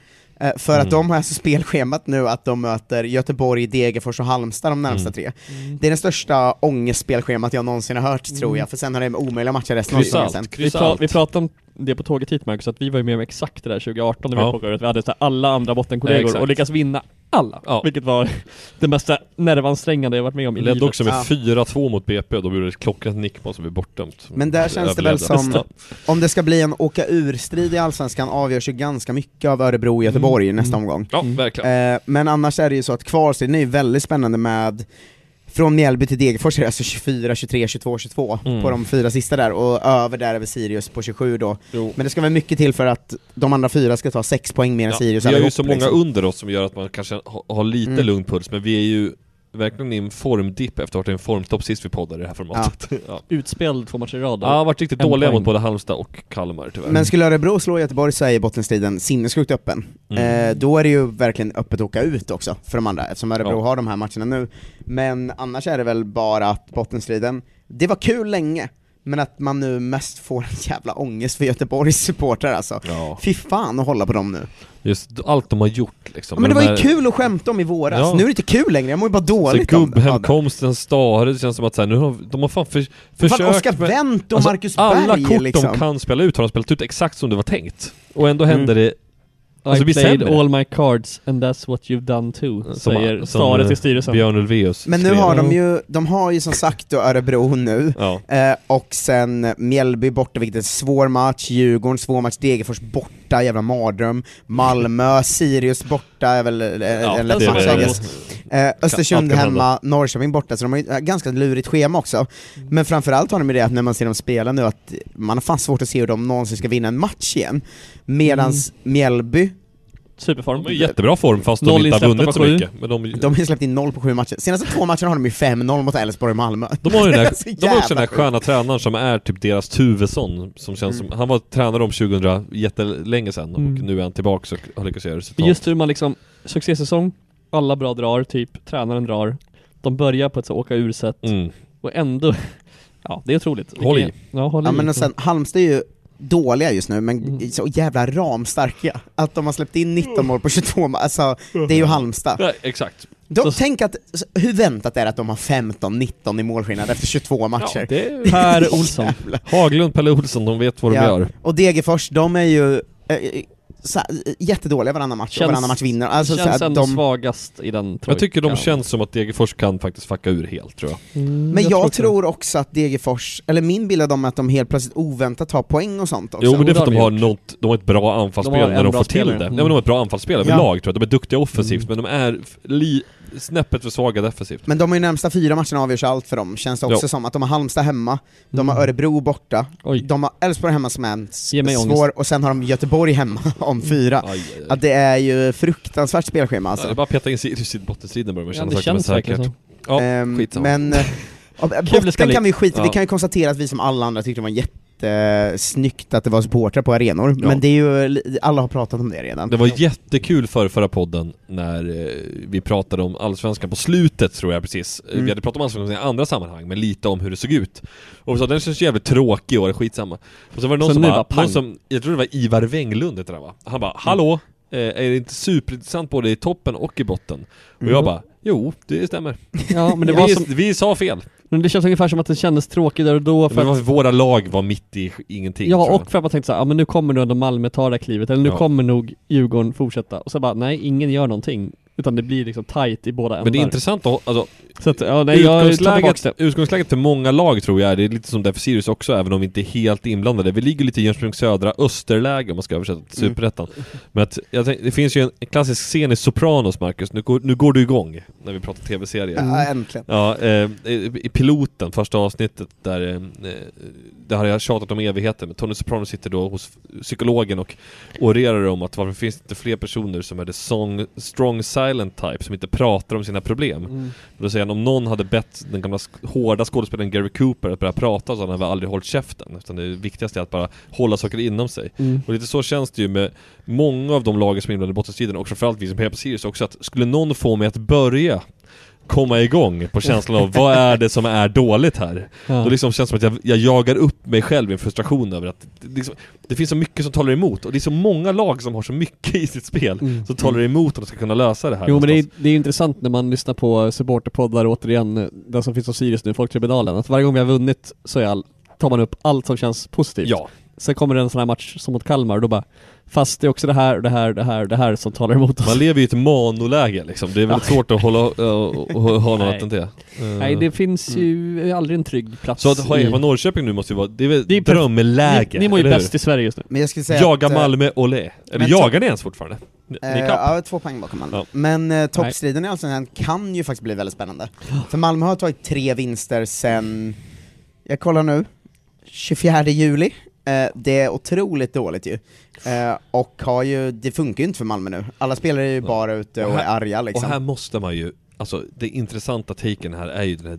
[SPEAKER 5] Eh, För
[SPEAKER 6] Mm.
[SPEAKER 5] att de har alltså spelschemat nu att de möter Göteborg, Degerfors och Halmstad de närmsta
[SPEAKER 6] Mm. Mm.
[SPEAKER 5] tre. Det är det största ångestspelschemat jag någonsin har hört tror jag, för sen har det omöjliga matcher resten av säsongen sen.
[SPEAKER 7] Vi, pra- vi pratade om det på tåget hit Marcus, att vi var ju med om exakt det där 2018 när vi
[SPEAKER 6] Ja.
[SPEAKER 7] var på året. Vi hade så här alla andra bottenkollegor
[SPEAKER 6] Exakt.
[SPEAKER 7] och lyckades vinna alla. Vilket var det mesta nervansträngande jag varit med om i
[SPEAKER 6] Ledde också med
[SPEAKER 7] Ja.
[SPEAKER 6] 4-2 mot BP, de gjorde ett klockrent nickmål som blev bortdömt.
[SPEAKER 5] Men där känns det väl
[SPEAKER 6] Överlevde.
[SPEAKER 5] som, om det ska bli en åka ur-strid i Allsvenskan avgörs ju ganska mycket av Örebro och Göteborg
[SPEAKER 6] Mm.
[SPEAKER 5] nästa omgång.
[SPEAKER 6] Ja, verkligen.
[SPEAKER 5] Eh, men annars är det ju så att kvalstriden är ju väldigt spännande med från Mjällby till Degerfors är det alltså 24, 23, 22, 22
[SPEAKER 6] Mm.
[SPEAKER 5] på de fyra sista där och över där är väl Sirius på 27 då. Men det ska väl mycket till för att de andra fyra ska ta 6 poäng mer än
[SPEAKER 6] Ja,
[SPEAKER 5] Sirius
[SPEAKER 6] Vi har ju
[SPEAKER 5] allihop,
[SPEAKER 6] så många
[SPEAKER 5] liksom.
[SPEAKER 6] under oss som gör att man kanske ha- har lite
[SPEAKER 5] Mm.
[SPEAKER 6] lugn puls, men vi är ju verkligen i en formdipp efter att ha varit i en formtopp sist vi poddade i det här formatet. Ja, ja.
[SPEAKER 7] Utspelad två matcher i rad.
[SPEAKER 6] har varit riktigt
[SPEAKER 7] En
[SPEAKER 6] dåliga
[SPEAKER 7] poäng.
[SPEAKER 6] mot både Halmstad och Kalmar tyvärr.
[SPEAKER 5] Men skulle Örebro slå Göteborg så är ju bottenstriden sinnessjukt öppen.
[SPEAKER 6] Mm.
[SPEAKER 5] Eh, då är det ju verkligen öppet att åka ut också för de andra, eftersom Örebro
[SPEAKER 6] Ja.
[SPEAKER 5] har de här matcherna nu. Men annars är det väl bara att bottenstriden, det var kul länge, men att man nu mest får en jävla ångest för Göteborgs supportrar alltså. Fy fan att hålla på dem nu.
[SPEAKER 6] Just allt de har gjort liksom.
[SPEAKER 5] Ja, men det var
[SPEAKER 6] De
[SPEAKER 5] ju
[SPEAKER 6] här-
[SPEAKER 5] kul att skämta om i våras,
[SPEAKER 6] Ja.
[SPEAKER 5] nu är det inte kul längre, jag mår ju bara
[SPEAKER 6] Så
[SPEAKER 5] dåligt om det.
[SPEAKER 6] gubbhemkomsten, Stare, det känns som att så här, nu har, de har fan för,
[SPEAKER 5] Fan,
[SPEAKER 6] försökt
[SPEAKER 5] Oscar Wendt och Marcus
[SPEAKER 6] Alltså, Alla
[SPEAKER 5] Berg,
[SPEAKER 6] kort
[SPEAKER 5] liksom.
[SPEAKER 6] de kan spela ut har de spelat ut exakt som det var tänkt. Och ändå
[SPEAKER 7] Mm.
[SPEAKER 6] händer det... Alltså
[SPEAKER 7] I
[SPEAKER 6] vi
[SPEAKER 7] played
[SPEAKER 6] sämre.
[SPEAKER 7] all my cards and that's what you've done too,
[SPEAKER 6] Som-
[SPEAKER 7] säger
[SPEAKER 6] som,
[SPEAKER 7] Stare
[SPEAKER 6] eh,
[SPEAKER 7] till styrelsen.
[SPEAKER 6] Björn Ulvaeus
[SPEAKER 5] Men nu har de ju, de har ju som sagt då Örebro nu, eh, och sen Mjällby borta vilket är en svår match, Djurgården svår match, Degerfors borta, jävla mardröm, Malmö, Sirius borta är väl eh, en lätt
[SPEAKER 6] det är
[SPEAKER 5] match
[SPEAKER 6] väl-
[SPEAKER 5] I guess. eh, Östersund
[SPEAKER 6] Allt kan
[SPEAKER 5] hemma, Norrköping borta, så de har ju ett ganska lurigt schema också. Men framförallt har de ju det att när man ser dem spela nu att man har fan svårt att se hur de någonsin ska vinna en match igen. Medans Mjällby
[SPEAKER 7] Superform.
[SPEAKER 6] De är i jättebra form fast de inte har vunnit så mycket. Men de,
[SPEAKER 5] de har ju släppt in noll på sju matcher. Senaste två matcherna har de ju 5-0 mot Elfsborg och Malmö.
[SPEAKER 6] de har ju den där,
[SPEAKER 5] Det är så
[SPEAKER 6] de har också den
[SPEAKER 5] jävla
[SPEAKER 6] där
[SPEAKER 5] sjukt. Mm.
[SPEAKER 6] sköna tränaren som är typ deras Tuvesson, som känns som, han var tränare om 2000 jättelänge sedan och
[SPEAKER 7] Mm.
[SPEAKER 6] nu är han tillbaka och har lyckats göra resultat.
[SPEAKER 7] Just hur man liksom, succésäsong, alla bra drar, typ tränaren drar. De börjar på ett så åka ur-sätt.
[SPEAKER 6] Mm.
[SPEAKER 7] Och ändå, ja det är otroligt.
[SPEAKER 5] Håll i. Mm.
[SPEAKER 7] Vilken- Ja, håll
[SPEAKER 5] ja,
[SPEAKER 7] i.
[SPEAKER 5] men och sen, Halmstad är ju dåliga just nu, men
[SPEAKER 6] Mm.
[SPEAKER 5] så jävla ramstarka. Att de har släppt in 19 mål på 22 mål, alltså det är ju Halmstad.
[SPEAKER 6] Ja, exakt.
[SPEAKER 5] De, tänk att, hur väntat är det att de har 15-19 i målskillnad efter 22 matcher?
[SPEAKER 6] det är- Per Olsson. Haglund, Pelle Olsson, de vet vad de gör.
[SPEAKER 5] Och Degerfors, de är ju eh, eh, så, eh, jättedåliga varannan match, och varannan match vinner. Alltså,
[SPEAKER 7] känns
[SPEAKER 5] så här,
[SPEAKER 7] ändå
[SPEAKER 5] de,
[SPEAKER 7] svagast i den
[SPEAKER 6] Jag tycker de
[SPEAKER 7] trojkan.
[SPEAKER 6] känns som att Degerfors kan faktiskt fucka ur helt tror jag.
[SPEAKER 5] Men Mm, jag, tror, också att Degerfors, eller min bild av dem är att de helt plötsligt oväntat tar poäng och sånt också.
[SPEAKER 6] Jo men det är för att de har något, de har ett bra anfallsspel
[SPEAKER 5] De har en
[SPEAKER 6] när de
[SPEAKER 5] bra
[SPEAKER 6] får till
[SPEAKER 5] spelare.
[SPEAKER 6] det.
[SPEAKER 5] Mm.
[SPEAKER 6] Nej men de har ett bra anfallsspel
[SPEAKER 5] Ja. Mm.
[SPEAKER 6] överlag tror jag. De är duktiga offensivt men de är f- li, snäppet för svaga defensivt.
[SPEAKER 5] Men de har ju närmsta fyra matcherna avgörs allt för dem, känns det också
[SPEAKER 6] Jo.
[SPEAKER 5] som. Att de har Halmstad hemma, de har Örebro borta, de har Elfsborg hemma som är en s-
[SPEAKER 7] mig
[SPEAKER 5] svår,
[SPEAKER 7] ångest.
[SPEAKER 5] och sen har de Göteborg hemma om fyra. Att det är ju fruktansvärt spelschema
[SPEAKER 6] Alltså. Det
[SPEAKER 5] alltså.
[SPEAKER 6] är bara att peta in Sirius i bottenstriden börjar man
[SPEAKER 7] Ja,
[SPEAKER 6] känna
[SPEAKER 7] det
[SPEAKER 6] sakta men
[SPEAKER 7] känns verkligen
[SPEAKER 6] säkert.
[SPEAKER 5] Ja,
[SPEAKER 6] skitsamma.
[SPEAKER 5] Men eh, ja,
[SPEAKER 6] Kul det ska
[SPEAKER 5] botten
[SPEAKER 6] bli.
[SPEAKER 5] kan vi skita i. vi
[SPEAKER 6] Ja.
[SPEAKER 5] kan ju konstatera att vi som alla andra tyckte det var jättesnyggt att det var supportrar på arenor, men det är ju, li- alla har pratat om det redan.
[SPEAKER 6] Det var jättekul för förra podden när eh, vi pratade om Allsvenskan på slutet tror jag precis. Eh,
[SPEAKER 5] Mm.
[SPEAKER 6] Vi hade pratat om Allsvenskan i andra sammanhang, men lite om hur det såg ut. Och vi sa den känns jävligt tråkig i år, skitsamma. Och så var det någon
[SPEAKER 7] Så
[SPEAKER 6] som,
[SPEAKER 7] nu
[SPEAKER 6] bara,
[SPEAKER 7] bara pang.
[SPEAKER 6] någon som, jag tror det var Ivar Wenglund heter han va? Han bara, hallå? Eh, är det inte superintressant både i toppen och i botten? Och
[SPEAKER 7] Mm.
[SPEAKER 6] jag bara, jo det stämmer.
[SPEAKER 7] Ja, men det var
[SPEAKER 6] vi,
[SPEAKER 7] som-
[SPEAKER 6] vi sa fel.
[SPEAKER 7] Men det känns ungefär som att det kändes tråkigt där och då för
[SPEAKER 6] Men
[SPEAKER 7] att,
[SPEAKER 6] våra lag var mitt i ingenting tror
[SPEAKER 7] Ja,
[SPEAKER 6] jag.
[SPEAKER 7] och för att man tänkte såhär, ja men nu kommer nog ändå Malmö ta det här klivet, eller nu
[SPEAKER 6] Ja.
[SPEAKER 7] kommer nog Djurgården fortsätta. Och så bara, nej ingen gör någonting. Utan det blir liksom tight i båda ändar.
[SPEAKER 6] Men det är intressant att, alltså,
[SPEAKER 7] Så att, ja, nej, jag tar
[SPEAKER 6] utgångsläget,
[SPEAKER 7] tillbaka
[SPEAKER 6] utgångsläget för många lag tror jag är, det är lite som där för Sirius också, även om vi inte är helt inblandade. Vi ligger lite i Jönköping södra österläge om man ska översätta till
[SPEAKER 7] Mm.
[SPEAKER 6] Superettan. Men att, jag tänkte, det finns ju en, en klassisk scen i Sopranos, Marcus, nu går, nu går du igång när vi pratar tv-serier.
[SPEAKER 5] Ja, äntligen.
[SPEAKER 6] Ja, eh, i i piloten, första avsnittet där, eh, det har jag tjatat om i evigheter, men Tony Soprano sitter då hos psykologen och orerar om att varför finns det inte fler personer som är the song, strong silent type, som inte pratar om sina problem.
[SPEAKER 7] Mm.
[SPEAKER 6] Då säger han om någon hade bett den gamla sk- hårda skådespelaren Gary Cooper att börja prata så hade han väl aldrig hållit käften. Utan det viktigaste är att bara hålla saker inom sig.
[SPEAKER 7] Mm.
[SPEAKER 6] Och lite så känns det ju med många av de lagen som är inblandade i bottenstriden och framförallt vi som hejar på Sirius också att skulle någon få mig att börja komma igång på känslan av vad är det som är dåligt här?
[SPEAKER 7] Ja.
[SPEAKER 6] Då liksom känns det som att jag, jag jagar upp mig själv i en frustration över att det, liksom, det finns så mycket som talar emot och det är så många lag som har så mycket i sitt spel
[SPEAKER 7] Mm.
[SPEAKER 6] som talar emot att de ska kunna lösa det här.
[SPEAKER 7] Jo men det är, det är intressant när man lyssnar på supporterpoddar återigen, den som finns om Sirius nu, Folktribunalen, att varje gång vi har vunnit så är all, tar man upp allt som känns positivt.
[SPEAKER 6] Ja.
[SPEAKER 7] typ. Sen kommer det en sån här match som mot Kalmar och då bara, fast det är också det här, det här, det här, det här som talar emot oss.
[SPEAKER 6] Man lever ju i ett manoläge liksom, det är väldigt
[SPEAKER 7] Ja.
[SPEAKER 6] svårt att hålla, äh, och- och ha något
[SPEAKER 7] Nej.
[SPEAKER 6] annat än det. Eh,
[SPEAKER 7] Nej det finns ju
[SPEAKER 5] Mm.
[SPEAKER 7] aldrig en trygg plats
[SPEAKER 6] Så att ha
[SPEAKER 7] i...
[SPEAKER 6] Eva Norrköping nu måste ju vara, det är väl
[SPEAKER 7] Det är perf-
[SPEAKER 6] drömläge?
[SPEAKER 7] Ni- ni mår ju
[SPEAKER 6] eller hur?
[SPEAKER 7] bäst i Sverige just nu.
[SPEAKER 5] Men jag skulle säga
[SPEAKER 6] Jaga
[SPEAKER 5] att, eh,
[SPEAKER 6] Malmö, olé! Eller
[SPEAKER 5] men
[SPEAKER 6] jagar
[SPEAKER 5] så-
[SPEAKER 6] ni ens fortfarande? Ni, ni
[SPEAKER 5] Eh,
[SPEAKER 6] är kapp?
[SPEAKER 5] ja, två poäng bakom Malmö. Men eh, toppstriden i Allsvenskan kan ju faktiskt bli väldigt spännande. För Malmö har tagit tre vinster sen, jag kollar nu, 24 juli. Eh, det är otroligt dåligt ju. Eh, och har ju, det funkar ju inte för Malmö nu. Alla spelare är ju bara ute och är arga liksom.
[SPEAKER 6] och här måste man ju Alltså det intressanta taken här är ju den här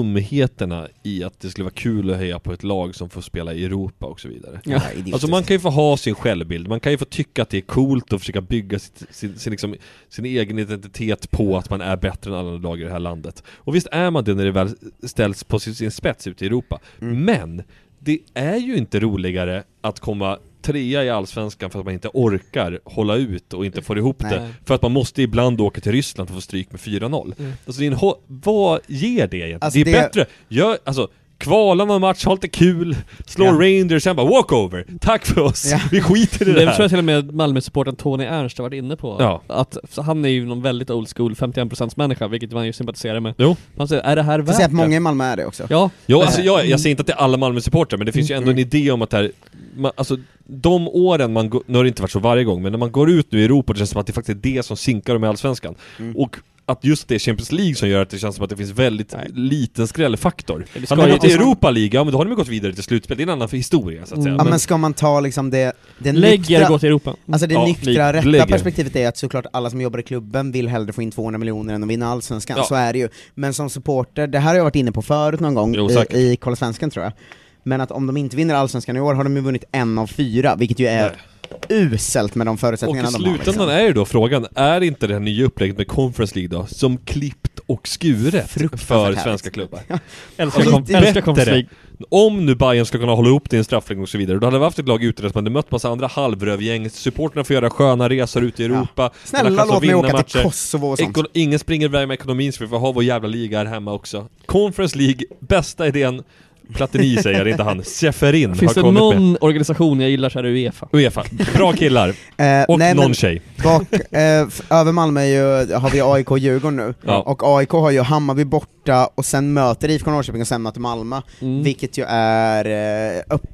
[SPEAKER 6] dumheterna i att det skulle vara kul att heja på ett lag som får spela i Europa och så vidare.
[SPEAKER 7] Ja, idiotiskt.
[SPEAKER 6] Alltså man kan ju få ha sin självbild, man kan ju få tycka att det är coolt och försöka bygga sitt, sin, sin, liksom, sin egen identitet på att man är bättre än alla lag i det här landet. Och visst är man det när det väl ställs på sin, sin spets ute i Europa.
[SPEAKER 7] Mm.
[SPEAKER 6] Men det är ju inte roligare att komma trea i Allsvenskan för att man inte orkar hålla ut och inte får ihop det.
[SPEAKER 7] Nej.
[SPEAKER 6] För att man måste ibland åka till Ryssland för att få stryk med 4-0.
[SPEAKER 7] Mm.
[SPEAKER 6] Alltså det är en hå- vad ger det egentligen?
[SPEAKER 7] Alltså,
[SPEAKER 6] det är
[SPEAKER 7] det-
[SPEAKER 6] bättre, gör, alltså Kvala någon match, ha lite kul, slå
[SPEAKER 7] Ja.
[SPEAKER 6] Rangers, sen bara walkover, tack för oss, vi skiter i det
[SPEAKER 7] Det tror
[SPEAKER 6] här.
[SPEAKER 7] jag till och med Malmö-supporten Tony Ernst har varit inne på.
[SPEAKER 6] Ja.
[SPEAKER 7] Att, så han är ju någon väldigt old school 51% människa, vilket man ju sympatiserar med.
[SPEAKER 6] Jo.
[SPEAKER 7] Han säger, är det här
[SPEAKER 5] Jag ser
[SPEAKER 7] värt
[SPEAKER 5] att många i Malmö är det också.
[SPEAKER 7] Ja.
[SPEAKER 6] Ja, alltså jag, jag säger inte att det är alla Malmö-supportrar, men det finns ju ändå en idé om att det här, man, alltså de åren man, går- nu har det inte varit så varje gång, men när man går ut nu i Europa det känns som att det faktiskt är det som sinkar dem i Allsvenskan.
[SPEAKER 7] Mm.
[SPEAKER 6] Och att just det är Champions League som gör att det känns som att det finns väldigt liten skrällfaktor.
[SPEAKER 7] det ska
[SPEAKER 6] Hade man
[SPEAKER 7] ju-
[SPEAKER 6] gått i Europa League, ja men då hade man gått vidare till slutspel, det är en annan historia så att säga.
[SPEAKER 5] Mm. Ja men ska man ta liksom det, det
[SPEAKER 7] Lägg er, gå till Europa.
[SPEAKER 5] Alltså det
[SPEAKER 6] Ja,
[SPEAKER 5] nyktra,
[SPEAKER 6] lägg-
[SPEAKER 5] rätta
[SPEAKER 6] lägg er.
[SPEAKER 5] perspektivet är att såklart alla som jobbar i klubben vill hellre få in 200 miljoner än att vinna Allsvenskan,
[SPEAKER 6] Ja.
[SPEAKER 5] så är det ju. Men som supporter, det här har jag varit inne på förut någon gång
[SPEAKER 6] Jo,
[SPEAKER 5] i,
[SPEAKER 6] säkert.
[SPEAKER 5] i Kolla Svenskan tror jag, men att om de inte vinner Allsvenskan i år har de ju vunnit en av fyra, vilket ju är uselt med de
[SPEAKER 6] Och
[SPEAKER 5] förutsättningarna
[SPEAKER 6] i
[SPEAKER 5] de har. liksom.
[SPEAKER 6] slutändan är ju då frågan, är inte det här nya upplägget med Conference League då, som klippt och skuret för
[SPEAKER 5] härligt.
[SPEAKER 6] svenska klubbar?
[SPEAKER 7] Älskar
[SPEAKER 6] Alltså,
[SPEAKER 7] kom-
[SPEAKER 6] det är
[SPEAKER 7] älskar
[SPEAKER 6] bättre.
[SPEAKER 7] Conference League.
[SPEAKER 6] Om nu Bayern ska kunna hålla ihop det i en straffläggning och så vidare, då hade vi haft ett lag ute där som hade mött massa andra halvrövgäng, supporterna får göra sköna resor ute i Europa, man har
[SPEAKER 5] Snälla,
[SPEAKER 6] chans att
[SPEAKER 5] låt mig
[SPEAKER 6] vinna
[SPEAKER 5] åka till Kosovo och sånt.
[SPEAKER 6] Eko- Ingen springer iväg med ekonomin så vi får ha vår jävla liga här hemma också. Conference League, bästa idén, Platini säger det, inte han, Seferin
[SPEAKER 7] Finns
[SPEAKER 6] har
[SPEAKER 7] det
[SPEAKER 6] kommit med.
[SPEAKER 7] någon organisation jag gillar så är det Uefa.
[SPEAKER 6] Uefa. Bra killar.
[SPEAKER 5] Eh,
[SPEAKER 6] och
[SPEAKER 5] nej,
[SPEAKER 6] någon
[SPEAKER 5] men
[SPEAKER 6] tjej.
[SPEAKER 5] Bak, eh, f- över Malmö är ju, har vi AIK och Djurgården nu,
[SPEAKER 6] Ja.
[SPEAKER 5] och AIK har ju Hammarby borta och sen möter IFK Norrköping och sen möter Malmö,
[SPEAKER 6] Mm.
[SPEAKER 5] vilket ju är eh, upp,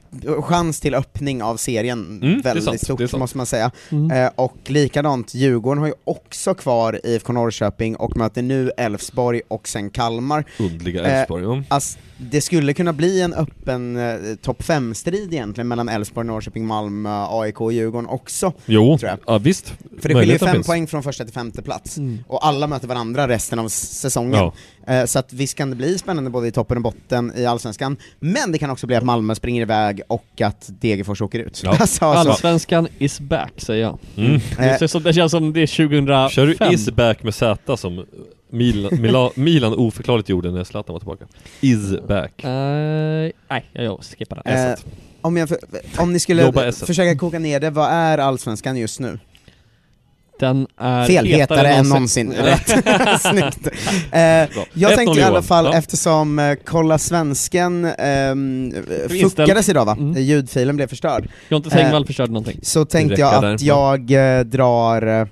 [SPEAKER 5] chans till öppning av serien
[SPEAKER 6] Mm, det är
[SPEAKER 5] väldigt
[SPEAKER 6] sant, det är
[SPEAKER 5] stort
[SPEAKER 6] sant.
[SPEAKER 5] måste man säga.
[SPEAKER 6] Mm.
[SPEAKER 5] Eh, och likadant, Djurgården har ju också kvar IFK Norrköping och möter nu Elfsborg och sen Kalmar.
[SPEAKER 6] Underliga
[SPEAKER 5] Eh,
[SPEAKER 6] Elfsborg, ja.
[SPEAKER 5] ass- det skulle kunna bli en öppen eh, topp 5-strid egentligen mellan Elfsborg, Norrköping, Malmö, AIK och Djurgården också.
[SPEAKER 6] Jo,
[SPEAKER 5] tror jag.
[SPEAKER 6] ja, visst.
[SPEAKER 5] För det skiljer ju
[SPEAKER 6] Möjligheten
[SPEAKER 5] fem
[SPEAKER 6] finns.
[SPEAKER 5] poäng från första till femte plats,
[SPEAKER 6] Mm.
[SPEAKER 5] och alla möter varandra resten av s- säsongen. Eh, Så att visst kan det bli spännande både i toppen och botten i Allsvenskan, men det kan också bli att Malmö springer iväg och att Degerfors åker ut. Alltså, alltså.
[SPEAKER 7] Allsvenskan is back, säger jag.
[SPEAKER 6] Mm.
[SPEAKER 7] Det, känns som, det känns som det är
[SPEAKER 5] Eh,
[SPEAKER 7] 2005.
[SPEAKER 6] Kör du is back med Z som Milan, Mila, Milan oförklarligt gjorde när Zlatan var tillbaka? Is back.
[SPEAKER 7] Eh, nej, jag- jag skippar den.
[SPEAKER 5] Eh, om, jag, för- om ni skulle
[SPEAKER 7] Jobba esset.
[SPEAKER 5] försöka koka ner det, vad är Allsvenskan just nu?
[SPEAKER 7] Den är
[SPEAKER 5] Fel, hetare än någonsin.
[SPEAKER 7] Ja.
[SPEAKER 5] Rätt. Snyggt. Eh, jag
[SPEAKER 7] 1-0
[SPEAKER 5] tänkte i alla
[SPEAKER 7] Johan.
[SPEAKER 5] fall,
[SPEAKER 7] Ja.
[SPEAKER 5] eftersom eh, Kolla Svensken ehm, fuckades idag va? Ljudfilen blev förstörd.
[SPEAKER 7] Jonte
[SPEAKER 5] Eh,
[SPEAKER 7] Tengvall förstörde någonting.
[SPEAKER 5] Så tänkte
[SPEAKER 7] Det
[SPEAKER 5] jag
[SPEAKER 7] räcker
[SPEAKER 5] att
[SPEAKER 7] där.
[SPEAKER 5] jag eh, drar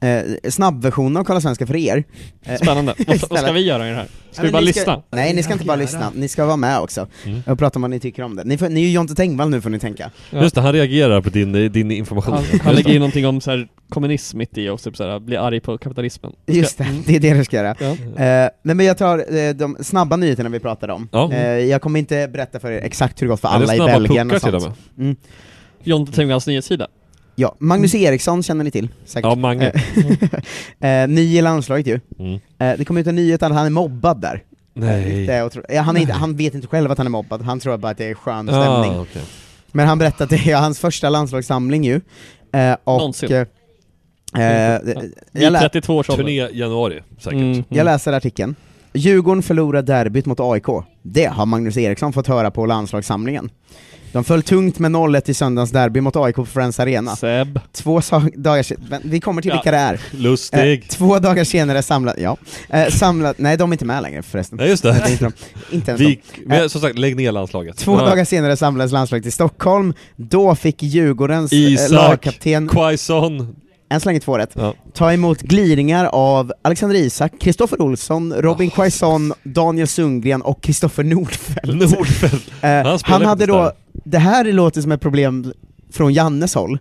[SPEAKER 5] eh, snabbversionen av Kolla Svenska för er. Eh,
[SPEAKER 7] Spännande. Vad- vad ska
[SPEAKER 5] istället.
[SPEAKER 7] vi göra i det här?
[SPEAKER 5] Ja,
[SPEAKER 7] Ska vi
[SPEAKER 5] men
[SPEAKER 7] bara Mm.
[SPEAKER 5] ni
[SPEAKER 7] lyssna?
[SPEAKER 5] Nej, ni ska inte bara lyssna. Ni ska vara med också. Och prata om vad ni tycker om det. Ni, får, ni är ju Jonte Tengvall nu får ni tänka.
[SPEAKER 6] Just det, han reagerar på din, eh, din information.
[SPEAKER 7] Han, han lägger in någonting om så här, kommunism mitt i och typ så här, blir arg på kapitalismen. Ska-
[SPEAKER 5] Just det, det är det du ska göra.
[SPEAKER 7] Ja.
[SPEAKER 5] Eh, nej men jag tar eh, de snabba nyheterna vi pratade om.
[SPEAKER 7] Ja.
[SPEAKER 5] Eh, jag kommer inte berätta för er exakt hur det gått för
[SPEAKER 7] Är det
[SPEAKER 5] alla i
[SPEAKER 7] snabba
[SPEAKER 5] Belgien
[SPEAKER 7] puckar
[SPEAKER 5] och
[SPEAKER 7] till
[SPEAKER 5] sånt.
[SPEAKER 7] och
[SPEAKER 5] Mm.
[SPEAKER 7] Jonte Tengvalls nyhetssida.
[SPEAKER 5] Ja, Magnus Eriksson känner ni till säkert.
[SPEAKER 7] Mm. Ja, Mange.
[SPEAKER 5] Eh, eh, ny i landslaget ju.
[SPEAKER 6] Mm.
[SPEAKER 5] Eh, det kom ut en nyhet att han är mobbad där.
[SPEAKER 6] Nej.
[SPEAKER 5] Eh, det är otro- ja, han, är inte, han vet inte själv att han är mobbad, han tror bara att det är skön stämning.
[SPEAKER 6] Ah, okej.
[SPEAKER 5] Men han berättade att det är hans första landslagssamling ju. Eh, och,
[SPEAKER 6] Någonsin.
[SPEAKER 5] eh, eh, jag lä-
[SPEAKER 6] Turné januari, säkert.
[SPEAKER 7] Mm,
[SPEAKER 5] jag läser artikeln. Djurgården förlorar derbyt mot AIK. Det har Magnus Eriksson fått höra på landslagssamlingen. De föll tungt med 0-1 i söndagens derby mot AIK på Friends Arena.
[SPEAKER 7] Seb.
[SPEAKER 5] Två sa- dagar se- vä- Vi kommer till
[SPEAKER 7] Ja.
[SPEAKER 5] vilka det är.
[SPEAKER 6] Lustig.
[SPEAKER 5] Eh, två dagar senare samlat... Ja. Eh, samlat... Nej, de är inte med längre förresten.
[SPEAKER 6] Nej, just det.
[SPEAKER 5] är inte, de. inte ens
[SPEAKER 6] Vi,
[SPEAKER 5] de.
[SPEAKER 6] men som sagt, lägg ner landslaget.
[SPEAKER 5] Två dagar senare samlades landslaget i Stockholm. Då fick Djurgårdens eh,
[SPEAKER 6] Isak,
[SPEAKER 5] lagkapten...
[SPEAKER 6] Quaison.
[SPEAKER 5] Än så länge två rätt. Ta emot gliringar av Alexander Isak, Kristoffer Olsson, Robin Quaison, Daniel Sundgren och Kristoffer Nordfeldt.
[SPEAKER 6] Nordfeldt.
[SPEAKER 5] Eh, han,
[SPEAKER 6] spelar
[SPEAKER 5] hade
[SPEAKER 6] faktiskt
[SPEAKER 5] då...
[SPEAKER 6] där.
[SPEAKER 5] Det här låter som ett problem från Jannes håll.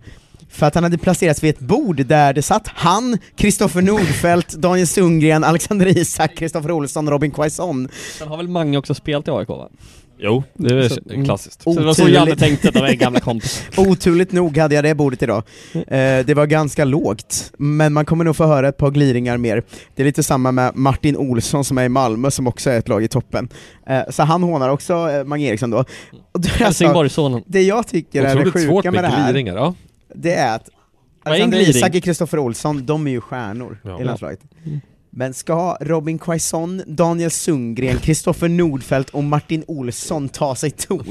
[SPEAKER 5] För att han hade placerats vid ett bord där det satt han, Kristoffer Nordfeldt, Daniel Sundgren, Alexander Isak, Kristoffer Olsson, Robin Quaison.
[SPEAKER 7] Sen har väl Mange också spelat i AIK va? Alltså,
[SPEAKER 6] Jo, det är klassiskt.
[SPEAKER 5] mm,
[SPEAKER 7] Så det var så
[SPEAKER 5] Oturligt-
[SPEAKER 7] Janne tänkte när de var gamla kompisar.
[SPEAKER 5] Oturligt nog hade jag det bordet idag. Eh, det var ganska lågt, men man kommer nog få höra ett par gliringar mer. Det är lite samma med Martin Olsson som är i Malmö som också är ett lag i toppen. Eh, så han hånar också eh, Mange Eriksson då. Och det, är
[SPEAKER 7] Helsingborgssonen.
[SPEAKER 5] det jag tycker är det
[SPEAKER 6] Otroligt svårt
[SPEAKER 5] Alltså, sjuka
[SPEAKER 6] med
[SPEAKER 5] med det
[SPEAKER 6] gliringar,
[SPEAKER 5] här,
[SPEAKER 6] ja.
[SPEAKER 5] det är att
[SPEAKER 7] Vad är en
[SPEAKER 5] Alexander
[SPEAKER 7] gliring?
[SPEAKER 5] Isak och Kristoffer Olsson, de är ju stjärnor
[SPEAKER 7] Ja.
[SPEAKER 5] i landslaget.
[SPEAKER 7] Mm.
[SPEAKER 5] Men ska Robin Quaison, Daniel Sundgren, Kristoffer Nordfeldt och Martin Olsson ta sig ton?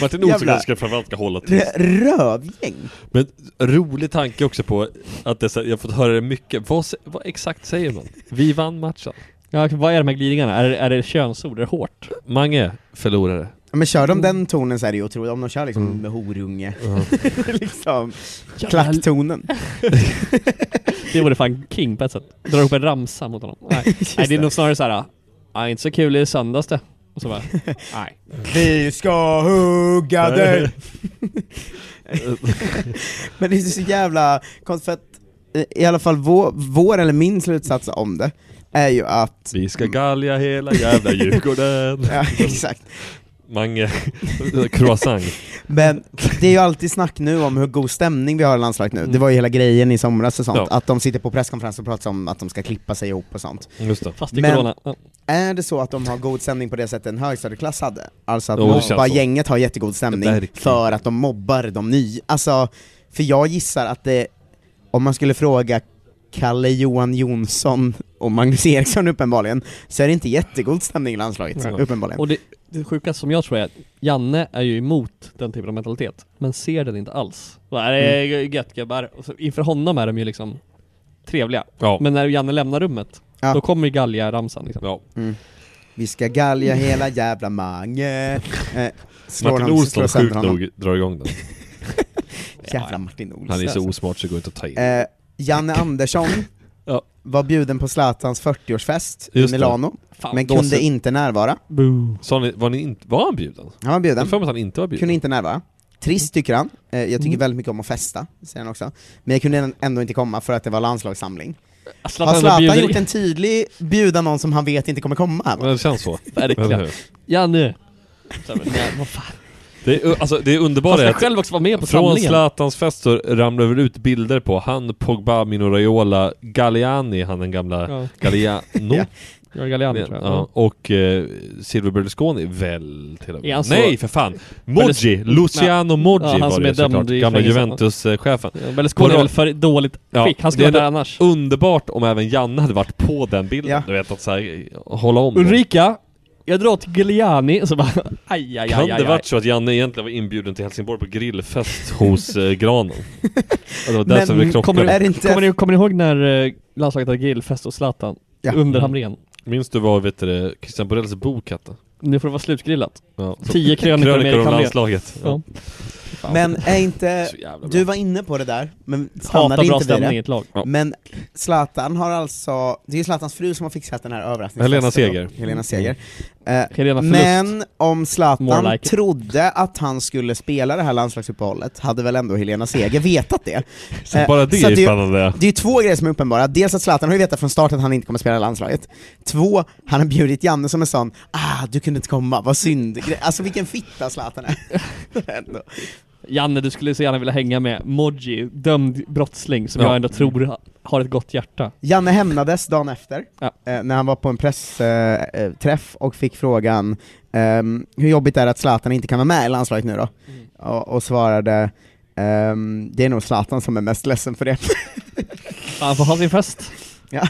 [SPEAKER 6] Martin Olsson
[SPEAKER 5] Jävlar.
[SPEAKER 6] kanske ska framförallt ska hålla
[SPEAKER 5] Det
[SPEAKER 6] tyst.
[SPEAKER 5] är Rövgäng!
[SPEAKER 6] Men rolig tanke också på att det, är så här- jag har fått höra det mycket. Vad, sä- vad exakt säger man? Vi vann matchen.
[SPEAKER 7] Ja, vad är de här gliringarna? Är, är det könsord? Är det hårt?
[SPEAKER 6] Mange förlorade.
[SPEAKER 5] Ja, Men kör de den tonen så är det ju otroligt, om de kör liksom med horunge, liksom, klacktonen.
[SPEAKER 7] Det vore fan king på ett sätt. Dra ihop en ramsa mot honom. Nej, Nej det är nog snarare såhär, nej inte så kul i söndags det. Och så bara, nej.
[SPEAKER 5] Vi ska hugga dig! Men det är så jävla konstigt för att, eh, i alla fall vår, vår eller min slutsats om det, är ju att...
[SPEAKER 6] Vi ska galja hela jävla Djurgården.
[SPEAKER 5] ja, exakt.
[SPEAKER 6] Mange, croissant.
[SPEAKER 5] Men det är ju alltid snack nu om hur god stämning vi har i landslaget nu, det var ju hela grejen i somras och sånt,
[SPEAKER 6] Ja.
[SPEAKER 5] att de sitter på presskonferens och pratar om att de ska klippa sig ihop och sånt.
[SPEAKER 6] Just det. Fast
[SPEAKER 7] i corona,
[SPEAKER 5] är det så att de har god stämning på det sättet en högstadieklass hade? Alltså att
[SPEAKER 6] Jo, det känns så.
[SPEAKER 5] mobbargänget har jättegod stämning
[SPEAKER 6] Verkligen.
[SPEAKER 5] för att de mobbar de nya. Alltså, för jag gissar att det, om man skulle fråga Kalle Johan Jonsson och Magnus Eriksson uppenbarligen, så är det inte jättegod stämning i landslaget,
[SPEAKER 7] Nej.
[SPEAKER 5] uppenbarligen.
[SPEAKER 7] Och det, det sjukaste som jag tror är att Janne är ju emot den typen av mentalitet, men ser den inte alls. Bara, det
[SPEAKER 6] Mm.
[SPEAKER 7] är gött gubbar. Och så Inför honom är de ju liksom trevliga.
[SPEAKER 6] Ja.
[SPEAKER 7] Men när Janne lämnar rummet,
[SPEAKER 5] Ja.
[SPEAKER 7] då kommer ju galja-ramsan liksom.
[SPEAKER 6] Ja.
[SPEAKER 5] Vi ska galja hela jävla Mange. Eh, slår
[SPEAKER 6] Martin
[SPEAKER 5] honom- slår
[SPEAKER 6] Olsson
[SPEAKER 5] sönder
[SPEAKER 6] sjukt
[SPEAKER 5] honom.
[SPEAKER 6] nog drar igång den.
[SPEAKER 5] Jävla Martin Olsson.
[SPEAKER 6] Han är så
[SPEAKER 5] alltså.
[SPEAKER 6] osmart så det går inte att ta in.
[SPEAKER 5] Eh, Janne Andersson var bjuden på Zlatans 40-årsfest i
[SPEAKER 6] Just det.
[SPEAKER 5] Milano,
[SPEAKER 6] Fan,
[SPEAKER 5] men
[SPEAKER 6] då
[SPEAKER 5] kunde
[SPEAKER 6] så-
[SPEAKER 5] inte närvara.
[SPEAKER 6] Sa ni, var, ni inte, var han bjuden?
[SPEAKER 5] Han var
[SPEAKER 6] Jag
[SPEAKER 5] bjuden.
[SPEAKER 6] har för mig att han inte var bjuden.
[SPEAKER 5] Kunde inte närvara. Trist tycker han. Eh, jag tycker
[SPEAKER 6] Mm.
[SPEAKER 5] väldigt mycket om att festa, säger han också. Men jag kunde ändå inte komma för att det var landslagssamling.
[SPEAKER 7] Zlatan
[SPEAKER 5] har Zlatan
[SPEAKER 7] bjuder
[SPEAKER 5] gjort
[SPEAKER 7] in-
[SPEAKER 5] en tydlig bjudan någon som han vet inte kommer komma?
[SPEAKER 6] Men det känns så. Eller
[SPEAKER 7] Verkligen.
[SPEAKER 6] hur?
[SPEAKER 7] Janne! Så här, men, nej, vad fan.
[SPEAKER 6] Det, är- alltså, det underbara
[SPEAKER 7] Fast
[SPEAKER 6] är
[SPEAKER 7] jag
[SPEAKER 6] att
[SPEAKER 7] själv också var med på
[SPEAKER 6] från
[SPEAKER 7] samlingen.
[SPEAKER 6] Zlatans fest så ramlar väl ut bilder på han, Pogba, Mino Raiola, Galliani, han den gamla
[SPEAKER 7] Ja.
[SPEAKER 6] Galliano.
[SPEAKER 7] Ja. Ja, Galliani,
[SPEAKER 6] Ja,
[SPEAKER 7] tror jag.
[SPEAKER 6] ja. Och eh, Silvio Berlusconi väl till och
[SPEAKER 7] Är han
[SPEAKER 6] med.
[SPEAKER 7] så-
[SPEAKER 6] Nej för fan! Moggi! Luciano
[SPEAKER 7] Nej.
[SPEAKER 6] Moggi
[SPEAKER 7] Ja, han
[SPEAKER 6] var
[SPEAKER 7] som
[SPEAKER 6] det
[SPEAKER 7] är dömd
[SPEAKER 6] såklart.
[SPEAKER 7] i
[SPEAKER 6] Gamla
[SPEAKER 7] fängelse.
[SPEAKER 6] Juventus-chefen.
[SPEAKER 7] Ja, Berlusconi
[SPEAKER 6] På
[SPEAKER 7] är
[SPEAKER 6] ra-
[SPEAKER 7] väl för i dåligt skick. Han skulle
[SPEAKER 6] det
[SPEAKER 7] vara
[SPEAKER 6] är
[SPEAKER 7] där
[SPEAKER 6] ändå
[SPEAKER 7] annars.
[SPEAKER 6] Underbart om även Janne hade varit på den bilden.
[SPEAKER 7] Ja.
[SPEAKER 6] Du vet att såhär, hålla om. dem.
[SPEAKER 7] Ulrika! Jag drar till Galliani, och så bara aj, aj, aj,
[SPEAKER 6] Kan
[SPEAKER 7] aj,
[SPEAKER 6] det
[SPEAKER 7] aj.
[SPEAKER 6] varit så att Janne egentligen var inbjuden till Helsingborg på grillfest hos eh, Granen? Alltså, Det var där
[SPEAKER 7] Men
[SPEAKER 6] som det krockade.
[SPEAKER 7] kommer, ni, kommer, ni, kommer ni ihåg när eh, landslaget hade grillfest och Zlatan? Under Hamrén.
[SPEAKER 6] Minns du vad vet du, det, Christian Borells bok hette?
[SPEAKER 7] Nu får det vara slutgrillat.
[SPEAKER 6] Ja.
[SPEAKER 7] Tio krönikor med
[SPEAKER 6] Krönikor
[SPEAKER 7] Erik
[SPEAKER 6] om
[SPEAKER 7] Hamrén.
[SPEAKER 6] landslaget. Ja.
[SPEAKER 7] Fan.
[SPEAKER 5] Men är inte, du var inne på det där, men stannade
[SPEAKER 7] bra
[SPEAKER 5] inte vid
[SPEAKER 7] stämning i
[SPEAKER 5] det.
[SPEAKER 7] ett lag. Ja.
[SPEAKER 5] Men Zlatan har alltså, det är ju Zlatans fru som har fixat den här överraskningsfesten.
[SPEAKER 6] Helena
[SPEAKER 5] då.
[SPEAKER 6] Seger. Mm.
[SPEAKER 5] Helena Seger. Eh,
[SPEAKER 7] Helena Förlust.
[SPEAKER 5] men om Zlatan
[SPEAKER 7] More like it.
[SPEAKER 5] trodde att han skulle spela det här landslagsuppehållet, hade väl ändå Helena Seger vetat det? Eh,
[SPEAKER 6] Så bara det
[SPEAKER 5] så
[SPEAKER 6] är
[SPEAKER 5] ju-
[SPEAKER 6] spännande.
[SPEAKER 5] Det är ju två grejer som är uppenbara, dels att Zlatan har ju vetat från start att han inte kommer spela i landslaget. Två, han har bjudit Janne som en sån ah, du kunde inte komma, vad synd. Alltså vilken fitta Zlatan är.
[SPEAKER 7] Janne, du skulle så gärna vilja hänga med Moji, dömd brottsling som
[SPEAKER 5] Ja.
[SPEAKER 7] jag ändå tror ha- har ett gott hjärta.
[SPEAKER 5] Janne hämnades dagen efter, eh, när han var på en pressträff eh, träff och fick frågan ehm, hur jobbigt är det att Zlatan inte kan vara med i landslaget nu då?
[SPEAKER 7] Mm.
[SPEAKER 5] Och, och svarade ehm, det är nog Zlatan som är mest ledsen för det.
[SPEAKER 7] Han får ha sin fest.
[SPEAKER 5] Ja.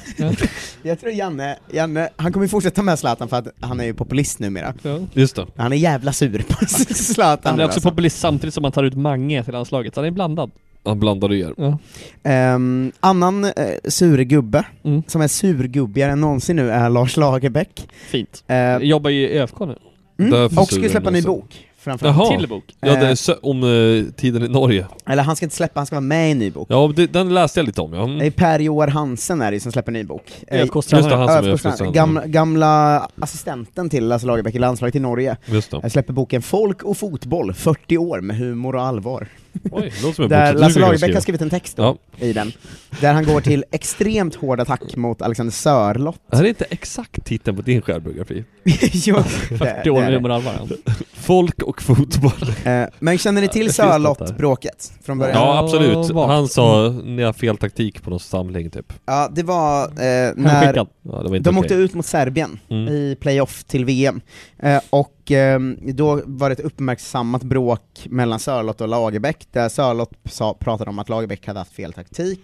[SPEAKER 5] Jag tror Janne, Janne, han kommer ju fortsätta med Zlatan för att han är ju populist numera.
[SPEAKER 7] Ja.
[SPEAKER 6] Just det.
[SPEAKER 5] Han är jävla sur på Zlatan
[SPEAKER 7] Han
[SPEAKER 5] nu
[SPEAKER 7] är också
[SPEAKER 5] alltså.
[SPEAKER 7] populist samtidigt som han tar ut Mange till landslaget, så han är blandad.
[SPEAKER 6] Han blandade er.
[SPEAKER 7] Ja.
[SPEAKER 5] Ehm, annan eh, surgubbe,
[SPEAKER 7] Mm.
[SPEAKER 5] som är surgubbigare än någonsin nu, är Lars Lagerbäck.
[SPEAKER 7] Fint.
[SPEAKER 5] Ehm,
[SPEAKER 7] Jobbar ju i ÖFK nu.
[SPEAKER 5] mm, och ska ju släppa en ny bok. framförallt.
[SPEAKER 6] Jaha.
[SPEAKER 7] Till bok.
[SPEAKER 6] Ja, det
[SPEAKER 5] Eh,
[SPEAKER 6] är sö- om eh, tiden i Norge.
[SPEAKER 5] Eller han ska inte släppa, han ska vara med i en ny bok.
[SPEAKER 6] Ja, det, den läste jag lite om ja. Mm,
[SPEAKER 5] Det är Per Joar Hansen är det som släpper en ny bok. Eh,
[SPEAKER 6] ÖFKs tränare. Just det, han som är
[SPEAKER 5] ÖFKs
[SPEAKER 6] ÖFKs
[SPEAKER 5] tränare.
[SPEAKER 6] tränare.
[SPEAKER 5] Gamla, gamla assistenten till Lasse Lagerbäck i landslaget i Norge.
[SPEAKER 6] Just det.
[SPEAKER 5] Jag släpper boken Folk och fotboll, 40 år med humor och allvar.
[SPEAKER 6] Oj, låter som en
[SPEAKER 5] Där
[SPEAKER 6] bok.
[SPEAKER 5] Lasse
[SPEAKER 6] Du har
[SPEAKER 5] Lagerbäck
[SPEAKER 6] skrivit.
[SPEAKER 5] har skrivit en text då,
[SPEAKER 6] Ja.
[SPEAKER 5] i den. Där han går till extremt hård attack
[SPEAKER 6] Mm.
[SPEAKER 5] mot Alexander Sörlott.
[SPEAKER 6] Det här är inte exakt titeln på din självbiografi.
[SPEAKER 5] jo, det- det
[SPEAKER 7] 40
[SPEAKER 5] är
[SPEAKER 7] år
[SPEAKER 5] det.
[SPEAKER 7] i moralvaran.
[SPEAKER 6] Folk och fotboll.
[SPEAKER 5] Eh, Men känner ni
[SPEAKER 6] Det
[SPEAKER 5] till
[SPEAKER 6] finns något där.
[SPEAKER 5] Sörlott-bråket från början?
[SPEAKER 6] Ja, absolut. Han sa, ni har fel taktik på någon samling typ.
[SPEAKER 5] Ja, det var eh, när
[SPEAKER 6] Hemskickad. Ja, det var inte
[SPEAKER 5] de åkte
[SPEAKER 6] okej.
[SPEAKER 5] ut mot Serbien
[SPEAKER 6] Mm.
[SPEAKER 5] i playoff till VM, eh, och eh, då var det ett uppmärksammat bråk mellan Sörlott och Lagerbäck, där Sörlott sa, pratade om att Lagerbäck hade haft fel taktik,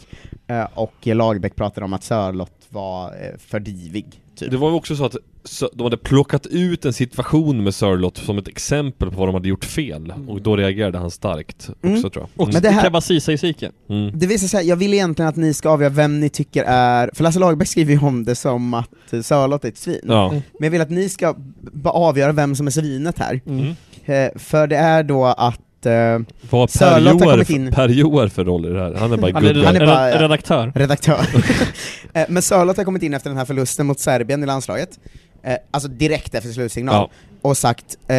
[SPEAKER 5] eh, och Lagerbäck pratade om att Sörlott var eh, för divig. typ.
[SPEAKER 6] Det var ju också så att så- de hade plockat ut en situation med Sörlott som ett exempel på vad de hade gjort fel
[SPEAKER 7] Mm.
[SPEAKER 6] och då reagerade han starkt också
[SPEAKER 5] Mm.
[SPEAKER 6] tror jag.
[SPEAKER 5] Och Men det här-
[SPEAKER 7] Krabasisa-musiken.
[SPEAKER 6] Mm.
[SPEAKER 5] Det visar sig, jag vill egentligen att ni ska avgöra vem ni tycker är, för Lasse Lagerbäck skriver ju om det som att eh, Sörlott är ett svin.
[SPEAKER 6] Ja.
[SPEAKER 5] Men jag vill att ni ska bara avgöra vem som är svinet här.
[SPEAKER 6] Mm.
[SPEAKER 5] Eh, För det är då att eh,
[SPEAKER 6] Vad har Per
[SPEAKER 5] Sörlott har
[SPEAKER 6] Joar
[SPEAKER 5] kommit
[SPEAKER 6] för-
[SPEAKER 5] in...
[SPEAKER 6] Per Joar för roll i det här? Han är bara
[SPEAKER 5] Han är
[SPEAKER 6] gubbe.
[SPEAKER 5] Han är bara, eh,
[SPEAKER 7] redaktör.
[SPEAKER 5] Redaktör. Eh, Men Sörlott har kommit in efter den här förlusten mot Serbien i landslaget, eh, alltså direkt efter slutsignal,
[SPEAKER 6] Ja.
[SPEAKER 5] och sagt eh,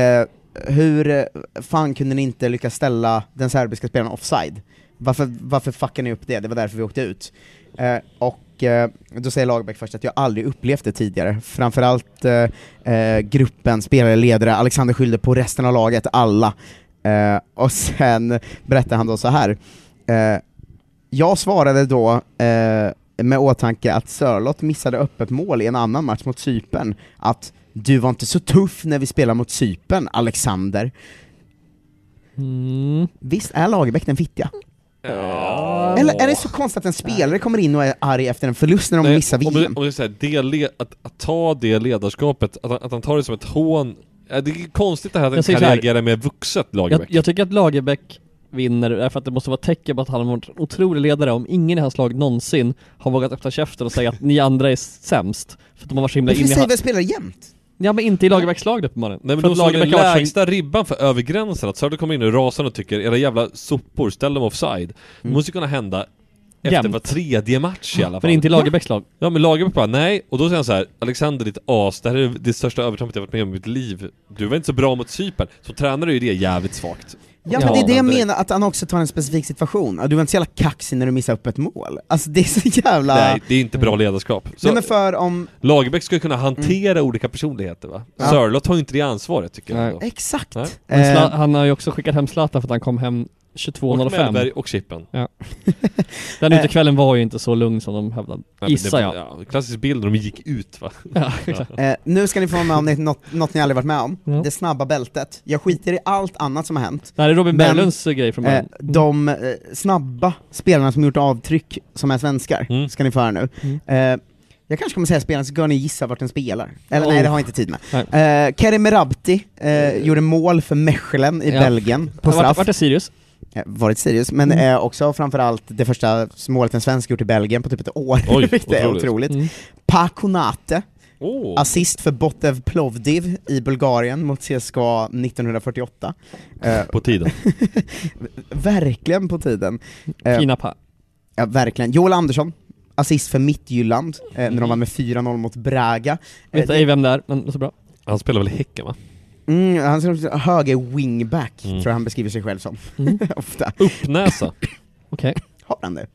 [SPEAKER 5] hur eh, fan kunde ni inte lyckas ställa den serbiska spelaren offside? Varför, varför fuckade ni upp det? Det var därför vi åkte ut. Eh, och eh, då säger Lagerbäck först att jag aldrig upplevt det tidigare. Framförallt eh, eh, gruppen, spelare, ledare, Alexander skyllde på resten av laget, alla. Eh, och sen berättar han då så här. Eh, jag svarade då eh, med åtanke att Sörlott missade öppet mål i en annan match mot Cypern, att du var inte så tuff när vi spelade mot Cypern, Alexander. Visst är Lagerbäck den fittiga? Eller är det så konstigt att en spelare kommer in och är arg efter en förlust när de missar
[SPEAKER 6] Om det,
[SPEAKER 5] VM?
[SPEAKER 6] om det är så här, det le, att, att ta det ledarskapet, att, han- att han tar det som ett hån. Ja, Det är konstigt det här att han
[SPEAKER 7] Jag säger
[SPEAKER 6] kan
[SPEAKER 7] så här.
[SPEAKER 6] reagera med vuxet
[SPEAKER 7] Jag,
[SPEAKER 6] Lagerbäck.
[SPEAKER 7] jag tycker att Lagerbäck vinner därför att det måste vara ett tecken på att han har varit en otrolig ledare om ingen i hans lag någonsin har vågat öppna käften och säga att ni andra är sämst. För att de har varit så himla
[SPEAKER 5] Varför
[SPEAKER 7] inne i...
[SPEAKER 5] säger
[SPEAKER 7] han-
[SPEAKER 5] vi spelare jämt?
[SPEAKER 7] Ja men inte i Lagerbäcks lag uppenbarligen.
[SPEAKER 6] Nej men
[SPEAKER 7] För
[SPEAKER 6] då
[SPEAKER 7] att
[SPEAKER 6] slår den
[SPEAKER 7] Lagerbäck har varit så-
[SPEAKER 6] lägsta ribban för över gränsen, att Sörlott kommer in och rasande och tycker era jävla sopor, ställ dem offside. Det måste ju kunna hända efter
[SPEAKER 7] Mm. Jämt.
[SPEAKER 6] var tredje match i alla fall.
[SPEAKER 7] Men inte i Lagerbäcks lag.
[SPEAKER 6] Ja men Lagerbäck bara nej, och då säger han så här Alexander ditt as, det här är det största övertrampet jag varit med om i mitt liv. Du var inte så bra mot Cypern. Så tränare är ju det jävligt svagt.
[SPEAKER 5] Ja men det är det jag
[SPEAKER 6] direkt.
[SPEAKER 5] menar, att han också tar en specifik situation. Ja, Du var inte så jävla kaxig när du missade öppet mål. Alltså det är så jävla...
[SPEAKER 7] Ah.
[SPEAKER 6] Nej, det är inte
[SPEAKER 7] Mm.
[SPEAKER 6] bra ledarskap. Så
[SPEAKER 5] Nej men för om...
[SPEAKER 6] Lagerbäck ska ju kunna hantera olika personligheter va?
[SPEAKER 5] Ja.
[SPEAKER 6] Sörlott har ju inte det ansvaret tycker jag. ändå.
[SPEAKER 5] Exakt!
[SPEAKER 6] Nej.
[SPEAKER 7] Men Zla- Han har ju också skickat hem Zlatan för att han kom hem
[SPEAKER 6] Och Mellberg
[SPEAKER 7] 22.05.
[SPEAKER 6] och Chippen.
[SPEAKER 7] Ja. Den utekvällen var ju inte så lugn som de hävdade,
[SPEAKER 6] men
[SPEAKER 7] gissar
[SPEAKER 6] det-
[SPEAKER 7] jag.
[SPEAKER 6] ja, klassisk bild när de gick ut va?
[SPEAKER 7] Ja,
[SPEAKER 5] Eh, nu ska ni få vara med om ni- något, något ni aldrig varit med om,
[SPEAKER 7] Ja.
[SPEAKER 5] det snabba bältet. Jag skiter i allt annat som har hänt.
[SPEAKER 7] Det här är Robin
[SPEAKER 5] Men,
[SPEAKER 7] Berglunds grej från
[SPEAKER 5] Eh,
[SPEAKER 7] början.
[SPEAKER 5] de eh, snabba spelarna som gjort avtryck, som är svenskar,
[SPEAKER 7] Mm.
[SPEAKER 5] ska ni få höra nu. Eh, jag kanske kommer säga spelarna, så ska ni gissa vart den spelar. Eller nej,
[SPEAKER 7] Oh.
[SPEAKER 5] det har jag inte tid med. Eh, Kerim Merabti eh, gjorde mål för Mechelen i
[SPEAKER 7] Ja.
[SPEAKER 5] Belgien, på
[SPEAKER 7] Vart-
[SPEAKER 5] straff.
[SPEAKER 7] vart är Sirius?
[SPEAKER 5] Eh, Varit Sirius, men
[SPEAKER 7] Mm.
[SPEAKER 5] eh, också framförallt det första målet en svensk gjort i Belgien på typ ett år.
[SPEAKER 7] Oj,
[SPEAKER 5] det är
[SPEAKER 7] otroligt.
[SPEAKER 5] otroligt.
[SPEAKER 7] Mm.
[SPEAKER 5] Pakonate,
[SPEAKER 6] Åh.
[SPEAKER 5] assist för Botev Plovdiv i Bulgarien mot CSKA 1948. Eh,
[SPEAKER 6] På tiden.
[SPEAKER 5] verkligen på tiden. Eh,
[SPEAKER 7] Fina pa.
[SPEAKER 5] Ja, verkligen. Joel Andersson, assist för Mittjylland eh,
[SPEAKER 6] Mm.
[SPEAKER 5] när de var med 4-0 mot Braga. Eh,
[SPEAKER 7] Vet
[SPEAKER 5] det-
[SPEAKER 7] ej vem det är, men det är så bra.
[SPEAKER 6] Han spelar väl i Häcken va?
[SPEAKER 5] Mm, han är höger wingback,
[SPEAKER 6] Mm.
[SPEAKER 5] tror jag han beskriver sig själv som. Ofta.
[SPEAKER 6] Uppnäsa.
[SPEAKER 7] Okej. Mm.
[SPEAKER 5] Har han det?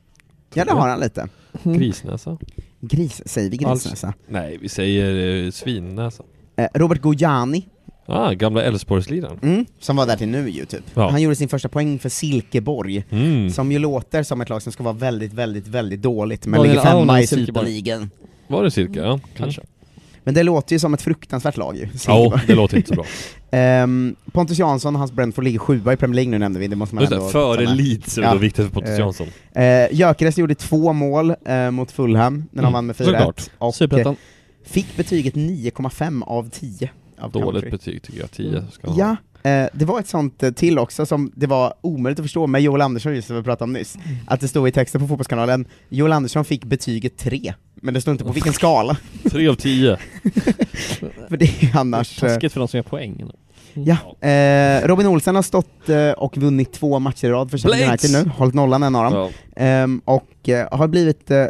[SPEAKER 5] Ja det har han lite.
[SPEAKER 6] Grisnäsa.
[SPEAKER 5] Gris, säger vi grisnäsa?
[SPEAKER 6] Alls- Nej, vi säger eh, svinnäsa.
[SPEAKER 5] Eh, Robert Gojani,
[SPEAKER 6] Ah, gamla Elfsborgsliraren.
[SPEAKER 5] mm, som var där till nu ju typ.
[SPEAKER 6] Ja.
[SPEAKER 5] Han gjorde sin första poäng för Silkeborg,
[SPEAKER 6] Mm.
[SPEAKER 5] som ju låter som ett lag som ska vara väldigt, väldigt, väldigt dåligt, men
[SPEAKER 7] Daniel
[SPEAKER 5] ligger femma
[SPEAKER 7] Aunan
[SPEAKER 5] i
[SPEAKER 7] Silkeborg.
[SPEAKER 5] Superligan.
[SPEAKER 6] Var det cirka? Ja,
[SPEAKER 7] Mm. Kanske.
[SPEAKER 5] Men det låter ju som ett fruktansvärt lag ju.
[SPEAKER 6] Ja,
[SPEAKER 5] Silkeborg.
[SPEAKER 6] det låter inte så bra.
[SPEAKER 5] Ehm, Pontus Jansson och hans Brentford ligger sjua i Premier League nu nämnde vi, det måste man
[SPEAKER 6] Just det,
[SPEAKER 5] ändå
[SPEAKER 6] före
[SPEAKER 5] ta med.
[SPEAKER 6] Leeds är det då viktigt för Pontus Jansson.
[SPEAKER 5] Eh, Gyökeres gjorde två mål eh, mot Fulham när de
[SPEAKER 6] Mm,
[SPEAKER 5] vann med
[SPEAKER 6] såklart.
[SPEAKER 5] 4-1. Och eh,
[SPEAKER 6] Superettan.
[SPEAKER 5] fick betyget 9,5 av 10. Av
[SPEAKER 6] Dåligt
[SPEAKER 5] Coventry.
[SPEAKER 6] betyg tycker jag, 10 ska han ha.
[SPEAKER 5] Ja, eh, det var ett sånt eh, till också som det var omöjligt att förstå med Joel Andersson just som vi pratade om nyss. Att det stod i texten på Fotbollskanalen, Joel Andersson fick betyget 3, men det stod inte på vilken skala.
[SPEAKER 6] 3 av 10.
[SPEAKER 5] För det är annars... eh,
[SPEAKER 7] Taskigt för de som gör poäng.
[SPEAKER 5] Ja, eh, Robin Olsen har stått eh, och vunnit två matcher i rad för Sheffield
[SPEAKER 7] Blades!
[SPEAKER 5] United nu, hållit nollan en av dem. Ehm, och eh, har blivit eh,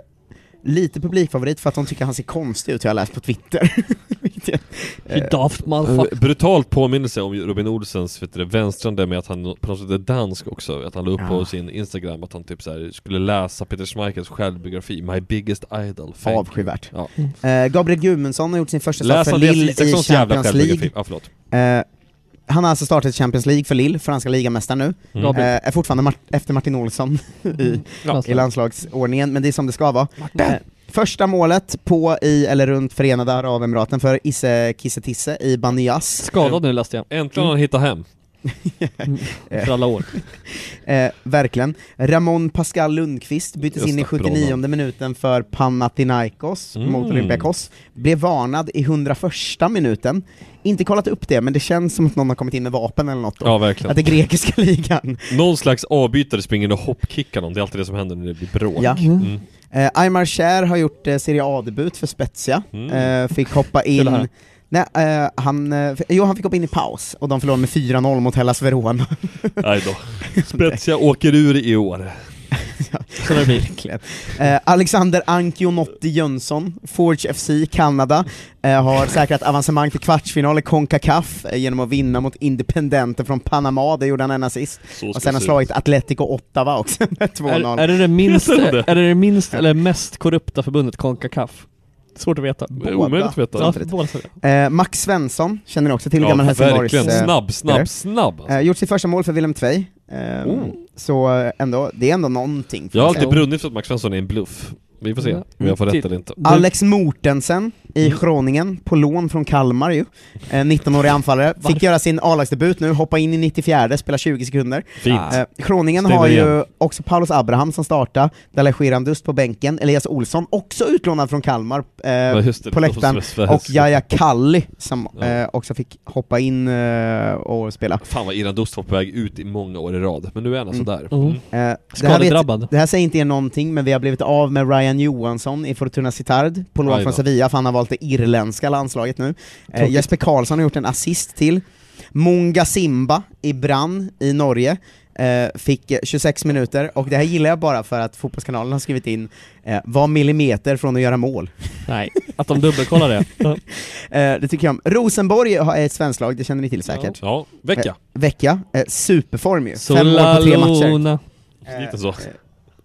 [SPEAKER 5] lite publikfavorit för att de tycker han ser konstig ut, har jag läst på Twitter. Vilket
[SPEAKER 7] You daft motherfucker.
[SPEAKER 6] Eh, Brutalt påminnelse om Robin Olsens vet du, det, vänstrande med att han på något sätt är dansk också. Att han la upp på
[SPEAKER 5] Ja.
[SPEAKER 6] sin Instagram att han typ så här, skulle läsa Peter Schmeichels självbiografi, My biggest idol. Thank you.
[SPEAKER 5] Avskyvärt.
[SPEAKER 6] Ja.
[SPEAKER 5] Eh, Gabriel Gudmundsson har gjort sin första
[SPEAKER 6] Läs
[SPEAKER 5] start för
[SPEAKER 6] Andreas
[SPEAKER 5] Lille i
[SPEAKER 6] Isakssons
[SPEAKER 5] Champions
[SPEAKER 6] jävla självbiografi.
[SPEAKER 5] League.
[SPEAKER 6] Ja, förlåt.
[SPEAKER 5] Eh, han har alltså startat Champions League för Lille, franska ligamästaren nu.
[SPEAKER 6] Mm.
[SPEAKER 5] Eh, är fortfarande Mart- efter Martin Olsson i,
[SPEAKER 6] Ja.
[SPEAKER 5] i landslagsordningen, men det är som det ska vara. Eh, första målet på, i eller runt Förenade Arabemiraten för Isse Kisse Tisse i Banias.
[SPEAKER 7] Skadad nu läste jag.
[SPEAKER 6] Eh, Äntligen har
[SPEAKER 5] Mm.
[SPEAKER 6] han hittat hem.
[SPEAKER 7] För alla år.
[SPEAKER 5] eh, verkligen. Ramon Pascal Lundqvist byttes
[SPEAKER 7] Just
[SPEAKER 5] in i
[SPEAKER 7] det, bra
[SPEAKER 5] 79 minuten för Panathinaikos
[SPEAKER 7] Mm.
[SPEAKER 5] mot Olympiakos. Blev varnad i 101 minuten. Inte kollat upp det, men det känns som att någon har kommit in med vapen eller något. då.
[SPEAKER 6] Ja, verkligen.
[SPEAKER 5] Att det grekiska ligan.
[SPEAKER 6] Någon slags avbytare springer in och hoppkickar någon, det är alltid det som händer när det blir bråk.
[SPEAKER 5] Ja.
[SPEAKER 6] Mm.
[SPEAKER 5] Eh, Aymar Cher har gjort eh, Serie A-debut för Spezia.
[SPEAKER 6] Mm.
[SPEAKER 5] Eh, fick hoppa
[SPEAKER 6] Kul det
[SPEAKER 5] in...
[SPEAKER 6] här.
[SPEAKER 5] Nej, eh, han, eh, f- jo, han fick hoppa in i paus och de förlorade med 4-0 mot Hellas Verona.
[SPEAKER 6] Nej då. Spezia åker ur i år.
[SPEAKER 5] Så det blir. Verkligen. Eh, Alexander Anki Jönsson, Forge FC Kanada, eh, har säkrat avancemang till kvartsfinal i Concacaf eh, genom att vinna mot Independente från Panama, det gjorde han en assist.
[SPEAKER 7] Så ska
[SPEAKER 5] Och sen
[SPEAKER 7] det
[SPEAKER 5] har
[SPEAKER 7] se
[SPEAKER 5] slagit Atletico Ottawa också med 2-0.
[SPEAKER 7] Är, är det det minst,
[SPEAKER 5] Heter det?
[SPEAKER 7] är det det minst eller mest korrupta förbundet Concacaf? Svårt att veta.
[SPEAKER 5] Båda. omöjligt att veta.
[SPEAKER 7] Ja,
[SPEAKER 5] Samtidigt.
[SPEAKER 7] båda sa det.
[SPEAKER 5] Eh, Max Svensson, känner ni också till,
[SPEAKER 7] Ja,
[SPEAKER 5] gammal Helsingborgs...
[SPEAKER 6] verkligen.
[SPEAKER 5] eh,
[SPEAKER 6] Snabb, snabb,
[SPEAKER 5] spelare.
[SPEAKER 6] snabb, alltså.
[SPEAKER 5] Eh, gjort sitt första mål för Willem Tvei. Eh,
[SPEAKER 6] Oh.
[SPEAKER 5] Så eh, ändå, det är ändå någonting. får
[SPEAKER 6] Jag har
[SPEAKER 5] man säga.
[SPEAKER 6] alltid brunnit för att Max Svensson är en bluff. Vi får se
[SPEAKER 7] Mm.
[SPEAKER 5] Ja.
[SPEAKER 6] om jag får rätt eller inte.
[SPEAKER 5] Alex Mortensen i
[SPEAKER 6] Mm.
[SPEAKER 5] Groningen, på lån från Kalmar ju. Eh, 19-årig anfallare. Fick
[SPEAKER 7] Varför?
[SPEAKER 5] göra sin A-lagsdebut nu, hoppa in i 94, spela 20 sekunder.
[SPEAKER 7] Fint.
[SPEAKER 5] Eh, Groningen
[SPEAKER 7] Stämmer
[SPEAKER 5] har ju
[SPEAKER 7] igen.
[SPEAKER 5] också Paulus Abraham som startar, Dalai Girandust på bänken, Elias Olsson, också utlånad från Kalmar, eh,
[SPEAKER 6] just det,
[SPEAKER 5] på läktaren,
[SPEAKER 6] det var Sverige.
[SPEAKER 5] och Jaja Kalli som eh, också fick hoppa in eh, och spela.
[SPEAKER 6] Fan vad Iran Dust var på väg ut i många år i rad, men nu är han alltså där.
[SPEAKER 5] Mm.
[SPEAKER 6] Mm.
[SPEAKER 5] Eh, det, här
[SPEAKER 7] Skadedrabbad.
[SPEAKER 5] vet, det här säger inte er någonting, men vi har blivit av med Ryan Johansson i Fortuna Sittard på lån
[SPEAKER 6] Aj
[SPEAKER 5] från
[SPEAKER 6] då.
[SPEAKER 5] Sevilla, för han har valt det irländska landslaget nu. Eh,
[SPEAKER 6] Tråkigt.
[SPEAKER 5] Jesper Karlsson har gjort en assist till. Munga Simba i Brann i Norge eh, fick eh, 26 minuter, och det här gillar jag bara för att Fotbollskanalen har skrivit in eh, var millimeter från att göra mål.
[SPEAKER 7] Nej, att de dubbelkollar det.
[SPEAKER 5] Eh, det tycker jag om. Rosenborg har- är ett svenskt lag, det känner ni till säkert.
[SPEAKER 6] Ja, vecka.
[SPEAKER 5] Eh, vecka. Eh, superform ju. Fem mål på tre matcher.
[SPEAKER 7] Solaluna.
[SPEAKER 6] Lite så.
[SPEAKER 7] Eh,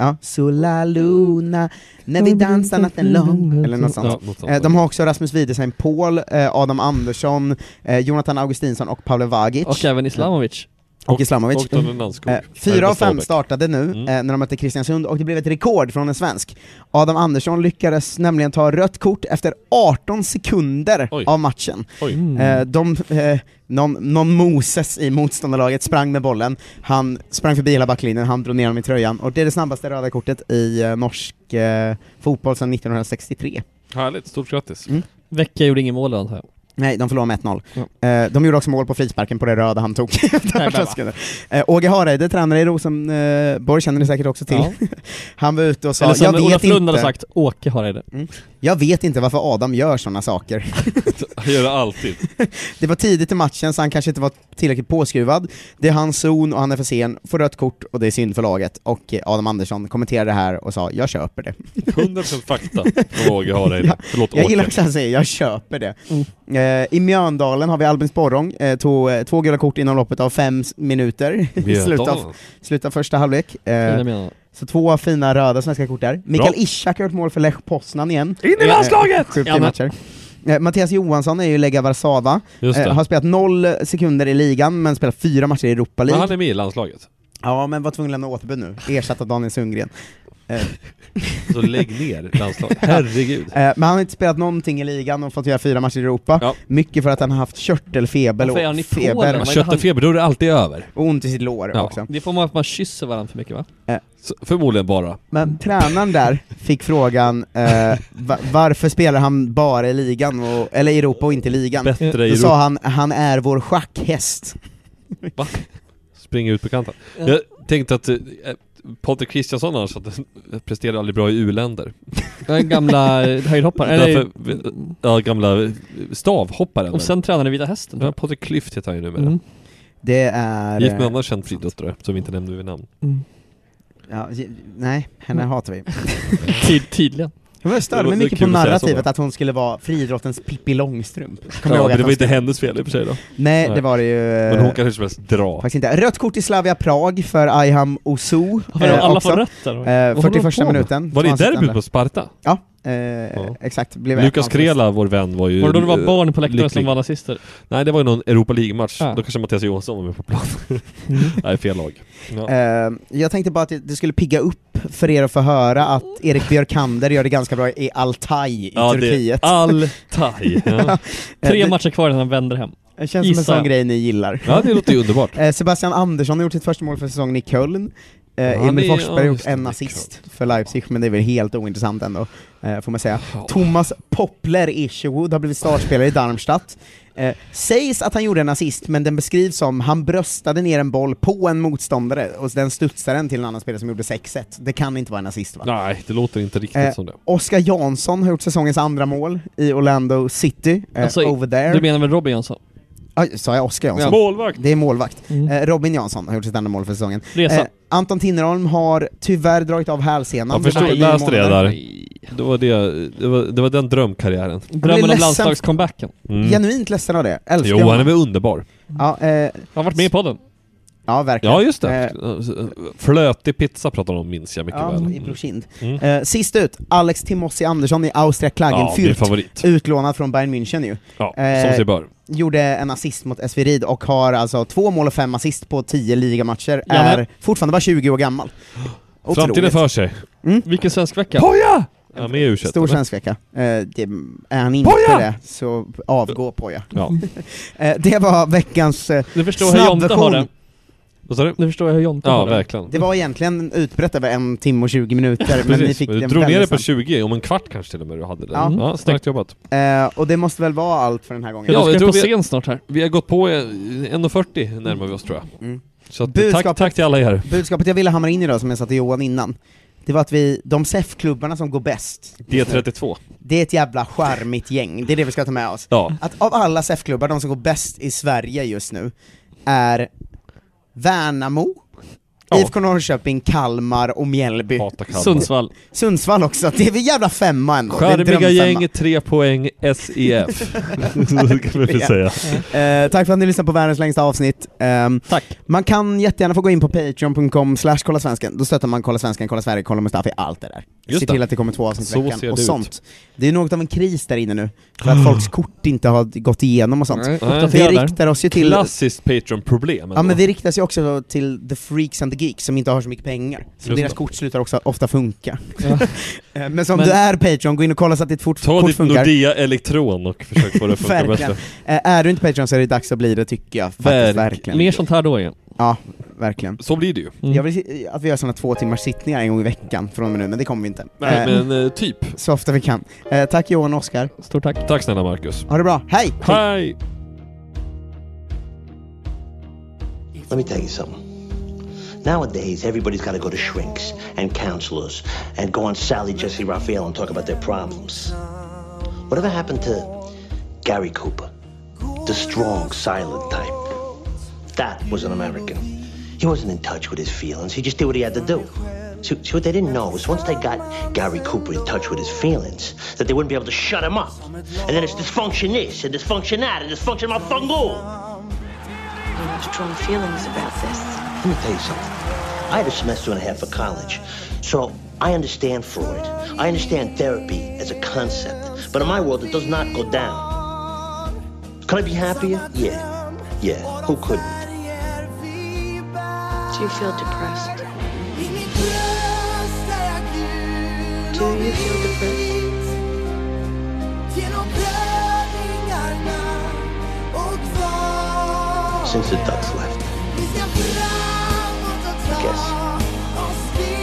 [SPEAKER 5] Ja, Sola Luna, när vi dansar natten lång, eller något
[SPEAKER 6] Ja, något
[SPEAKER 5] sånt.
[SPEAKER 6] sånt.
[SPEAKER 5] Eh, De har också Rasmus Widesheim Paul, eh, Adam Andersson, eh, Jonathan Augustinsson och Pavle Vagic.
[SPEAKER 7] Och även Islamovic.
[SPEAKER 5] Och Islamovic.
[SPEAKER 6] och Daniel Landskog.
[SPEAKER 5] Eh, Fyra av fem
[SPEAKER 6] Stabäck. Mm.
[SPEAKER 5] startade nu eh, när de mötte Kristiansund och det blev ett rekord från en svensk. Adam Andersson lyckades nämligen ta rött kort efter 18 sekunder av matchen.
[SPEAKER 6] Oj.
[SPEAKER 7] Mm.
[SPEAKER 5] Eh, de, eh, någon, någon Moses i motståndarlaget sprang med bollen, han sprang förbi hela backlinjen, han drog ner honom i tröjan och det är det snabbaste röda kortet i eh, norsk eh, fotboll sedan 1963.
[SPEAKER 6] Härligt, stort grattis.
[SPEAKER 5] Mm.
[SPEAKER 7] Vecka gjorde ingen mål antar jag.
[SPEAKER 5] Nej, de förlorade med 1-0. Eh, de gjorde också mål på frisparken på det röda han tog. Efter 18 sekunder. eh, Åge Hareide, tränare i Rosenborg, känner ni säkert också till.
[SPEAKER 7] Ja.
[SPEAKER 5] han var ute och sa,
[SPEAKER 7] Eller som
[SPEAKER 5] jag vet
[SPEAKER 7] Olof Lund hade
[SPEAKER 5] inte, Mm.
[SPEAKER 7] sagt, Åke har det.
[SPEAKER 5] jag vet inte varför Adam gör sådana saker.
[SPEAKER 6] Han gör det alltid.
[SPEAKER 5] det var tidigt i matchen så han kanske inte var tillräckligt påskruvad. Det är hans zon och han är för sen, får rött kort och det är synd för laget. Och eh, Adam Andersson kommenterade det här och sa, jag köper det.
[SPEAKER 6] 100% fakta från Åge Hareide.
[SPEAKER 5] Ja.
[SPEAKER 6] Förlåt
[SPEAKER 5] jag
[SPEAKER 6] Åke.
[SPEAKER 5] gillar också att han säger jag köper det. Eh, I Mjöndalen har vi Albin Sporrong, eh, tog eh, två gula kort inom loppet av fem s- minuter i
[SPEAKER 6] Mjöndalen.
[SPEAKER 5] slutet av, slutet av första halvlek. Eh,
[SPEAKER 7] Fina Mjöndalen.
[SPEAKER 5] så två fina röda svenska kort där. Mikael Ishak har gjort mål för Lech Poznan igen. In
[SPEAKER 7] i landslaget!
[SPEAKER 5] Sjukt i
[SPEAKER 7] Ja, men-
[SPEAKER 5] matcher. Eh, Mattias Johansson är ju Lega Warszawa,
[SPEAKER 6] Just det.
[SPEAKER 5] eh, har spelat noll sekunder i ligan men spelat fyra matcher i Europa
[SPEAKER 6] Men
[SPEAKER 5] League.
[SPEAKER 6] han är med i landslaget.
[SPEAKER 5] Ja, men var tvungen att lämna återbud nu, ersatt av Daniel Sundgren. Eh,
[SPEAKER 6] Så lägg ner landslaget. Herregud.
[SPEAKER 5] Eh, Men han har inte spelat någonting i ligan och fått göra fyra matcher i Europa. Mycket för att han har haft körtelfeber
[SPEAKER 7] Varför är han i
[SPEAKER 5] och
[SPEAKER 7] Polen? Vad är
[SPEAKER 5] feber.
[SPEAKER 7] det Körtelfeber,
[SPEAKER 6] då är det alltid över.
[SPEAKER 5] Och ont i sitt lår
[SPEAKER 6] Ja.
[SPEAKER 5] också. Eh.
[SPEAKER 7] Det får man att man kysser varandra för mycket va?
[SPEAKER 6] Så, förmodligen bara.
[SPEAKER 5] Men tränaren där fick frågan eh, va- varför spelar han bara i ligan, och, eller i Europa och inte i ligan?
[SPEAKER 6] Bättre
[SPEAKER 5] Då
[SPEAKER 6] i
[SPEAKER 5] sa
[SPEAKER 6] Europa.
[SPEAKER 5] han, han är vår schackhäst.
[SPEAKER 6] Va? Springa ut på kanten.
[SPEAKER 5] Ja.
[SPEAKER 6] Jag tänkte att eh, Patrik Kristiansson annars att, presterar aldrig bra i u-länder.
[SPEAKER 7] Den gamla höjdhopparen, eller
[SPEAKER 6] Därför, ja, gamla stavhopparen.
[SPEAKER 7] Och sen tränade Vita Hästen.
[SPEAKER 6] Ja, Patrik Klyft heter han ju numera.
[SPEAKER 7] Mm.
[SPEAKER 5] Det är... eh,
[SPEAKER 6] Gift med en annan känd friidrottare som vi inte nämnde vid namn.
[SPEAKER 5] Ja, j- nej, henne
[SPEAKER 7] Mm.
[SPEAKER 5] hatar vi.
[SPEAKER 7] Tid, tydligen.
[SPEAKER 5] Jag var
[SPEAKER 6] Det
[SPEAKER 5] störd
[SPEAKER 6] låter
[SPEAKER 5] mig mycket på
[SPEAKER 6] kul att säga så
[SPEAKER 5] narrativet
[SPEAKER 6] bara.
[SPEAKER 5] att hon skulle vara friidrottens Pippi Långstrump. Kommer
[SPEAKER 6] Ja,
[SPEAKER 5] jag
[SPEAKER 6] men
[SPEAKER 5] ihåg att
[SPEAKER 6] det
[SPEAKER 5] de
[SPEAKER 6] var inte
[SPEAKER 5] skrev.
[SPEAKER 6] hennes fel i och för sig då.
[SPEAKER 5] Nej, det var det ju... eh,
[SPEAKER 6] Men hon kan hur som helst dra.
[SPEAKER 5] Faktiskt inte. Rött kort i Slavia Prag för Ayham Ozu.
[SPEAKER 6] Har de alla
[SPEAKER 5] också.
[SPEAKER 6] fått rätt där? Vad håller
[SPEAKER 5] Eh,
[SPEAKER 6] de
[SPEAKER 5] 41
[SPEAKER 6] på med?
[SPEAKER 5] minuten.
[SPEAKER 6] Var det
[SPEAKER 5] Så han satt
[SPEAKER 6] derbyt
[SPEAKER 5] den
[SPEAKER 6] mot Sparta?
[SPEAKER 5] Ja, eh, exakt. Blev
[SPEAKER 6] Lukas
[SPEAKER 5] ett av hans-
[SPEAKER 6] Krela, vår vän, var ju...
[SPEAKER 7] Var det då det var
[SPEAKER 6] eh,
[SPEAKER 7] barn på läktaren som
[SPEAKER 6] lycklig.
[SPEAKER 7] var nazister?
[SPEAKER 6] Nej, det var ju någon Europa League-match.
[SPEAKER 7] Ah.
[SPEAKER 6] Då kanske Mattias Johansson var med på plan.
[SPEAKER 7] Mm.
[SPEAKER 6] Nej, fel lag. Ja.
[SPEAKER 5] Eh, jag tänkte bara att det- det skulle pigga upp för er att få höra att Erik Björkander gör det ganska bra i Altay i
[SPEAKER 7] Ja, det-
[SPEAKER 5] Turkiet. Eh,
[SPEAKER 7] Altay, ja. Tre matcher kvar innan han vänder hem.
[SPEAKER 5] Det känns som en
[SPEAKER 7] Gissar
[SPEAKER 5] sån
[SPEAKER 7] jag.
[SPEAKER 5] grej ni gillar.
[SPEAKER 7] Ja, det låter ju underbart.
[SPEAKER 5] Eh, Sebastian Andersson har gjort sitt första mål för säsongen i Köln. Eh,
[SPEAKER 7] Ja,
[SPEAKER 5] Emil
[SPEAKER 7] det-
[SPEAKER 5] Forsberg har
[SPEAKER 7] ja,
[SPEAKER 5] gjort
[SPEAKER 7] just det,
[SPEAKER 5] en assist för Leipzig, men det är väl helt ointressant ändå, eh, får man säga. Thomas Poppler Isherwood har blivit startspelare i Darmstadt. Eh, sägs att han gjorde en assist, men den beskrivs som han bröstade ner en boll på en motståndare och den studsade den till en annan spelare som gjorde 6-1. Det kan inte vara en assist va?
[SPEAKER 6] Nej, det låter inte riktigt
[SPEAKER 5] eh,
[SPEAKER 6] som det.
[SPEAKER 5] Oskar Jansson har gjort säsongens andra mål i Orlando City, eh,
[SPEAKER 7] Alltså,
[SPEAKER 5] over there.
[SPEAKER 7] Du menar väl Robin Jansson?
[SPEAKER 5] Ah, sa jag Oskar Jansson?
[SPEAKER 7] Ja. Målvakt.
[SPEAKER 5] Det är målvakt. Eh, Robin Jansson har gjort sitt andra mål för säsongen. Eh,
[SPEAKER 7] Resa.
[SPEAKER 5] Anton Tinnerholm har tyvärr dragit av hälsenan.
[SPEAKER 6] Jag förstod,
[SPEAKER 5] Det var nio
[SPEAKER 6] läste det
[SPEAKER 5] månader.
[SPEAKER 6] där. Det var, det, det, var, det var den drömkarriären.
[SPEAKER 5] Jag blir ledsen.
[SPEAKER 6] Mm.
[SPEAKER 5] Genuint ledsen av det. Älskar
[SPEAKER 6] Jo, han är väl underbar.
[SPEAKER 5] Ja, eh, han
[SPEAKER 7] har varit med i podden.
[SPEAKER 5] Ja, verkligen. Eh,
[SPEAKER 6] Ja, just det. Flötig pizza pratar de om, minns jag mycket
[SPEAKER 5] Ja,
[SPEAKER 6] väl.
[SPEAKER 5] i Brorkind.
[SPEAKER 6] Mm.
[SPEAKER 5] Eh, sist ut, Alex Timossi Andersson i Austria
[SPEAKER 6] Ja, min
[SPEAKER 5] Klagenfurt.
[SPEAKER 6] favorit.
[SPEAKER 5] utlånad från Bayern München ju.
[SPEAKER 6] Ja, som sig bör.
[SPEAKER 5] Gjorde en assist mot SV Rid och har alltså två mål och fem assist på tio ligamatcher.
[SPEAKER 7] Ja, men-
[SPEAKER 5] är fortfarande bara 20 år gammal.
[SPEAKER 6] Framtiden
[SPEAKER 5] Otroligt. Mm.
[SPEAKER 6] för sig.
[SPEAKER 7] Vilken svensk vecka.
[SPEAKER 6] Poja! Ja, med u
[SPEAKER 5] Stor svenskvecka. Eh, det, är han inte
[SPEAKER 7] Poja!
[SPEAKER 5] det, så avgå Poja.
[SPEAKER 6] Ja.
[SPEAKER 5] Eh, det var veckans eh,
[SPEAKER 7] Du förstår hur Jonte har det.
[SPEAKER 6] Vad sa du?
[SPEAKER 7] Nu förstår jag hur Jonte
[SPEAKER 6] Ja,
[SPEAKER 7] har det.
[SPEAKER 6] verkligen.
[SPEAKER 5] Det var egentligen utbrett över en timme och 20 minuter, men ni
[SPEAKER 6] Precis.
[SPEAKER 5] fick
[SPEAKER 6] Men du
[SPEAKER 5] den
[SPEAKER 6] drog ner det
[SPEAKER 5] väldigt
[SPEAKER 6] på
[SPEAKER 5] snabbt.
[SPEAKER 6] 20, om en kvart kanske till och med du hade det.
[SPEAKER 5] Ja.
[SPEAKER 6] Ja, snyggt jobbat.
[SPEAKER 5] Eh, och det måste väl vara allt för den här gången?
[SPEAKER 6] jag tror vi- Vi har gått på eh, 1.40 närmar vi oss tror jag.
[SPEAKER 5] Mm.
[SPEAKER 6] Så att,
[SPEAKER 5] Budskapet-
[SPEAKER 6] tack, tack till alla er.
[SPEAKER 5] Budskapet jag ville hamra in idag, som jag sa till Johan innan, det var att vi, de SEF-klubbarna som går bäst,
[SPEAKER 6] D32.
[SPEAKER 5] det är ett jävla charmigt gäng, det är det vi ska ta med oss.
[SPEAKER 6] Ja.
[SPEAKER 5] Att av alla SEF-klubbar, de som går bäst i Sverige just nu, är Värnamo, IFK Norrköping, Kalmar och Mjällby.
[SPEAKER 6] Kalmar.
[SPEAKER 7] Sundsvall.
[SPEAKER 5] Sundsvall också, det är väl jävla femma ändå. Det är en
[SPEAKER 6] Charmiga
[SPEAKER 5] drömfemma.
[SPEAKER 6] gäng, 3 poäng, E SEF. det kan vi väl säga.
[SPEAKER 5] Eh, tack för att ni lyssnade på världens längsta avsnitt. Ehm, Man kan jättegärna få gå in på patreon.com slash kolla svensken. Då stöttar man kolla svensken, kolla Sverige, kolla Mustafi, allt det där.
[SPEAKER 6] Just
[SPEAKER 5] Se
[SPEAKER 6] det.
[SPEAKER 5] till att det kommer två avsnitt i
[SPEAKER 6] Så ser
[SPEAKER 5] veckan
[SPEAKER 6] det
[SPEAKER 5] och
[SPEAKER 6] ut. Ah.
[SPEAKER 5] sånt. Det är något av en kris där inne nu, för att folks kort inte har gått igenom och sånt. vi riktar oss ju till...
[SPEAKER 6] Klassiskt Patreon-problem
[SPEAKER 5] Ja men
[SPEAKER 6] ändå.
[SPEAKER 5] vi riktar sig också till the freaks and the geeks som inte har så mycket pengar, så
[SPEAKER 6] Just
[SPEAKER 5] deras
[SPEAKER 6] det.
[SPEAKER 5] kort slutar också ofta funka. Eh, men som
[SPEAKER 6] Men-
[SPEAKER 5] du är Patreon, gå in och kolla så att ditt fort,
[SPEAKER 6] Ta
[SPEAKER 5] kort
[SPEAKER 6] ditt
[SPEAKER 5] funkar.
[SPEAKER 6] Nordea Elektron och försök få det att funka
[SPEAKER 5] Verkligen.
[SPEAKER 6] bättre.
[SPEAKER 5] Eh, är du inte Patreon så är det dags att bli det tycker jag. Faktiskt,
[SPEAKER 6] Verk-
[SPEAKER 5] verkligen.
[SPEAKER 6] Mer
[SPEAKER 7] sånt här då igen.
[SPEAKER 5] Ja, verkligen.
[SPEAKER 6] Så blir det ju.
[SPEAKER 5] Jag vill se- att vi gör sådana två timmars sittningar en gång i veckan från och med nu, men det kommer vi inte.
[SPEAKER 6] Nej,
[SPEAKER 5] Eh,
[SPEAKER 6] men eh, typ.
[SPEAKER 5] Så ofta vi kan. Eh, tack Johan och Oskar.
[SPEAKER 7] Stort tack.
[SPEAKER 6] Tack snälla Marcus.
[SPEAKER 5] Ha det bra, hej!
[SPEAKER 6] Hej!
[SPEAKER 17] Let me tell you something. Nowadays, everybody's got to go to shrinks and counselors and go on Sally Jesse Raphael and talk about their problems. Whatever happened to Gary Cooper, the strong, silent type? That was an American. He wasn't in touch with his feelings. He just did what he had to do. See, see what they didn't know is once they got Gary Cooper in touch with his feelings, that they wouldn't be able to shut him up. And then it's dysfunction this and dysfunction that and dysfunction my strong feelings about this. Let me tell you something. I had a semester and a half of college, so I understand Freud. I understand therapy as a concept, but in my world, it does not go down. Could I be happier? Yeah, yeah. Who couldn't?
[SPEAKER 18] Do you feel depressed? Do you feel depressed?
[SPEAKER 17] Since the ducks left, I guess.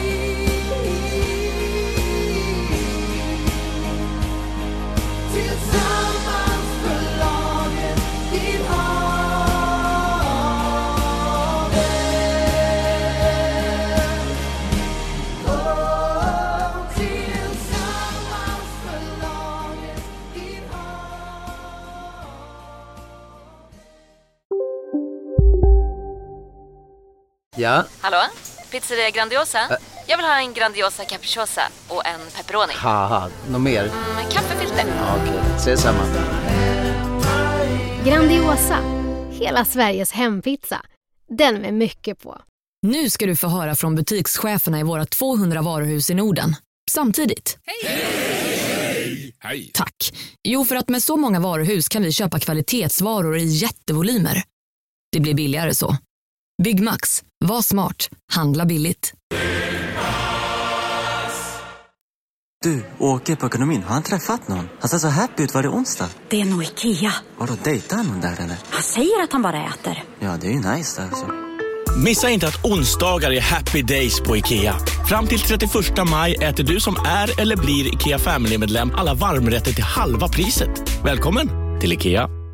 [SPEAKER 13] Tillsammans förlagen till havet Oh, tillsammans förlagen till
[SPEAKER 19] Ja,
[SPEAKER 20] Hallå? Pizzeria Grandiosa?
[SPEAKER 21] Jag vill ha en Grandiosa capriciosa och en pepperoni.
[SPEAKER 5] Haha, något mer?
[SPEAKER 21] Med kaffefilter.
[SPEAKER 5] Ja, Okej, ses samma.
[SPEAKER 22] Grandiosa, hela Sveriges hempizza. Den med mycket på.
[SPEAKER 20] Nu ska du få höra från butikscheferna i våra 200 varuhus i Norden. Samtidigt.
[SPEAKER 15] Hej!
[SPEAKER 20] Tack. Jo, för att med så många varuhus kan vi köpa kvalitetsvaror i jättevolymer. Det blir billigare så. Byggmax. Var smart. Handla billigt.
[SPEAKER 23] Du, åker på ekonomin. Har han träffat någon? Han ser så happy ut. Var det onsdag?
[SPEAKER 24] Det är nog Ikea.
[SPEAKER 23] Har du dejtar han någon där eller?
[SPEAKER 24] Han säger att han bara äter.
[SPEAKER 23] Ja, det är ju nice där alltså.
[SPEAKER 1] Missa inte att onsdagar är happy days på IKEA. Fram till 31 maj äter du som är eller blir IKEA Family-medlem alla varmrätter till halva priset. Välkommen till IKEA!